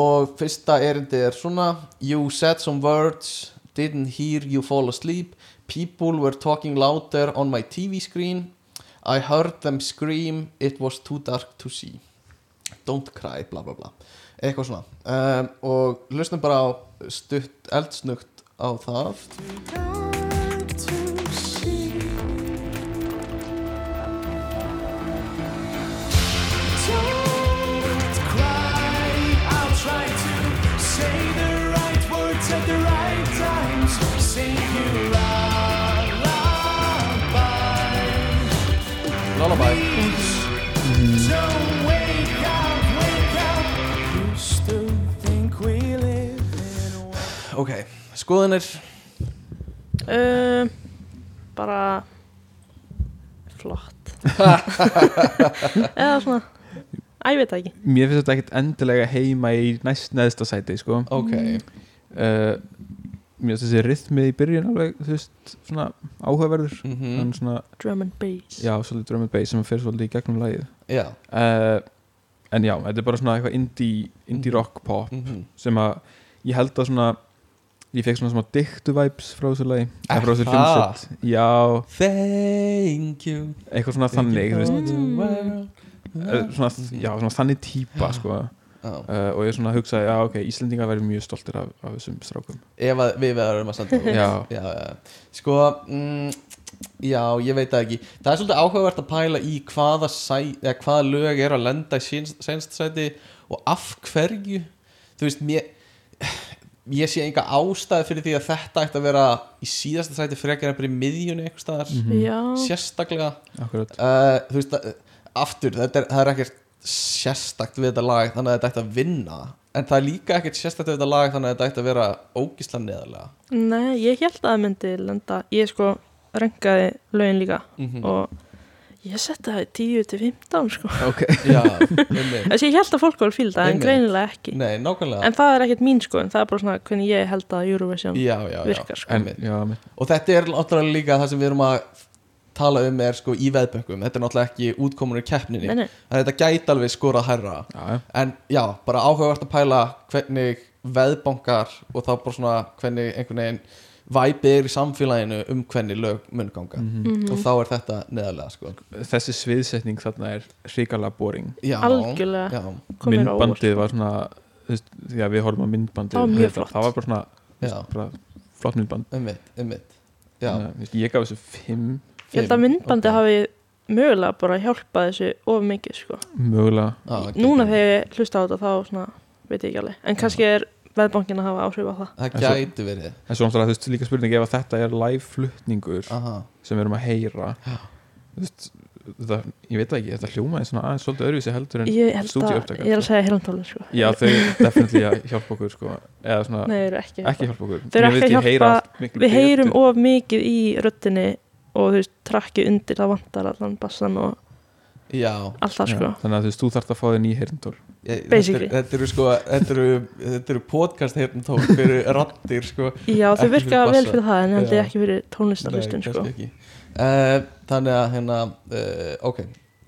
D: og fyrsta erindi er svona You said some words, didn't hear you fall asleep People were talking louder on my TV screen I heard them scream, it was too dark to see Don't cry, bla bla bla eitthvað svona um, og hlustum bara á stutt eldsnugt á það
F: Dark to see.
D: ok, skoðanir
B: Um, bara flott eða svona Æ, ég veit það ekki
A: mér finnst þetta ekkert endilega heima í næst neðsta sæti sko.
D: Ok.
A: uh, mér finnst þessi rithmið í byrjun alveg þú veist, svona áhugaverður
D: Mhm.
A: en svona,
B: drum and bass
A: já, svolítið drum and bass sem fer svolítið í gegnum lagið
D: Já.
A: uh, en já, þetta er bara svona eitthvað indie, indie rock pop
D: Mhm.
A: sem að ég held að svona ég fekk svona smá diktu vibes frá þessu lagi eða
D: Er
A: frá þessu
D: það?
A: hljómsett já,
D: Thank you
A: eitthvað svona
D: Thank
A: þannig þú
D: you for
A: veist
D: the world.
A: Eh, svona, já, svona þannig típa sko.
D: Já.
A: uh, og ég svona hugsaði já, ok, Íslendingar væri mjög stoltir af, af þessum strákum
D: ef að við verðum að standa okkur.
A: Já.
D: Já, já. sko mm, já, ég veit það ekki það er svolítið áhugavert að pæla í hvaða, sæ, eða, hvaða lög eru að lenda í sínst- seinst sæti og af hverju þú veist, mér ég sé enga ástæði fyrir því að þetta ætti að vera í síðasta sæti frekar en bara í miðjunni einhvers staðar
A: Mhm.
B: Já.
D: sérstaklega
A: Akkurat.
D: uh, þú veist, að- aftur þetta er, það er ekkert sérstakt við þetta lag þannig að þetta ætti að vinna en það er líka ekkert sérstakt við þetta lag þannig að þetta ætti að vera ógisla neðarlega
B: Nei, ég held að það myndi lenda ég sko rengaði lögin líka
D: Mhm.
B: og ég setti það í 10 til 15 sko
D: Ok. Já, einmitt.
B: Þessi ég held að fólk var að fíla það en
D: Einmitt.
B: greinilega ekki
D: Nei, nákvæmlega.
B: En það er ekkert mín sko, en það er bara svona hvernig ég held að Eurovision
D: já, já, já.
B: virkar sko
D: Einmitt.
A: já,
D: og þetta er náttúrulega líka það sem við erum að tala um er sko í veðbökkum þetta er náttúrulega ekki útkomunur keppninni
B: Nei, nei.
D: en þetta gæti alveg skorað hærra
A: já.
D: en já, bara áhugavert að pæla hvernig veðbankar og þá bara svona hvernig einhvern veginn væpi er í samfélaginu um hvernig lög mun ganga
A: Mhm.
D: og þá er þetta neðarlega sko
A: þessi sviðsetning þarna er hrikalega boring
D: Já, Algjörlega. já. Kom mér á óvart. sko.
A: myndbandið var svona þú veist, því að við horfum á myndbandið
D: Það var mjög
A: auðvitað,
D: flott.
A: það var bara svona þú veist,
D: Já.
A: bara, flott myndband
D: einmitt, einmitt. Já.
A: Þannig að, þú veist, ég gaf þessu fimm
B: Ég held að myndbandi hafi mögulega bara hjálpað þessu of mikið sko
A: mögulega
D: Ah,
B: Núna þegar ég hlusta á þetta þá svona, veit ég ekki alveg En kannski er veðbankin að hafa áhrif á það
A: En svo- en svo náttúrulega þú veist líka spurning ef að þetta er live
D: Ah.
A: flutningur sem við erum að heyra þú veist, það, ég veit það ekki, þetta hljómaði svona aðeins svolítið öðruvísi heldur en
B: Ég held að,
A: stúdíuupptaka,
B: ég er að
A: sko.
B: segja heilantólin sko
A: já þau definitely að hjálpa okkur sko. eða svona
B: Nei, þau eru ekki, að
A: hjálpa okkur
B: Þau
A: Mér
B: eru ekki
A: finnst
B: að
A: ég heyra allt
B: hjálpa,
A: miklu
B: við heyrum
A: betur.
B: of mikið í röddinni og þú veist, trakki undir það vantar allan bassan og
D: Já.
B: allt það sko
A: Já, þannig að þú veist, þú þarft að fá þér ný heyrndól
B: Basically.
D: þetta, þetta eru sko þetta eru, þetta eru podcast hérna tók fyrir rattir sko
B: Já, þau
D: Ekki
B: virka
D: fyrir
B: vel
D: bassa.
B: fyrir það, en held ég
D: Já.
B: ekki fyrir tónlistarhlustun,
D: Nei,
B: sko.
D: kannski ekki. Eh, þannig að hérna uh, ok,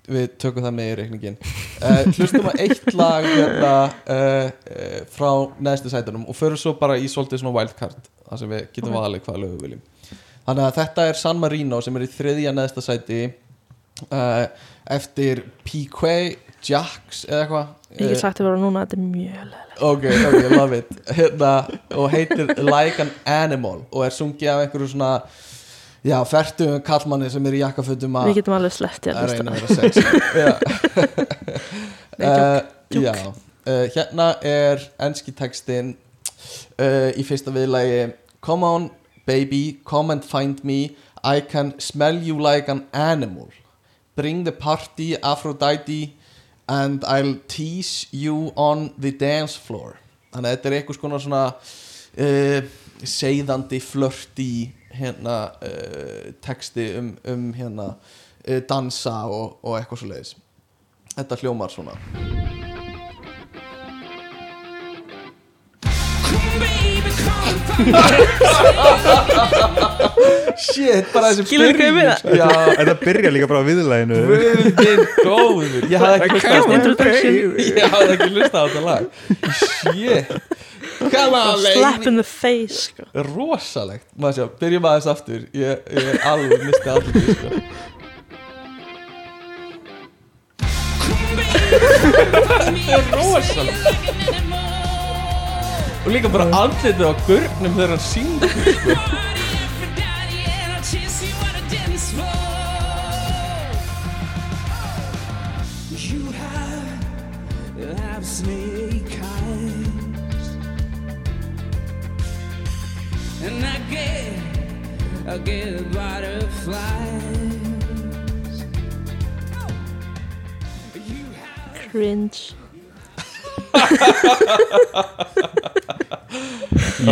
D: við tökum það með í reikningin uh, hlustum að eitt lag hérna uh, uh, frá neðstu sætunum og förum svo bara í svolítið svona wildcard þar sem við getum
A: Ok.
D: okay. valið hvaða lög við viljum þannig að þetta er San Marino sem er í þriðja neðsta sæti uh, eftir PQ Jax eða eitthvað
B: Ég
D: Eh,
B: get sagt þér bara núna að þetta er mjög leðilegt.
D: ok, ok, love it hérna, og heitir Like an Animal og er sungið af einhverju svona já, fertum kallmanni sem er í jakkafötum að
B: Við getum alveg sleppt í að
D: að
B: hlusta.
D: reyna að vera sex
B: Nei, joke, joke.
D: Eh, já, uh, hérna er enski textin uh, í fyrsta viðlægi Come on baby, come and find me I can smell you like an animal Bring the party Aphrodite and I'll tease you on the dance floor Þannig að þetta er eitthvað skona svona uh, seiðandi flört í hérna uh, texti um, um hérna uh, dansa og, og eitthvað svo leiðis Þetta hljómar svona Shit, bara þessi
B: Skilurðu hvað ég meina?
D: byrjun, sko. Já,
A: en það byrja líka bara á viðlæginu
D: Guð minn góður Ég hafði ekki hlustað á
A: Come on,
D: þetta lag
A: baby.
D: Ég hafði ekki hlustað á þetta lag Shit Come on
B: Slap
D: baby
B: in the face, sko.
D: Rosalegt Maður sjá, byrjum aðeins aftur Ég, ég er alveg mistið allir sko. Þetta er rosalegt Og líka bara andlitið á gurnum þegar hann syngur sko.
I: You have, have snake eyes
C: And I get, I get butterflies
B: Cringe.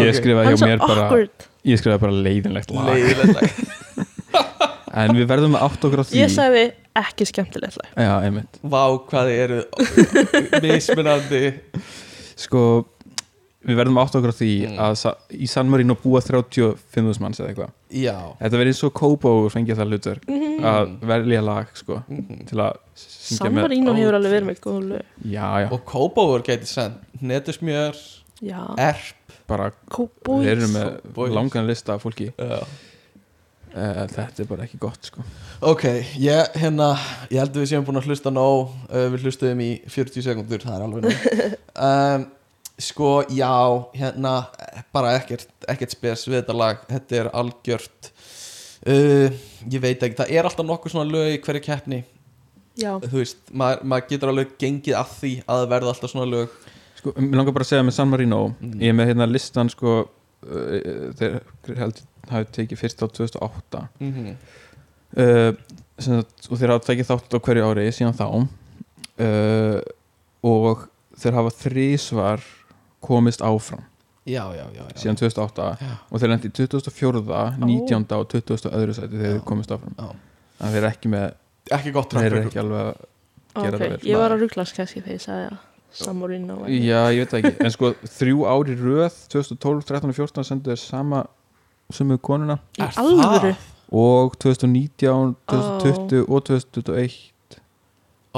A: Ég skrifaði
B: Hann
A: hjá
B: er
A: mér
B: svo
A: bara
B: awkward.
A: Ég skrifaði bara leiðinlegt lag
D: Leiðinlegt lag.
A: En við verðum að átt okkur á því
B: Ég sagði ekki skemmtilegt lag
A: Já, einmitt
D: Vá, hvað þið eru mismunandi
A: Sko, við verðum að átt okkur á því að sa- í San Marino búa 35.000 manns eða eitthvað
D: Já.
A: Þetta verið svo kópa og fengja það hlutur
B: Mhm.
A: að velja lag, sko
D: Mhm.
A: til að syngja
B: San
A: með-
B: Marino hefur alveg verið með góð lög
A: Já, já
D: Og Kópáur gæti send Netusmjör
B: Já.
D: Erp
A: bara
B: Cowboys.
A: Eh, Þeir eru með
D: Cowboys.
A: langan lista af fólki Eh,
D: Já
A: Þetta er bara ekki gott, sko
D: Ok, ég, hérna, ég held að við séum búin að hlusta nóg uh, Við hlustuðum í 40 sekundur, það er alveg nóg um, Sko, já, hérna, bara ekkert, ekkert spes við þetta lag Þetta er algjört uh, Ég veit ekki, það er alltaf nokkuð svona lög í hverju keppni
B: Já.
D: Þú veist, maður, maður getur alveg gengið að því að það verða alltaf svona lög
A: Sko, mér langar bara að segja með San Marino
D: Mm.
A: Ég er með hérna listan, sko uh, Þeir held hafi tekið fyrst á 2008
D: Mhm.
A: uh, sem sagt, og þeir hafa tekið þátt á hverju ári síðan þá uh, og þeir hafa þrísvar komist áfram
D: Já, já, já, já.
A: síðan 2008 og þeir lendi í 2004, 19. og 20. öðru sæti þegar þeir komist áfram
D: já.
A: en þeir eru ekki með
D: Ekki gott track
A: þeir eru
D: record.
A: ekki alveg að gera
B: Ok,
A: það vel
B: ég var að ruglast kannski þegar ég sagði að San Marino væri-
A: Já, ég veit það ekki, en sko þrjú ári röð 2012, 13 og 14 sendu þeir sama sumu konuna
B: Í Er það? alvöru?
A: og 2019, 2020 og 2021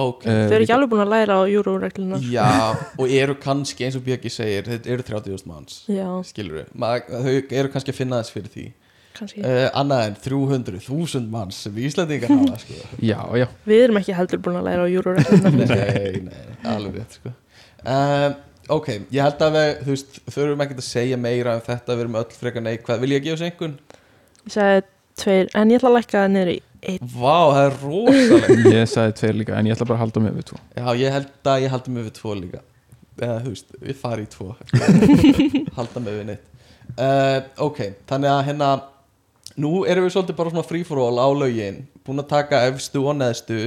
D: Ok
A: Eh,
B: Þau eru ekki alveg búin að læra á júróregluna
D: Já, og eru kannski eins og Björki segir Þetta eru 30.000 manns
B: Já.
D: Skilur Þau eru kannski að finna þess fyrir því
B: Kannski.
A: Eh.
D: uh, Annað en 300.000 manns sem Íslandingar hafa sko.
A: Já, já
B: Við erum ekki heldur búin að læra á júróregluna
D: Nei, nei, alveg rétt sko. um, Ok, ég held að við Þú veist, þurfum ekkert að segja meira um þetta Við erum öll frekar neikvæð Vil ég gefa þessu einhvern?
B: Ég sagði tveir, en ég ætla að lækka það niður í einn
D: Vá, það er rosalegt
A: Ég sagði tveir líka, en ég ætla bara að halda mig við tvo
D: Já, ég held að ég haldi mig við tvo líka eða þú veist, við fari í tvo halda mig við neitt uh, ok, þannig að hérna nú erum við svolítið bara svona free for all á lögin, búin að taka efstu og neðstu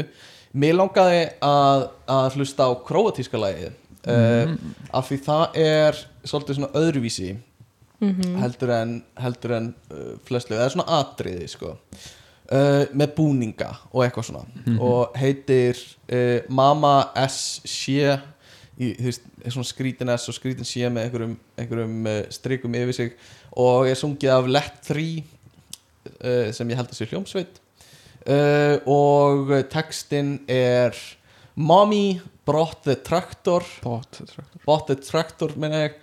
D: mér langaði að, að hlusta á króatíska lagið uh, af því það er svolítið svona öðruvísi
J: Mhm.
D: heldur en, heldur en uh, flestlegu, það er svona atriði sko uh, með búninga og eitthvað svona
J: Mhm.
D: og heitir uh, Mama S. Shea í, þú veist, er svona skrítin S og skrítin Shea með einhverjum, einhverjum uh, strikum yfir sig og er sungið af Let 3 uh, sem ég held að sé hljómsveit uh, og textin er Mommy brought the tractor
A: bought the tractor,
D: bought the tractor meina ég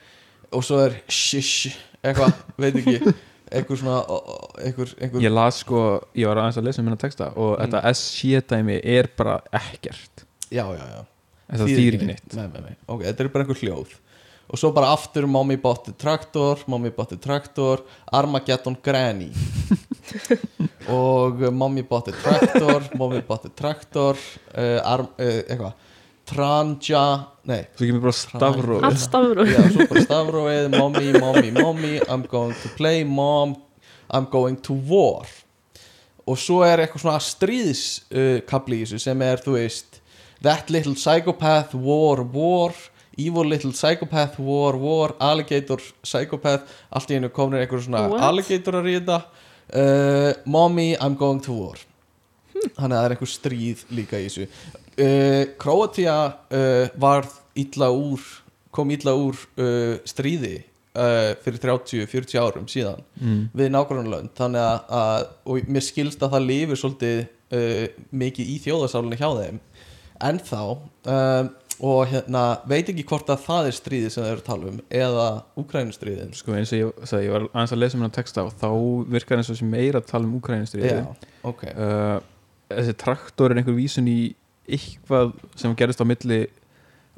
D: og svo er shish eitthvað, veit ekki eitthvað svona eitthvað, eitthvað
A: Ég las sko, ég var aðeins að lesa minna texta og
D: Mm.
A: þetta S-sétæmi er bara ekkert
D: já, já, já
A: En það þýðir ekki neitt.
D: nei, nei, nei. ok, þetta er bara einhver hljóð og svo bara aftur mommy bought the tractor mommy bought the tractor Armageddon Granny og eh, mommy bought the tractor mommy bought the tractor uh, arm, uh, eitthvað Tranja, nei
A: Svo kemur bara stafrófið.
D: Tranja.
A: Allt stafrófið.
D: Já, svo bara stafrófið, mommy, mommy, mommy I'm going to play, mom I'm going to war og svo er eitthvað svona stríðskabli uh, kafli í þessu sem er, þú veist That little psychopath, war, war Evil little psychopath, war, war Alligator, psychopath Allt í einu komin einhver svona
J: What?
D: alligator að ríða uh, Mommy, I'm going to war Þannig að það er einhver stríð líka í þessu uh, Króatía uh, var illa úr kom illa úr uh, stríði uh, fyrir 30-40 árum síðan
A: Mm.
D: við nágrannlönd þannig að, að og mér skilst að það lifir svolítið uh, mikið í þjóðasálinni hjá þeim en þá um, og hérna veit ekki hvort að það er stríði sem þeir eru að tala um eða Ukrænustríðin
A: Sko eins og ég sagði, ég var aðeins að lesa minna texta og þá virkar eins og sem meira að tala um Ukraínustriði
D: Já, ok.
A: uh, Þessi traktor er einhver vísun í eitthvað sem gerist á milli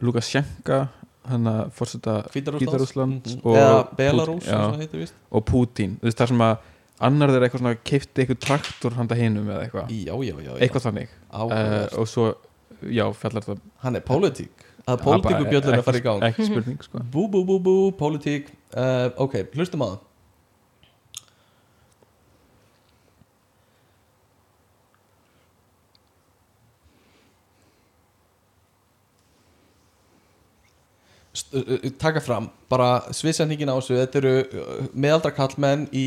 A: Lukashenka hann að fórseta
D: Hvíta-Rússlands. Mhm.
A: og
D: Eða
A: Pút-
D: Belarús,
A: já,
D: eins og það heitir víst.
A: og Putin, þú veist það sem að annar þeir eitthvað svona keipti eitthvað traktor handa hinum eða eitthvað
D: Já, já, já, já.
A: eitthvað þannig
D: Áhugavert.
A: Eh, og svo, já, fjallar það
D: Hann er pólitík að
A: Já,
D: pólitíku
A: bara
D: bjöllun að
A: ekki-
D: fara í gang
A: ekki spurning, sko.
D: bú bú bú bú, pólitík uh, ok, hlustum að það st- uh, uh, taka fram bara sviðsendingin á þessu þetta eru uh, meðaldra kallmenn í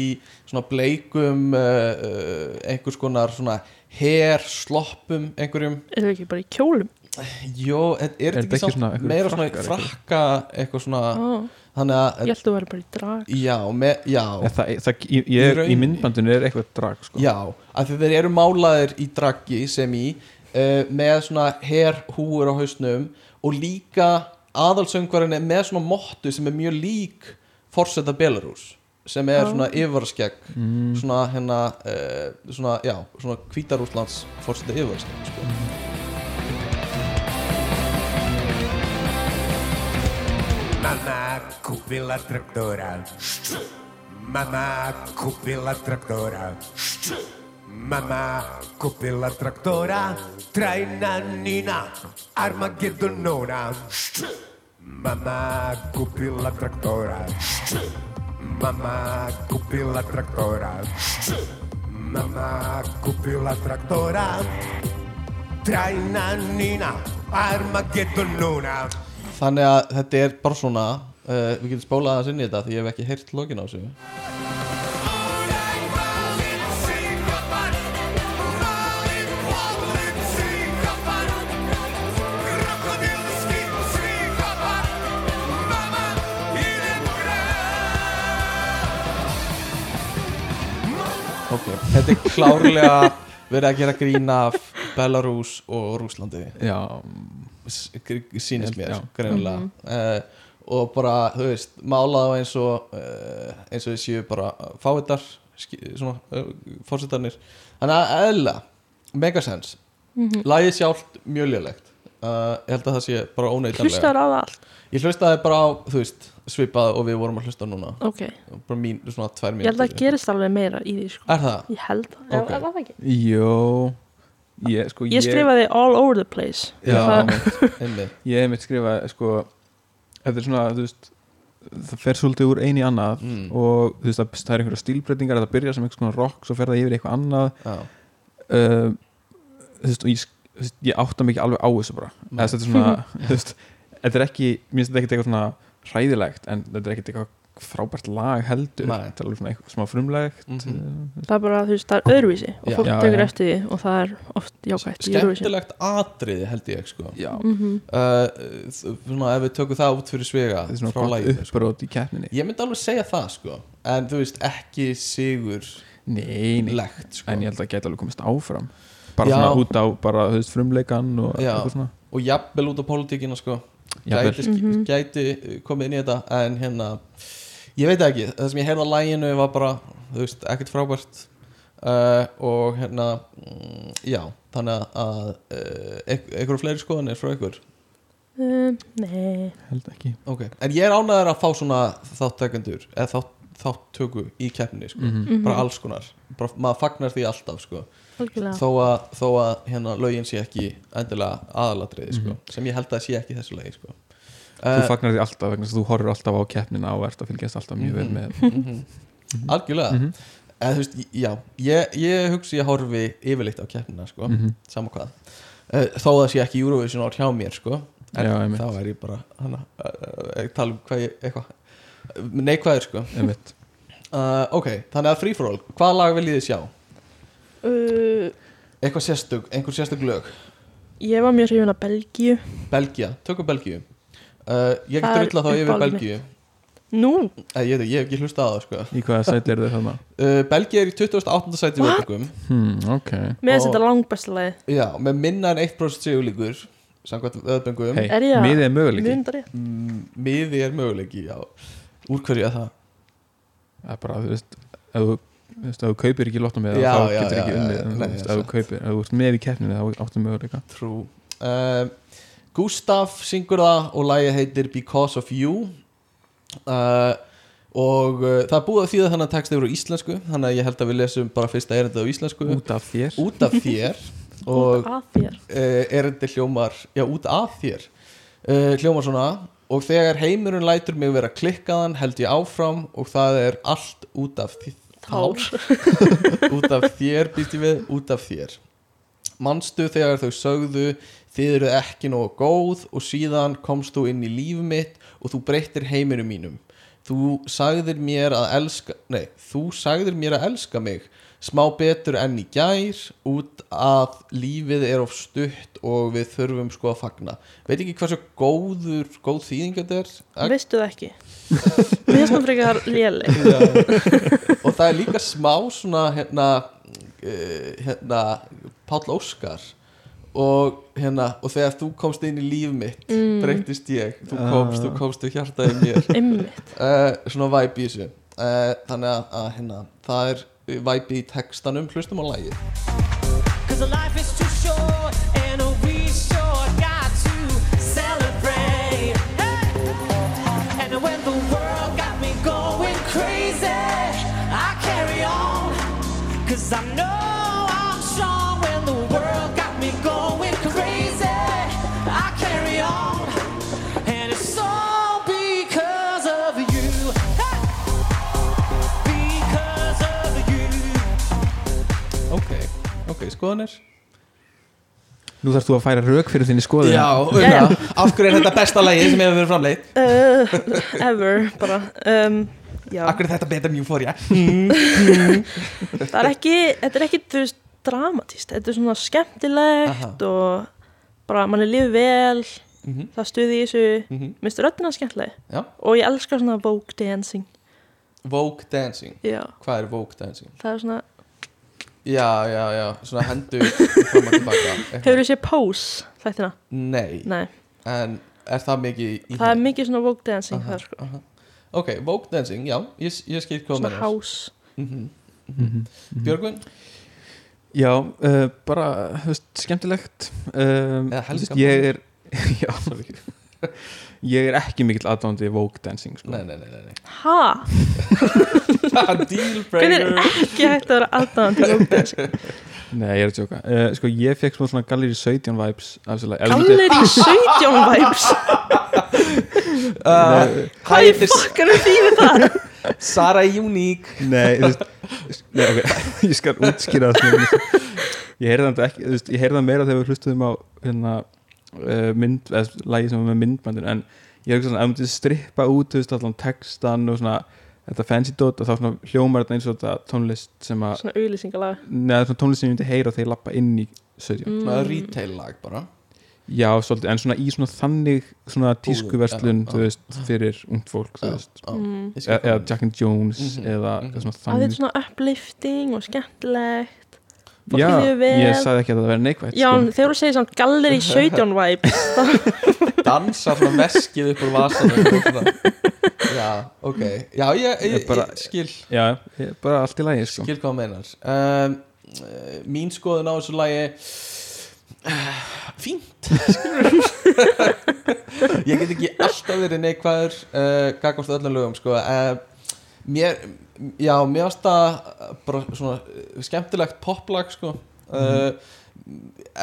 D: svona bleikum uh, uh, einhvers konar svona her, sloppum einhverjum
B: Eru þau ekki bara í kjólum?
D: Jó, er, er þetta ekki, samt
A: einhverjir
D: meira svona
A: frakkar
D: frakka eitthvað svona
B: Ó.
D: þannig að
B: Ég held að þú væri bara í drag
D: já, me, já,
A: En það, það, í, ég,
D: Í
A: í
D: rauninni.
A: myndbandinu er eitthvað drag sko.
D: já að þeir eru málaðir í draggi sem í uh, með svona her húur á hausnum og líka aðalsöngvarinn er með svona mottu sem er mjög lík forseta Belarus sem er
B: Já.
D: svona yfarskegg
A: Mm.
D: svona hérna uh, svona, já, svona hvítarúslands forseta yfarskegg sko.
K: Mama kupila traktora. Mama kupila traktora. Mama kupila traktora. Trajna Nina Armagedonona. Mama kupila traktora. Mama kupila traktora. Mama kupila traktora. Trajna Nina Armagedonona.
D: þannig að þetta er bara svona uh, við getum spólað aðeins inn í þetta því ég hef ekki heyrt lokin á þessu ok, þetta er klárlega verið að gera grín af Belarus og Rúslandi
A: já,
D: S- gr- sýnist
A: Ég-
D: mér,
A: já.
D: greinilega
B: Mhm.
D: uh, og bara, þú veist, málaðu eins og uh, eins og þið séu bara fáiðar, svona uh, fórsetarnir, þannig að eðla megasens, mm
B: Mhm.
D: lagið sjálft mjög lélegt uh, ég held að það sé bara óneitanlega
B: Hlustaður á það allt
D: ég hlustaði bara á, þú veist, svipað og við vorum að hlusta núna,
B: Ok,
D: bara mín, svona tvær
B: ég held að
D: mínútur
B: það gerist alveg meira í því sko
D: er það?
B: Ég held það, Já,
D: Ok.
B: er það ekki
A: Jó ég, sko,
B: Ég skrifaði all over the place
A: já,
B: Það-
A: einmitt.
D: einmitt,
A: ég hef mitt skrifað sko, þetta er svona þú veist, það fer svolítið úr einu í annað
D: Mm.
A: og þú veist, það, það er einhverja stílbreytingar það byrjar sem einhvers konar rock, svo fer það yfir í eitthvað annað
D: já,
A: uh, þú veist, og ég, sk- þú veist, ég átta mikið alveg á þessu bara
D: Nei.
A: Eða, þetta er svona, þú veist, þetta er ekki mér finnst þetta ekkert eitthvað svona hræðilegt en þetta er ekkert eitthvað frábært lag heldur
D: Nei.
A: þetta er alveg svona eitthvað smá frumlegt
D: Mhm.
A: uh,
B: Það er bara, þú veist, það er öðruvísi og
D: Já.
B: fólk
A: Já,
B: tekur
A: já.
B: eftir því og það er oft jákvætt í Mhm. öðruvísi
D: skemmtilegt atriði held ég, sko
A: já,
D: uh, svona ef við tökum það út fyrir svega
A: þetta er svona
D: frá
A: gott
D: lagið,
A: uppbrot í keppninni
D: Ég myndi alveg segja það sko En þú veist ekki sigur
A: nei, nei,
D: Legt sko
A: en ég held að það gæti alveg komist áfram bara
D: Já.
A: svona út á bara, þú veist, frumleikan og
D: Já.
A: eitthvað svona
D: Og jafnvel út á pólitíkina sko
A: Jafnvel.
D: gæti, mm
B: Mhm.
D: gæti uh, komið inn í þetta En hérna Ég veit það ekki Það sem ég heyrði á læginu var bara Þú veist ekkert frábært uh, Og hérna mm, Já þannig að uh, eik- Einhverju fleiri skoðanir frá ykkur
B: um, Nei,
A: held ekki
D: Ok En ég er ánæður að fá svona þáttækendur Eða þátt, þáttöku í keppni sko Bara alls konar bara, Maður fagnar því alltaf sko
B: algjörlega
D: þó að, þó að hérna, lögin sé ekki endilega aðalatriði sko, sem ég held að sé ekki í þessu lögi sko.
A: Mhm. þú
D: uh,
A: fagnar því alltaf vegna þess að þú horfir alltaf á keppnina og ert að fylgjast alltaf mjög
D: Mhm.
A: vel með
D: algjörlega
A: Mhm.
D: mm þú veist, já, ég, ég hugsi ég horfi yfirleitt á keppnina sko,
A: Mhm.
D: sama hvað uh, þó að það sé ekki Eurovision ár hjá mér sko, en
A: Já, einmitt.
D: þá er ég bara hana, uh, uh, tala um hvað ég eitthvað neikvæður sko
A: einmitt
D: uh, ok, þannig að free for all, hvaða lag viljið þið sjá?
B: uh,
D: eitthvað sérstök, einhver sérstök lög
B: Ég var mjög hrifin að Belgíu
D: Belgia, tökum Belgíu uh, ég
B: Það er
D: drulla þá yfir
B: uppáhaldið
D: Belgíu
B: Nú,
D: Æ, Eh, ég, veit ekki, ég hef ekki hlustað á það sko.
A: í hvaða sæti eru þau þarna
D: uh, Belgia er í 28. sæti
B: What?
D: völdingum
A: hmm, ok,
B: með
D: Og-
B: þetta langbæstalagi
D: Já, með minna en 1% sigurlíkur samkvæmt vöðbengum
A: hei,
B: Er ég að-
A: miðið er möguleiki
B: Mjöndari
D: miði er möguleiki já. úr hverju er það
A: það er bara, þú veist, ef þú þú veist, ef þú kaupir ekki lottum með
D: Já,
A: það, þá
D: já,
A: getur
D: já,
A: ekki
D: já,
A: unnið
D: já,
A: en þú
D: nei,
A: veist,
D: já,
A: ef þú
D: satt.
A: kaupir, ef þú ert með í keppninu þá áttu möguleika
D: trú uh, Gustaf syngur það og lagið heitir Because of You uh, og uh, það er búið að þýða þannig að texti eru á íslensku þannig að ég held að við lesum bara fyrsta erindið á íslensku
A: út af þér
D: út af þér og
B: Út af þér
D: uh, erindi hljómar já, út af þér uh, hljómar svona og þegar heimurinn lætur mig vera klikkaðan held ég áfram og það er allt út af þi-
B: Tár
D: út af þér býst ég við, út af þér manstu þegar þau sögðu þið eruð ekki nógu góð og síðan komst þú inn í líf mitt og þú breyttir heiminum mínum þú sagðir mér að elska nei, þú sagðir mér að elska mig smá betur enn í gær út að lífið er of stutt og við þurfum sko að fagna veit ekki hversu góður góð þýðing þetta er
B: Veistu það ekki? Mér finnst það frekar léleg.
D: Já. og það er líka smá svona hérna, eh, hérna Páll Óskar og, hérna, og þegar þú komst inn í líf mitt
B: Mm.
D: breytist ég þú
A: Ah.
D: komst, þú komst og hjartaði mér
B: Einmitt.
D: Eh, svona væp í þessu uh, þannig að, að hérna, það er væp í textanum hlustum á lagið
I: Cause life is too short and we sure got to celebrate. Hey! And when the world got me going crazy, I carry on. Cause I know I'm strong when the world got me going crazy. I carry on. And it's all because of you. Hey! Because of you.
D: ok, ok, skoðanir
A: Nú þarfst þú að færa rauk fyrir þinni skoðun
D: Una, af hverju er þetta besta lagið sem hefur verið framleitt
B: Uh, ever, bara. Um, já.
D: af hverju er þetta betra mjög fór ég
B: það er ekki, þetta er ekki þú veist, dramatist, þetta er svona skemmtilegt og bara manni lífi vel
D: Mhm.
B: það stuði í þessu, mm
D: Mhm.
B: minnst röddina skemmtileg
D: Já.
B: og ég elska svona vogue dancing
D: Vogue Dancing
B: Já.
D: hvað er Vogue Dancing?
B: það er svona,
D: já, já, já, svona hendur fram og tilbaka eitthvað.
B: hefur þú séð pose þættina?
D: Nei.
B: Nei.
D: En er það mikið í
B: það er mikið svona vogue dancing
D: Aha,
B: þar sko
D: Ok, Vogue Dancing, já, ég, ég skil hvað
B: Svona
D: meinar.
B: house.
D: Mhm,
A: Mhm,
D: mhm. Björgvin?
A: Já, uh, bara þú veist, skemmtilegt um,
D: Eða Helga
A: veist, Ég er já, Ég er ekki mikill aðdándi Vogue dancing sko.
D: Nei, nei, nei, nei.
B: ha?
D: Deal
B: hvernig er ekki hægt að vera aðdáðan til vogue dancing
A: Nei, ég er að tjóka uh, Sko, ég fekk smá svona Gallery 17 vibes
B: Gallery 17 vibes
A: Nei.
B: hvað ég fokkar að þýði það
D: Sara er uník
A: Nei, þú veist Nei, ok, ég skal útskýra það fyrir mér. Ég heyrði það ekki, þú veist, ég heyrði það meira þegar við hlustuðum á hérna uh, mynd, eða lagi sem var með myndbandin en ég er ekki svona, ef maður strippa út þú veist, allan textan og svona þetta fancy dot og þá svona hljómar þetta eins og þetta tónlist sem að
B: svona auðlýsingalaga
A: neða svona tónlist sem ég myndi heyra þegar ég lappa inn í 17
B: Mm. Svona
D: retail lag bara
A: Já, svolítið, en svona í svona þannig svona tískuverslun,
D: já,
A: þú
D: já.
A: veist, fyrir ungt fólk, þú veist
D: já, Mhm. Mm. ég skil
A: E-
D: hvað
A: eða Jack and Jones eða eða svona
B: að þetta
A: þannig
B: er svona uplifting og skemmtilegt fólk
A: Já,
B: líður vel.
A: ég sagði ekki að það væri neikvætt
B: já,
A: sko.
B: en þegar þú segir samt galleri 17 vibes þá-
D: Dansa svona veskið upp úr vasan Já, ok Já, ég, ég,
A: Ég bara-
D: ég skil
A: Já, ég- bara allt í lagi sko.
D: Skil hvað þú meinar um, eh, Mín skoðun á þessu lagi eh, Fínt skilurðu. Ég get ekki alltaf verið neikvæður uh, Gagvast öllum lögum sko. uh, Mér Já, mér varst það eh, bara svona eh, skemmtilegt poplag sko. uh,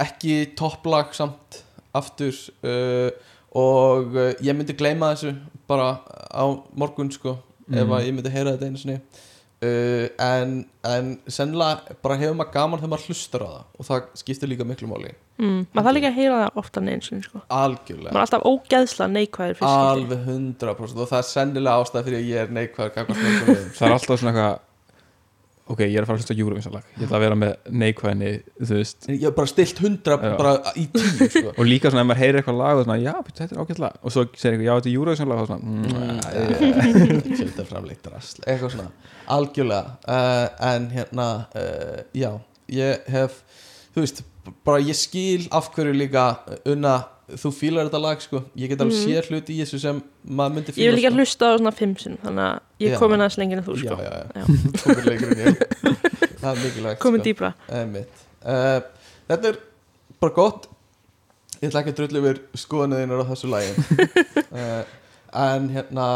D: Ekki topplag samt aftur uh, og uh, ég myndi gleyma þessu bara á morgun sko, ef
A: Mhm.
D: að ég myndi heyra þetta einu sinni uh, en, en sennilega bara hefur maður gaman þegar maður hlustar á það og það skiptir líka miklu máli
B: mm, maður þarf líka að heyra það ofta neins sko. maður
D: algjörlega,
B: er alltaf ógeðsla neikvæður fyrst sko. skipti.
D: alveg 100% og það er sennilega ástæð fyrir að ég er neikvæður gagnvart mörgum liðum.
A: Það er alltaf svona eitthvað Ok, ég er að fara að hlusta á Eurovision-lag Ég ætla að vera með neikvæðinni, þú veist
D: Ég er bara stilt hundra
A: Já.
D: bara í tíu sko.
A: Og líka svona, ef maður heyrir eitthvað lag og svona, já, bíddu, þetta er ágætt lag Og svo segir eitthvað, já, þetta er Eurovision-lag og svona, mm,
D: mm, Sjöldar framleitt rast Eitthvað svona, algjörlega uh, En hérna, uh, já Ég hef, þú veist Bara ég skil af hverju líka uh, Una, þú fílar þetta lag sko Ég get alveg
B: Mhm.
D: sér hluti í þessu sem maður myndi
B: ég
D: fíla
B: vil líka
D: sko.
B: hlusta á svona 5 sinn þannig að ég
D: Já.
B: er komin aðeins lengur en þú sko.
D: Já, já, já, Þú komir lengur en ég Það er mikilvægt sko.
B: Komin dýpra.
D: Einmitt. uh, Þetta er bara gott Ég ætla ekki að drullu yfir skoðanuðinur á þessu lagi uh, En hérna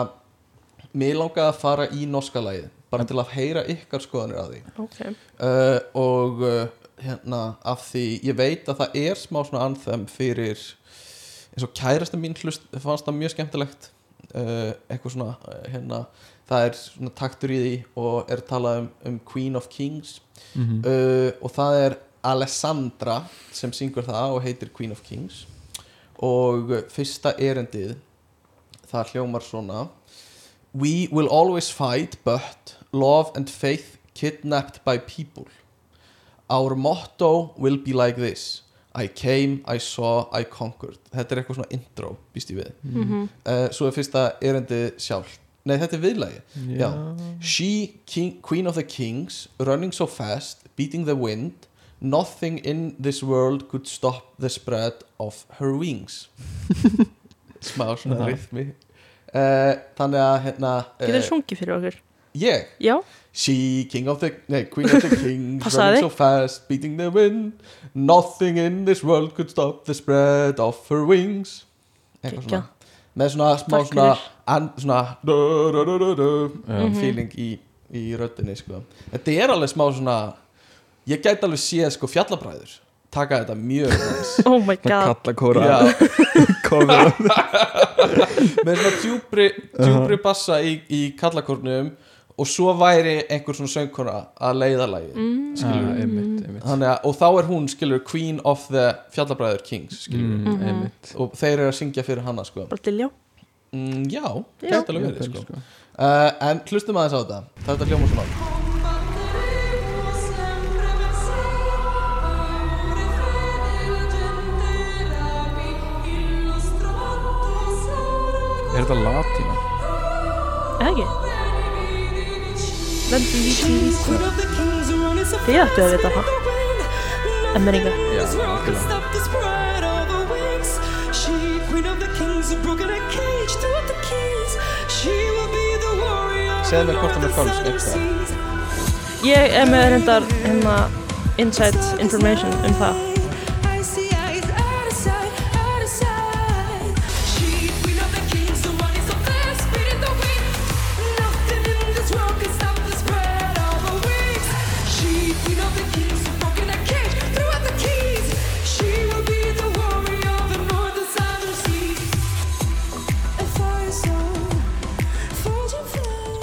D: Mér langaði að fara í norska lagið Bara til að heyra ykkar skoðanir að því
B: Ok.
D: uh, Og uh, hérna Af því ég veit að það er smá svona anþem fyrir eins og kærasta mín hlust fannst það mjög skemmtilegt uh, eitthvað svona uh, hérna, það er svona taktur í því og er talað um, um Queen of Kings
A: Mhm.
D: uh, og það er Alessandra sem syngur það og heitir Queen of Kings og uh, fyrsta erindið það hljómar svona We will always fight but love and faith kidnapped by people Our motto will be like this I came, I saw, I conquered Þetta er eitthvað svona intro, býst ég við
K: Mhm.
D: Eh, Svo er fyrsta erindið sjálf Nei, þetta er viðlagi
A: Mm-hmm.
K: Já.
D: She, king, queen of the kings, running so fast, beating the wind Nothing in this world could stop the spread of her wings Smá svona
B: Já.
D: rithmi uh, Þannig að hérna
B: Getur
D: eh,
B: sungið fyrir okkur
D: Ég?
B: Já.
D: She, king of the, nei, queen of the kings
B: Passaði.
D: Running so fast, beating the wind Nothing in this world could stop the spread of her wings Eitthvað
B: Geggjað.
D: svona Með svona smá
B: Takk
D: svona,
B: fyrir.
D: an, svona du, du, du, du, du, um,
B: Já. Mhm.
D: Feeling í, í röddinni sko. Þetta er alveg smá svona Ég gæti alveg séð sko fjallabræður Taka þetta mjög nice.
B: Oh my god. Svona
A: kallakóra.
D: Já.
A: Cover.
D: Með svona djúpri, djúpri bassa í, í kallakórnum Og svo væri einhver svona söngkona að leiða lagið
A: Mm.
D: skilurðu.
A: Ah, einmitt, einmitt.
D: Þannig að, og þá er hún skilur Queen of the Fjallabræður Kings skilur,
A: Mm,
B: Mm-hmm.
A: Mhm. einmitt.
D: og þeir eru að syngja fyrir hana sko.
B: Bara diljá
D: mm, Já,
B: Já.
D: gæti alveg verið
A: Jafnvel,
D: sko. uh, En hlustum aðeins á þetta Þetta hljóma svona
A: Er þetta latína?
B: Eða ekki? Lendum í
I: tíma
B: Þið ættu að vita það Emmeringa
I: Já, algjörlega
D: Segðu mér hvort hann er fölsk eitthvað.
B: Ég er með reyndar hérna inside information um það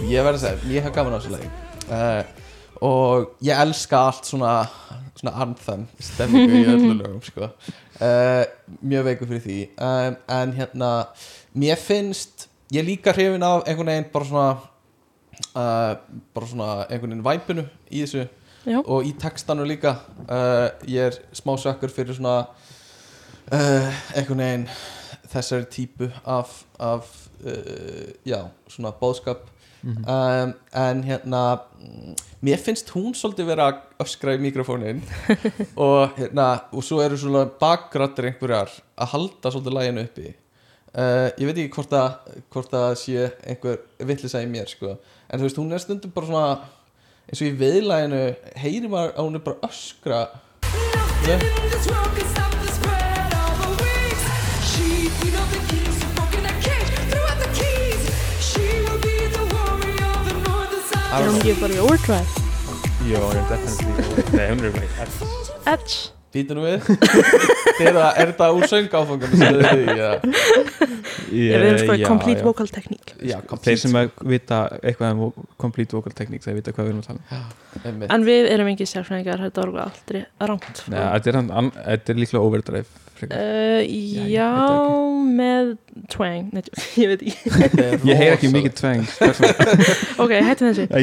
D: Ég verði að segja, ég hef gaman á þessu lagi uh, Og ég elska allt svona Svona anthem Stemmingu í öllu lögum sko. uh, Mjög veiku fyrir því um, En hérna, mér finnst Ég er líka hrifin af einhvern veginn Bara svona uh, Bara svona einhvern veginn væpinu í þessu
B: Já.
D: Og í textanu líka uh, Ég er smá sökkur fyrir svona uh, Einhvern veginn Þessari típu af, af uh, Já, svona bóðskap
K: Mhm.
D: um, en hérna mm, mér finnst hún svolítið vera að öskra í mikrofónin og hérna og svo eru svona bakgrættir einhverjar að halda svolítið læginu uppi uh, ég veit ekki hvort að hvort að sé einhver vittlisa í mér sko. en þú veist hún er stundum bara svona eins og í viðlæginu heyri maður að hún er bara að öskra yeah.
B: Er hún ekki bara í overdrive?
A: Jó, ég er definitely Nei, hún er ekki
B: Edge
D: Býtu nú við Er það- er það úr söngáfangan sem þið þið
B: Ég við erum sko í complete vocal technique
D: Já,
A: Þeir sem að vita eitthvað um vo- complete vocal technique þeir vita hvað við erum að tala um
D: einmitt.
B: En við erum ekki sérfræðingar, þetta var alveg aldrei rámt
A: Nei, þetta er hann- hann- Þetta er líklega overdrive frekar.
B: Uh, já, með twang, Nei, ég veit ekki
A: Ég heyr ekki mikið tveng
B: Ok, hættum þessu.
D: En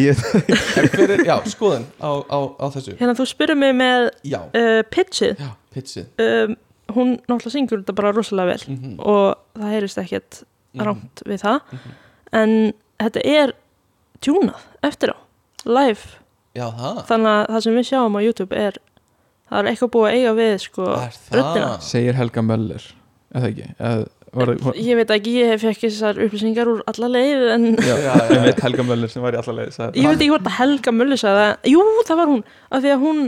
D: hver er, já, skoðun á, á, á þessu
B: Hérna, þú spyrir mig með
D: Já.
B: uh, pitchið.
D: Já, pitchið.
B: Um, hún náttúrulega syngur þetta bara rosalega vel og það heyrist ekkert
D: Mhm.
B: rámt við það. En þetta er tjúnað eftir á, live.
D: Já, það
B: Þannig að það sem við sjáum á YouTube er, það er eitthvað búið að eiga við, sko,
D: Ah,
B: röddina.
A: Segir Helga Möller Eða ekki Eða, var, var,
B: Ég veit ekki, ég hef ekki þessar upplýsingar úr alla leið, en
A: Já, ég veit Helga Möller sem var í alla leið
B: ég veit ekki hvort að Helga Möllu sagði það. Jú, það var hún, af því að hún,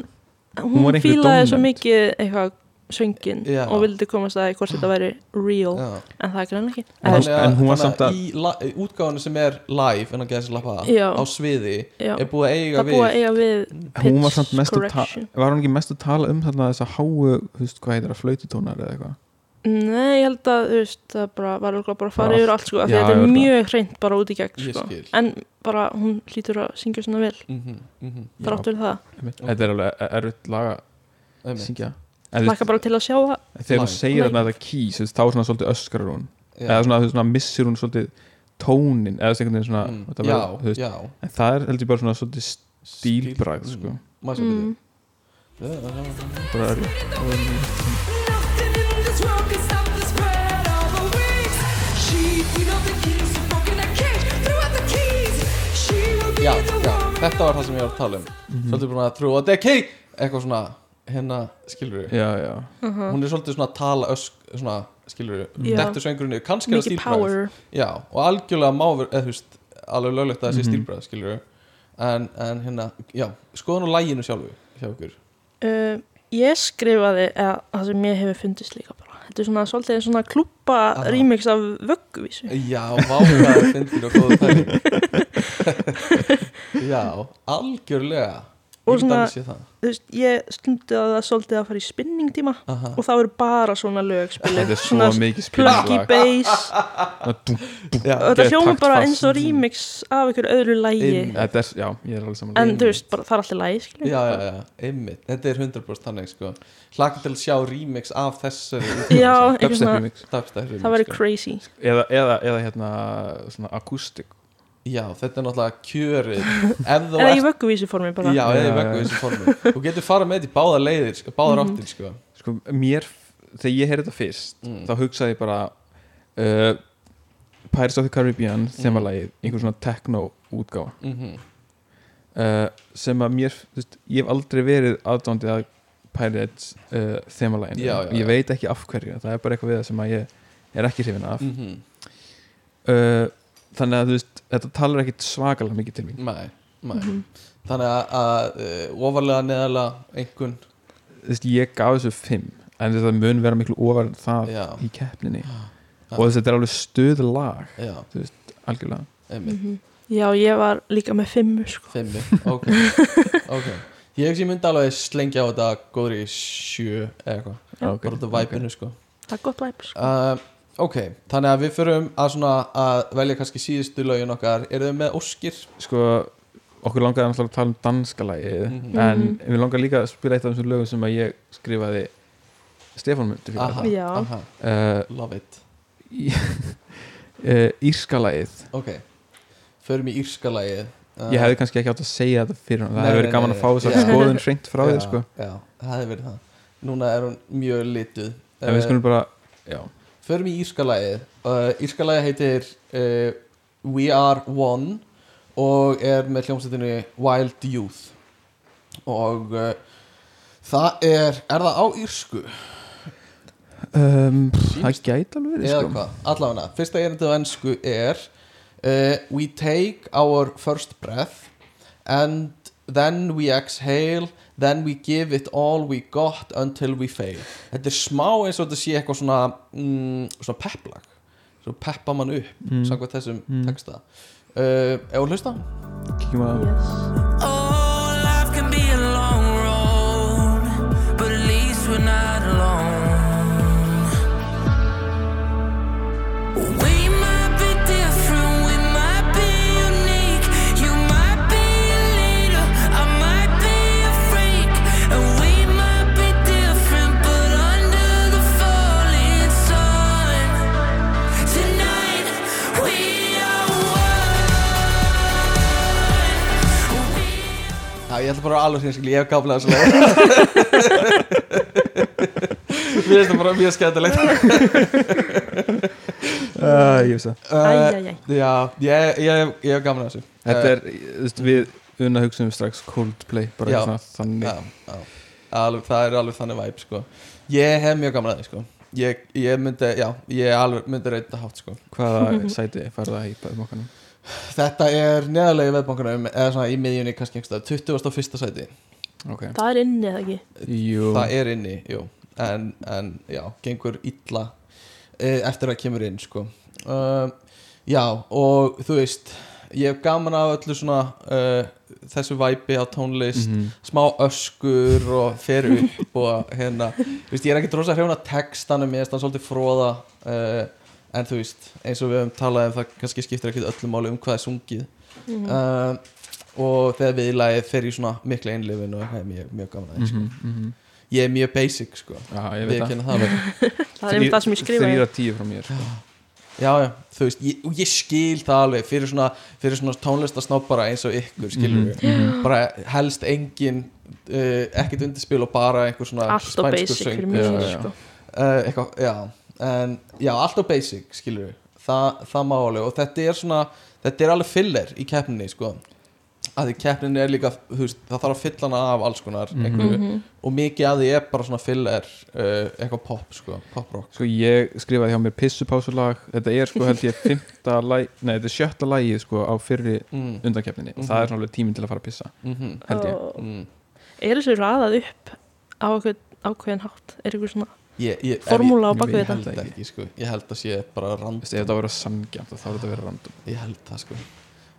B: hún,
A: var einhverju
B: fílaði svo
A: dómnefnd.
B: mikið eitthvað söngin
D: Já.
B: og vildi komast að því hvort þetta væri real, en það er grann ekki.
D: Þannig að-
A: en hún var
D: þannig
A: samt að-
D: Í la- í útgáfunni sem er live en að geða sér lappa
B: Já.
D: á sviði
B: Já.
D: er búið að eiga
B: það er búið að eiga við
A: Hún var samt mest að tala
B: correction.
A: Var hún ekki mest að tala um þarna þess að háu Þú veist hvað heitir það, flaututónar eða eitthvað
B: Nei, ég held að, þú veist, það bara, var alveg bara að fara
A: Bara
B: yfir
A: allt.
B: allt, sko, af
A: Já,
B: því að þetta er
A: örugglega.
B: mjög hreint bara út í gegn,
A: Ég
B: sko.
A: skil.
B: En bara, hún hlýtur að syngja svona vel,
D: Mhm, mhm.
B: þrátt fyrir það.
A: Einmitt. Þetta er alveg erfitt laga
D: Einmitt.
A: syngja En þú veist,
B: Hlakka bara til að sjá það
A: þegar hún
D: Live.
A: segir
B: Live.
A: þarna þetta key þú veist, þá svona svolítið öskrar hún
D: Já.
A: eða svona, þú veist, svona missir hún svolítið tónin eða þú veist, einhvern veginn svona
D: Mm.
A: þetta
D: Já,
A: þú veist,
D: já.
A: en það er heldur ég bara svona svolítið stílbragð sko.
D: Maður svo
A: mm. bara er
D: já, já, þetta var það sem ég var að tala um
A: Mhm.
D: Svolítið búin að trúa að deki Eitthvað svona, hérna, skilur við
A: Já, já.
B: Mhm.
D: Hún er svolítið svona að tala ösk, svona, skilur við
B: Já.
D: Dettur söngurinn yfir, kannski er það
B: Mikið
D: stílbragð
B: power.
D: Já, og algjörlega má ver- eða þú veist, alveg löglegt að það sé
A: Mhm.
D: stílbragð, skilur við en, en hérna, já, skoðan á læginu sjálfu Hjá ykkur
B: uh, Ég skrifaði eða, það sem ég hefur fundist líka bara Þetta er svona svolítið svona klúpa remix af vögguvísu
D: Já, vá hvað það fyndir og góðu pæling Já, algjörlega
B: og
D: Ég get
B: svona,
D: alveg séð það.
B: þú veist, ég stundi að það svolítið að fara í spinningtíma
D: Aha.
B: og það eru bara svona lög spiluð.
A: Þetta er svo
B: Svona
A: mikið
B: pluggy
A: spinninglag.
B: bass og þetta hljóma bara eins og remix af einhverju öðru lægi
A: þetta er, já, ég er alveg saman
B: en þú veist, bara, það er alltaf lægi skilur.
D: Já, já, já, einmitt, þetta er 100% þannig sko. Hlakka til að sjá remix af þessari
B: Já, eitthvað svona-
D: Dubstep remix,
B: það væri
D: sko.
B: crazy
A: eða, eða, eða hérna svona akústik
D: Já, þetta er náttúrulega kjörið Ef þú
B: eða í
D: ert-
B: vögguvísu formi bara
D: Já,
A: Já,
D: eða í vöggu
A: já.
D: þessu formi Þú getur farað með þetta í báðar leiðir, sko, báðar
B: Mhm.
D: áttir sko.
A: sko, mér, þegar ég heyrði þetta fyrst
D: Mm.
A: þá hugsaði ég bara uh, Pirates of the
B: Mm.
A: Caribbean þemalagið, einhver svona techno útgáfa
D: Mhm.
A: uh, sem að mér, þú veist, ég hef aldrei verið aðdóndið að Pirates uh, þemalæginu,
D: Já, já, já.
A: ég veit ekki af hverju það er bara eitthvað við það sem að ég er ekki hrifin af
D: Mhm.
A: uh, þannig að þú veist, þetta talar ekkit svakalega mikið til mín
D: Nei, nei
B: Mhm.
D: Þannig að, að uh, ofarlega, neðarlega, einhvern
A: þú veist, ég gaf þessu 5 en þetta mun vera miklu ofar en það
D: Já.
A: í keppninni
D: Já.
A: og þú veist, þetta er alveg stöð lag
D: Já,
A: þú veist, algjörlega
D: einmitt
B: Mhm. já, ég var líka með fimmu sko.
D: Fimmi, ok, ok Ég hef ég myndi alveg slengja á þetta góðri sjö eða eitthvað
A: okay.
D: Bara út af væpinu sko
B: það er gott væp sko.
D: uh, Ok, þannig að við förum að svona að velja kannski síðustu lögin okkar Eru þau með óskir?
A: sko, okkur langaði náttúrulega að tala um danska lagið
D: Mhm.
A: en við langaði líka að spila eitt af þessum lögum sem að ég skrifaði Stefán myndi fyrir Eh,
D: Aha,
B: Já.
D: aha,
A: þetta
D: love it
A: uh, Írska lagið
D: Ok, förum í írska lagið uh,
A: ég hefði kannski ekki átt að segja þetta fyrir hann það
D: Nei,
A: hefði verið
D: nei,
A: gaman
D: nei,
A: að fá þess
D: já.
A: að skoðun hreint frá
D: já,
A: þér sko.
D: Já, það hefði verið það Núna er hún mjög lituð
A: en við
D: Eh,
A: skulum bara, já,
D: Förum í Írskalægið uh, Írskalægið heitir uh, We Are One og er með hljómsveitinni Wild Youth og uh, það er er það á Írsku
A: um, það
D: Sýnist-
A: gæti alveg verið
D: eða
A: sko.
D: hvað, allavega fyrsta erindið á ennsku er uh, We take our first breath and then we exhale then we give it all we got until we fail þetta er smá eins og þetta sé eitthvað svona mm, svona pepplag svo peppa mann upp
A: Mm.
D: samkvæmt þessum
A: Mm.
D: texta uh, ef hún hlusta
A: kíkjum að
C: Oh, life can be a long road, but at least we're not alone. We might be different, we might be unique. You might be a leader, I might be a freak. And we might be different, but under the falling sun, tonight we are
D: Já, ég ætla bara að alveg hreinskili, ég hef gaflega þessu leið Mér finnst það bara mjög skemmtilegt
A: uh, ég veist það
B: Æ, æ, æ.
D: Eh, Já, ég, ég, ég hef gaman að þessu
A: Þetta er, þú veist, við unna hugsaum við um strax Coldplay, bara
D: Já.
A: eitthvað svona þannig
D: já, já. Alveg, Það er alveg þannig væp sko. Ég hef mjög gaman að því sko. ég, ég myndi, já, ég alveg myndi reyta hátt sko.
A: Hvaða sæti færða í bæðmokkanum?
D: Þetta er neðarlega í veðbankanum eða svona í miðjunni kannski einhversta 21. sæti
A: Ok,
B: það er inni eða ekki
A: jú
D: Það er inni, jú En, en já, gengur illa eh, eftir að kemur inn sko. um, Já, og þú veist Ég hef gaman af öllu svona uh, þessu væpi á tónlist
A: Mhm.
D: smá öskur og fer upp og hérna, þú veist, ég er ekki drosa hrjóna textanum, ég er svolítið fróða uh, en þú veist, eins og við höfum talað um það kannski skiptir ekkert öllu máli um hvað er sungið E, uh, og þegar viðlagið fer í svona mikla einlifin og það er mjög, mjög gaman að því sko.
A: Mhm, mhm.
D: ég er mjög basic sko
A: Já, ég veit
D: Viðurkenni
A: það. um
D: það
B: Það er einmitt það sem ég skrifaði. Þrír af
A: tíu frá mér sko.
D: já, já, þú veist, ég, og ég skil það alveg fyrir svona, fyrir svona tónlistasnobbara eins og ykkur, skilur
A: Mhm,
D: við
A: mhm.
D: bara helst engin uh, ekkert undirspil og bara einhver svona
B: Allt of
D: spænskur
B: basic fyrir
D: söngur.
B: mér,
D: Já, já.
B: sko.
D: Eh, eitthvað, já, en, já, allt of basic skilur við, Þa, það má alveg og þetta er svona, þetta er alveg filler í keppninni, sko að því keppninni er líka, þú veist, það þarf að fylla hana af alls konar,
A: Mhm.
D: einhverju
A: Mhm.
D: og mikið að því er bara svona filler uh, eitthvað pop, sko, pop rock
A: sko ég skrifaði hjá mér pissupásulag þetta er sko held ég fymta læg, nei þetta er sjötta lægið sko á fyrri
D: Mm.
A: undankeppninni og það er svona alveg tíminn til að fara að pissa
D: Mhm.
A: held ég
B: Og- Er þessu raðað upp á einhvern ákveðin hátt? Er einhver svona
D: ég, ég, ef
B: formúla á
D: ég-
B: baku
D: ég held
B: þetta?
D: það ekki, sko. ég held að sé bara random
A: Veistu, ef það verður samgjönd þá verður þetta verið random
D: ég held það sko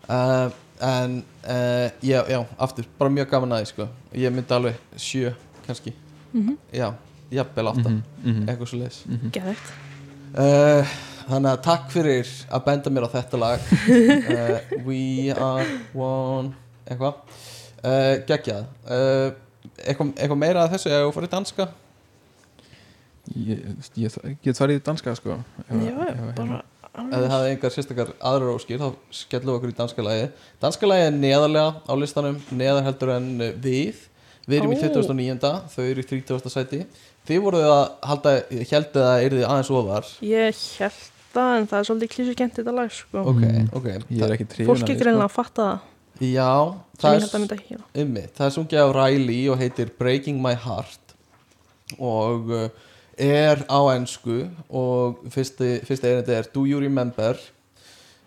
D: uh, en uh, já, já, aftur, bara mjög gaman að því sko ég myndi alveg sjö, kannski
B: Mhm.
D: já, jafnvel átta
A: Mhm, mhm.
D: eitthvað svo leis
A: Mhm.
B: Geðveikt.
D: uh, þannig að takk fyrir að benda mér á þetta lag uh, we are one eitthvað uh, geggjað uh, eitthvað, eitthvað meira að þessu eða fórið danska
A: ég, ég, ég get farið í danska sko ef-
B: Já, já,
A: ef- ef-
B: bara
D: ef þið hafið einhver sérstakar aðrar óskir þá skellum við okkur í danska lagi danska lagi er neðarlega á listanum neðar heldur en uh, við við erum í
A: Ó.
D: 29. þau eru í 30. sæti þið voruð að halda heldu að það yrði aðeins ofar
B: Ég held það en það er svolítið klísukent þetta lag sko.
D: ok, ok
A: Ég er ekki
B: Fólk er greinlega að fatta það
D: já,
B: sem
D: sko. það
B: ég held að
D: er,
B: mynda ekki gera.
D: ummi, það er sungið af Riley og heitir Breaking My Heart og uh, er á ennsku og fyrsti, fyrsti erindi er Do you remember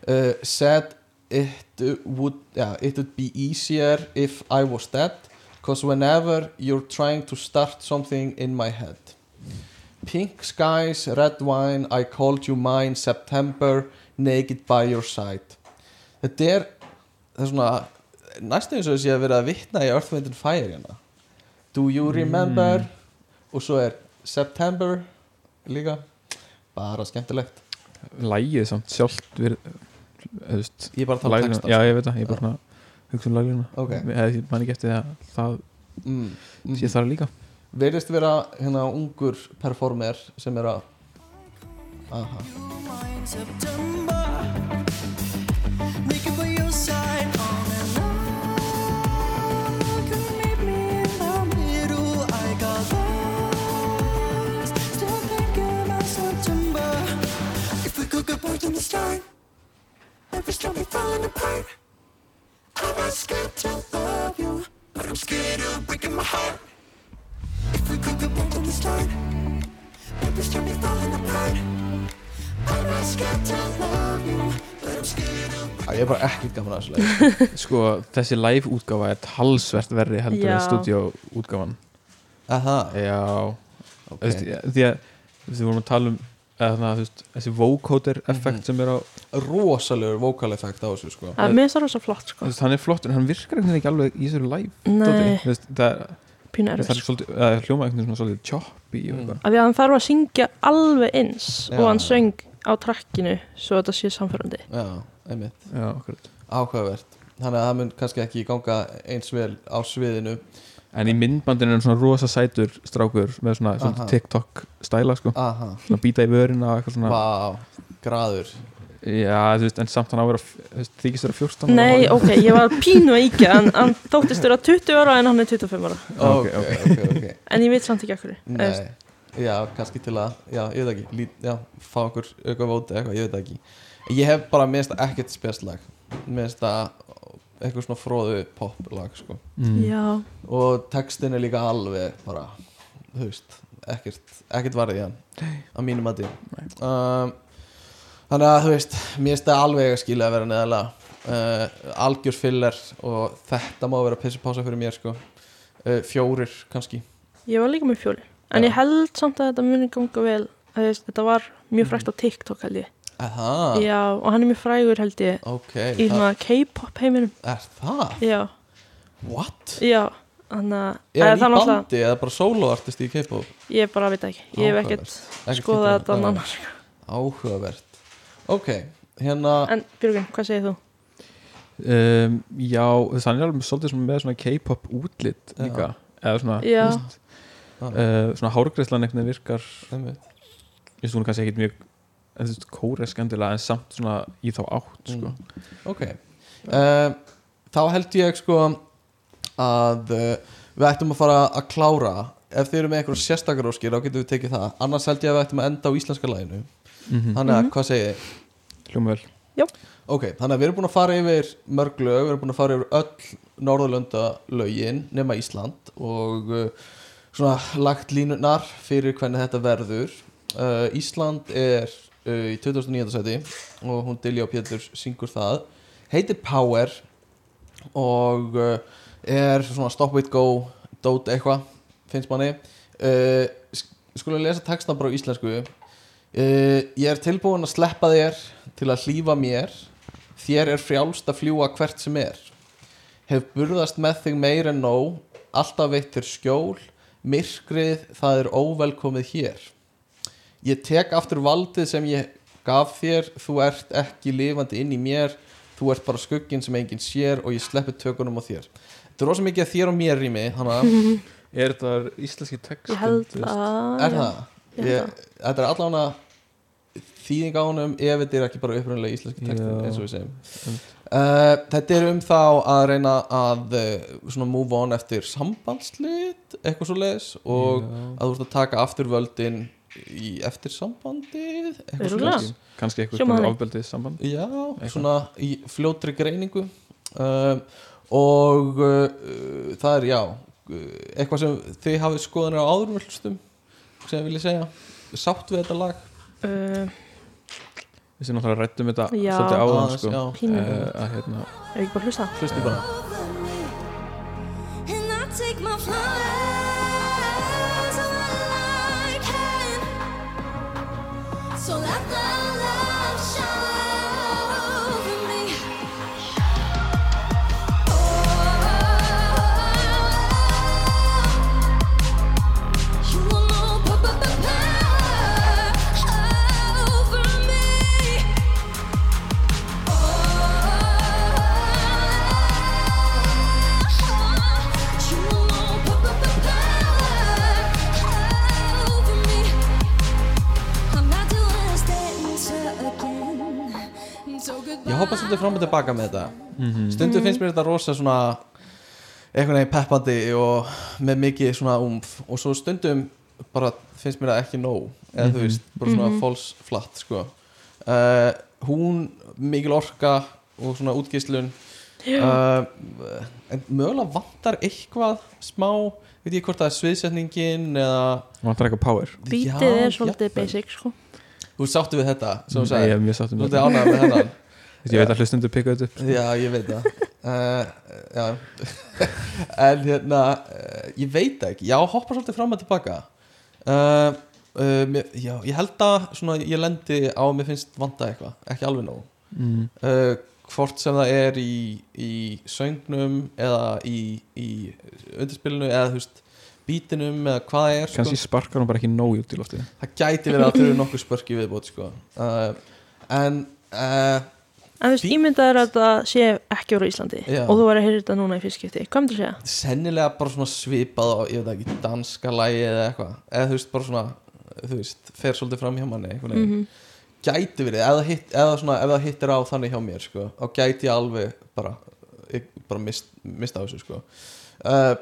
D: uh, said it would yeah, it would be easier if I was dead cause whenever you're trying to start something in my head pink skies, red wine I called you mine September naked by your side þetta er það er svona næstu eins og þess að vera að vitna í Earth, Wind and Fire hérna Do you remember og svo er September líka bara skemmtilegt
A: lægið sko. samt sjálft verið Veist,
D: Ég er bara að tala um
A: lagina-
D: textann,
A: já
D: sko.
A: ég veit það, ég er bara svona að hugsa um laglina
D: Ok.
A: ég man ekki eftir því að það
D: mm.
A: sé þar líka
D: verðist vera hérna ungur performer sem er að aha
I: September, naked by your side on and on. You meet me in the middle. I got lost, still thinking about September. If we could get back to the start, every time we're falling apart. I was scared to love you, but I'm scared of breaking my heart. If we could get back to the start, every time we're falling apart. I'm not scared to love you, but I'm scared of
D: Æ, ég er bara ekkert gaman að þessu leik
A: sko þessi live útgáfa er talsvert verri heldur
D: Já.
A: en stúdíó útgáfan
D: aha
A: já Þú veist, því að þú veist, við vorum að tala um eða þannig að þú veist, þessi vocoder effekt sem er á
D: rosalegur vocal effekt á þessu sko
B: Það er mér þarf þess að flott sko.
A: þú veist, hann er flottur en hann virkar einhvern veginn ekki alveg í þessu live
B: Nei.
A: dóti. Þú veist, það er
B: Pínu
A: þú veist,
B: erfitt,
A: það er svolítið,
B: sko.
A: það er hljóma einhvern veginn svona svolítið choppy og eitthvað
B: Af því að hann þarf að syngja alveg eins
A: Já.
B: og hann söng á trakkinu svo þetta sé samfærandi
D: Já, einmitt
A: Já, akkurat
D: Áhugavert Þannig að það mun kannski ekki ganga eins vel á sviðinu
A: en í myndbandinu er hann svona rosa sætur strákur með svona,
D: Aha.
A: svona TikTok stæla sko.
D: Aha.
A: svona býta í vörina og eitthvað svona
D: Vá, graður
A: já, þú veist, en samt hann á að vera þú veist, þykist vera 14 ára.
B: Nei, ok, ég var pínu að íkja en hann þóttist vera 20 ára en hann er 25 ára
D: Ok, ok, ok, ok.
B: En ég veit samt ekki akkur
D: Nei, já, kannski til að Já, ég veit ekki, lít, já, fá okkur auka vóti eitthvað, ég veit ekki Ég hef bara minnst ekkert spjastlag minnst að eitthvað svona fróðu poplag, sko
A: Mm.
B: Já.
D: Og textin er líka alveg bara, þú veist ekkert, ekkert varðið í hann á mínum að um, Þannig að, þú veist, mér finnst það alveg að skilja að vera neðalega uh, algjör filler og þetta má vera pissupása fyrir mér, sko uh, fjórir, kannski
B: Ég var líka með fjóli En ég held samt að þetta muni ganga vel að þú veist, Þetta var mjög frægt á
D: Mm.
B: TikTok held ég
D: Aha.
B: Já, og hann er mjög frægur held ég
D: Ok,
B: Í
D: Ah. það-
B: svona K-pop heiminum
D: Er það?
B: Já
D: What?
B: Já, þannig að
D: Er
B: eða
D: hann í
B: það náttúrulega-
D: bandi eða bara soloartist í K-pop?
B: Ég bara veit það ekki, ég hef ekkert skoðað þetta annar
D: Áhugavert Ok, hérna
B: En Björgun, hvað segir þú?
A: um,
D: Ah.
A: já, þannig er alveg svolítið svona með svona K-pop útlit líka eða svona
B: Já.
A: þú veist, uh, svona hárgræslan einhvern veginn virkar
D: Einmitt.
A: ég veist hún er kannski ekkit mjög en þú veist kóresk endilega en samt svona í þá átt sko.
B: Mm.
D: ok uh, þá held ég sko að uh, við ættum að fara að klára ef þið eru með einhverjum sérstakar óskir þá getum við tekið það, annars held ég að við ættum að enda á íslenska læginu
A: Mhm.
D: þannig að
A: Mhm.
D: hvað segið þið?
A: hljóma vel
B: Já.
D: ok, þannig að við erum búin að fara yfir mörg lög, við erum búin að fara yfir öll Norðurlönda lögin nema Ísland og uh, svona lagt línunar fyrir hvernig þetta verður uh, Ísland er uh, í 2009. seti og hún Dilja og Pétur syngur það heitir Power og uh, er svona Stop It Go Dót eitthvað, finnst manni uh, sk- skulum lesa textan bara á íslensku Uh, ég er tilbúin að sleppa þér til að hlýfa mér Þér er frjálst að fljúa hvert sem er Hef burðast með þig meir en nóg Alltaf veitt þér skjól Myrkrið, það er óvelkomið hér Ég tek aftur valdið sem ég gaf þér Þú ert ekki lifandi inn í mér Þú ert bara skugginn sem enginn sér Og ég sleppi tökunum á þér Þetta er rosa mikið að þér og mér rými
A: Er þetta íslenski text?
B: Ég held að-
D: Er
B: Ah, já.
D: það?
B: Ég held
D: Ég, þetta er allan að þýðing á honum ef þetta er ekki bara upprunalega íslenski textin
A: Já.
D: eins og við segjum uh, Þetta er um þá að reyna að uh, svona move on eftir sambandslið eitthvað svo leis og
A: Já.
D: að þú ert að taka aftur völdin í eftir sambandið eitthvað
A: Örugglega.
D: svoleiðis.
A: Kannski eitthvað Hljómar konar þannig. ofbeldið samband.
D: Já,
A: Eitthvað.
D: svona í fljótri greiningu um, og uh, það er já uh, eitthvað sem þið hafið skoðanir á áðurum hlustum sem vil ég segja sátt við þetta lag
B: uh,
A: Þessi náttúrulega rættum þetta
B: Já.
A: svolítið áðan
D: Aðeins,
A: sko.
D: já.
B: Pínu.
A: Eh, að hérna
B: Ef ekki bara hlusta
D: Hlusti bara
G: And I take my flies on my light hand. So let the love shine over me. Oh, you will know power over me.
D: Ég hoppa
G: er
D: svolítið fram og tilbaka með þetta
A: Mhm.
D: Stundum
G: Mhm.
D: finnst mér þetta rosa svona einhvern veginn peppandi og með mikið svona umf og svo stundum bara finnst mér það ekki nóg eða þú
A: Mhm.
D: veist, bara svona
A: Mhm.
D: false flat sko uh, Hún mikil orka og svona útgislun
A: Já.
D: uh, en mögulega vantar eitthvað smá, veit ég hvort það er sviðsetningin eða
A: Vantar eitthvað power
B: Bítið
D: Já,
B: er svolítið
D: jafnvel.
B: basic sko
D: Þú sáttu við þetta, sem þú
A: Nei,
D: sagði
A: Mm, ég er mjög sáttur með
D: Þú
A: þetta.
D: ert ánægð með hennan
A: Ég veit að hlustendur pikka þetta upp, sko.
D: Já, ég veit það uh, Já En hérna, uh, ég veit það ekki Já, hoppa svolítið fram og tilbaka uh, uh, mér, Já, ég held að svona, ég lendi á að mér finnst vanda eitthvað Ekki alveg nóg
A: Mm.
D: uh, Hvort sem það er í, í söngnum eða í, í undirspilinu eða þú veist bítinum eða hvað það er sko.
A: Kannski sparkar hún bara ekki nóg út í loftið
D: það gæti verið að það eru nokkuð spörki viðbót sko. uh, en uh,
B: En þú veist, ímyndaður að þetta sé ekki úr Íslandi
D: Já.
B: og þú væri að heyra þetta núna í fyrstskipti Hvað myndir segja?
D: sennilega bara svona svipað á, ég veit það ekki, danska lægi eða eitthvað eða þú veist, bara svona, þú veist fer svolítið fram hjá manni einhvern veginn
B: Mhm.
D: gæti verið, eða, hitt, eða svona ef það hittir á þannig hjá mér, sko, þá gæti ég alveg bara, ég, bara mist, mista á þessu, sko uh,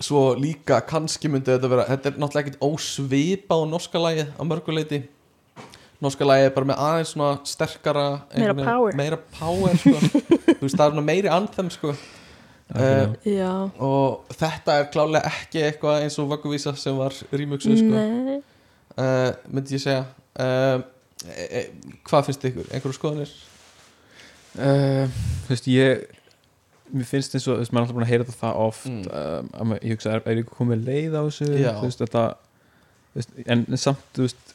D: svo líka, kannski myndi þetta vera þetta er náttúrulega ekkit ósvipað á norska lægi á mörguleiti norska lægi er bara með aðeins svona sterkara
B: Meira
D: einhvern veginn-
B: power.
D: meira power, sko þú veist, það er svona meiri anthem, sko uh,
B: Já.
D: og þetta er klálega ekki eitthvað eins og vagguvísa sem var rýmugsu sko.
B: Nei
D: uh, myndi ég segja uh, e, e, hvað finnst ykkur, einhverju skoðanir Eh,
A: Uh, þú veist, ég mér finnst eins og, þú veist, maður er alltaf búin að heyra þetta það oft um, að maður, ég hugsa, er, er ég komið leið á þessu,
D: Mm. Já.
A: þú veist, þetta þú veist, en samt, þú veist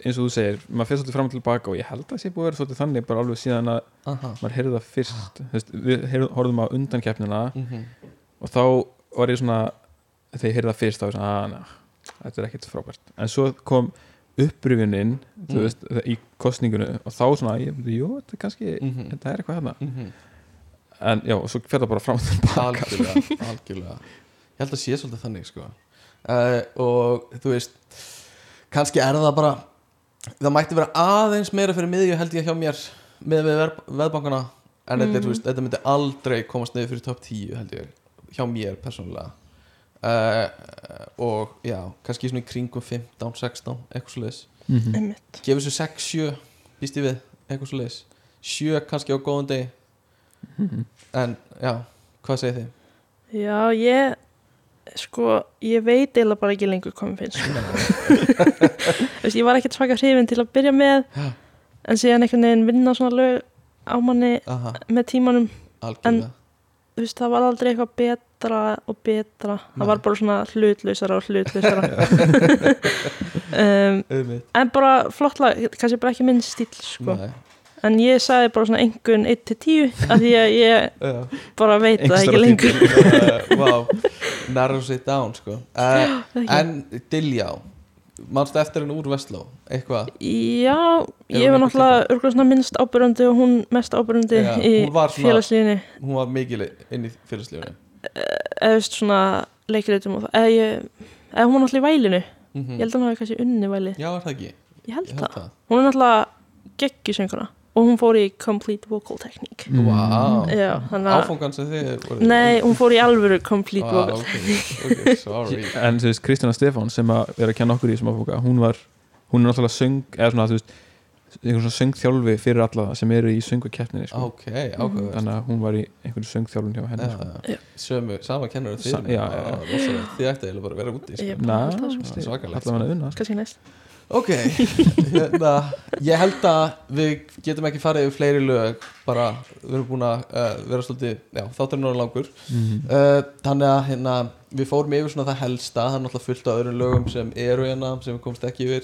A: eins og þú segir, maður fyrir svolítið fram og tilbaka og ég held að það sé búið að vera svolítið þannig bara alveg síðan að
D: Aha.
A: maður heyrði það
D: Ah.
A: fyrst þú veist, við heyrðum, horfðum á undankeppnina
D: Mhm.
A: og þá var ég svona þegar ég heyrði það fyrst þá var ég svona, að na, þetta er ekkert frábært en svo kom upprifininn þú
D: Mm.
A: veist, í kostningunum og þá svona, ég, jú, þetta er kannski
D: Mhm.
A: þetta er eitthvað hérna
D: Mhm.
A: en já, og svo fer það bara fram og tilbaka
D: algjörlega, algjörlega ég held að sé svolítið þannig sko. uh, og þú veist kannski er það bara það mætti vera aðeins meira fyrir miðju held ég hjá mér með við veðbankana en þetta, er,
A: Mhm.
D: þú veist, þetta myndi aldrei komast niður fyrir top 10 held ég hjá mér persónulega uh, og já, kannski svona í kringum 15, 16, eitthvað svo leis
A: Mhm.
B: Einmitt.
D: gefur svo 6, 7 býst ég við, eitthvað svo leis 7 kannski á góðan degi
A: Mhm.
D: en já, hvað segir þið?
B: Já, ég sko, ég veit eiginlega bara ekki lengur hvað mér finnst Þú veist, ég var ekkert svaka hrifin til að byrja með
D: Já.
B: en síðan einhvern veginn vinna svona lög á manni
D: Aha.
B: með tímanum en
D: Algjörlega.
B: þú veist, það var aldrei eitthvað betra og betra
D: Nei.
B: það var bara svona hlutlausara og hlutlausara um,
D: Einmitt.
B: en bara flott lag kannski bara ekki minn stíl sko.
D: Nei.
B: en ég sagði bara svona engun 1-10 af því að ég
D: Já.
B: bara veit það ekki lengur
D: lengur wow. narrows it down sko. uh,
B: Já, ekki.
D: en Diljá mannstu eftir henni úr Vestló eitthvað
B: Já, ég
D: Er hún
B: var
D: einhver
B: náttúrulega örgulega svona minnst ábyrjandi og hún mest ábyrjandi
D: Já,
B: í
D: hún var svona-
B: félagslíðinni
D: hún var mikil inn í félagslífunni
B: eða veist svona leikriðum og það eða, ég, eða hún var náttúrulega í vælinu
D: Mhm.
B: ég held að hún hafi kannski unni væli
D: já, var það ekki?
B: ég held
D: held
B: það,
D: það.
B: hún er náttúrulega geggjusönguna og hún fór í complete vocal technique
D: Mhm. Mm. Vá.
B: Já, þannig að-
D: Áfangan sem þið voruð í?
B: Nei, hún fór í alvöru complete
D: Ah,
B: vocal
D: ok,
B: technique
D: ok, sorry.
A: en þú veist Kristjana Stefán sem að er að kenna okkur í þessum áfóka hún var, hún er náttúrulega söng eða svona þú veist, einhvern svona söngþjálfi fyrir alla sem eru í söngukeppninni sko.
D: Ok, áhugavert.
A: þannig að hún var í einhvern söngþjálfin hjá henni sko.
D: Já, sömu, sama kennur
A: Sa-
D: þið
A: já, já, já.
D: Ah, þið ætti eiginlega bara að vera úti
A: Ég er bara að halda það, sko.
D: svakalegt
A: Allavega að unna,
B: kannski næst
D: ok, hérna ég held að við getum ekki farið yfir fleiri lög, bara við erum búin að uh, vera svolítið, já, þátturinn er langur
A: Mhm.
D: uh, þannig að hérna við fórum yfir svona það helsta það er náttúrulega fullt af öðrum lögum sem eru hérna sem við komst ekki yfir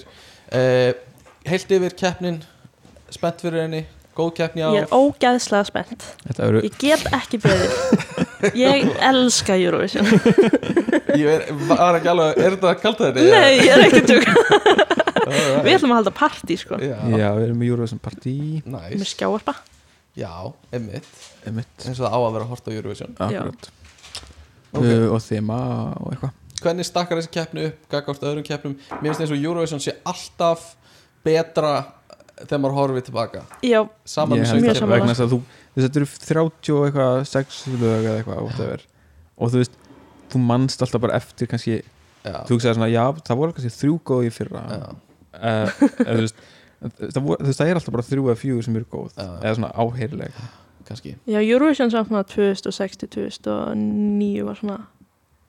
D: uh, heilt yfir keppnin spennt fyrir henni, góð keppni á
B: Ég er ógæðslega spennt
A: Þetta eru-
B: Ég get ekki beðið Ég elska Eurovision
D: Ég er, var ekki alveg, er þetta kallt þetta?
B: Nei, ég er ekki að tjóka Við ætlum að halda partí sko
A: já, við erum í Eurovision partí
D: nice.
B: Með skjáarpa
D: Já, emitt
A: Emitt
D: Eins og það á að vera að horta á Eurovision
A: Akkurat.
D: Ok.
A: uh, og þema og eitthvað
D: Hvernig stakkar þessi keppni upp gagvart öðrum keppnum? Mér finnst eins og Eurovision sé alltaf betra þegar maður horfið tilbaka
B: Já.
D: Saman
A: Ég
D: með
A: held að-
D: söngkeppni
A: vegna þess að þú, þú veist, þetta eru 30 og eitthvað 6 lög eða eitthvað whatever. og þú veist, þú manst alltaf bara eftir kannski,
D: já.
A: þú hugsaði svona já, það voru kannski þrjú góð í fyrra uh, eða, þú veist Það, voru, þú veist, það er alltaf bara þrjú eða fjögur sem eru góð eða svona áheyrileg
D: kannski
B: Já, Eurovision samt maður 2006-2009 var svona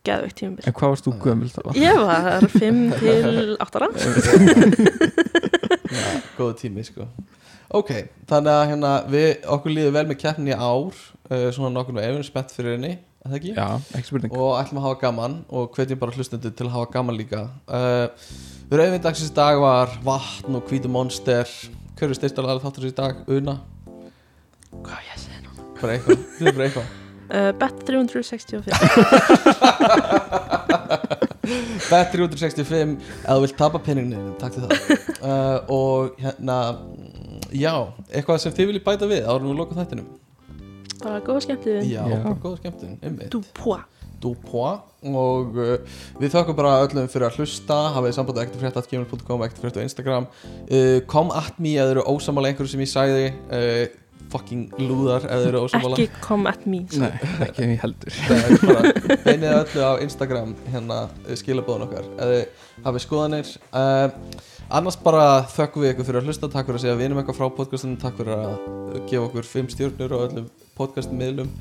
B: geðveikt tímabil
A: En hvað varst þú gömul þá?
B: Ég var 5 til 8 ára
D: Já, góðu tími sko Ok, þannig að hérna við, okkur líður vel með keppni í ár uh, svona nokkur og efinn spennt fyrir henni er það ekki?
A: Já, ekki spurning
D: og ætlum að hafa gaman og hvetjum bara hlustendur til að hafa gaman líka uh, Rauðvin dagsins í dag var vatn og hvítu monster Hver er styrst alveg þáttur í dag? Una?
B: Hvað á ég að segja
D: núna? Bara eitthvað, þið er bara eitthvað
B: uh, Bet 365
D: Bet 365 eða þú vilt tapa peninginu takk til það uh, og hérna mm, já, eitthvað sem þið viljið bæta við árum við loka þættinum
B: Bara góða skemmtiðin
D: Já, bara góða skemmtun, einmitt
B: Dúpua
D: Dúpua og uh, við þökkum bara öllum fyrir að hlusta hafið samband ekkert frétt at gmail.com ekkert frétt á Instagram uh, kom at me eða eru ósamála einhverju sem ég sæði uh, fucking lúðar eða eru ósamála
B: Ekki come at me
A: Nei, ekki ég heldur
D: Það er bara beinið öllu á Instagram hérna skilabóðan okkar eða hafið skoðanir uh, annars bara þökkum við ykkur fyrir að hlusta takk fyrir að segja við erum eitthvað frá podcastinu takk fyrir að gefa okkur fimm stjórnur á öllum podcastmiðlum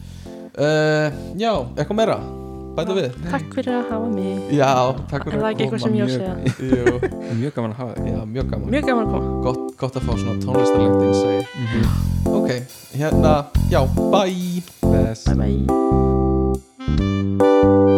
D: uh, já, eitthvað meira bæta við
B: Takk fyrir að hafa mig
D: já, takk
B: Er
D: fyrir
B: það ekki eitthvað sem ég á að segja?
D: Jú.
A: mjög gaman að hafa þig
D: já, mjög gaman
B: Mjög gaman að koma
D: gott, gott að fá svona tónlistarlegt innsæði
A: Mhm.
D: ok, hérna, já, bye
A: Bless.
B: bye bye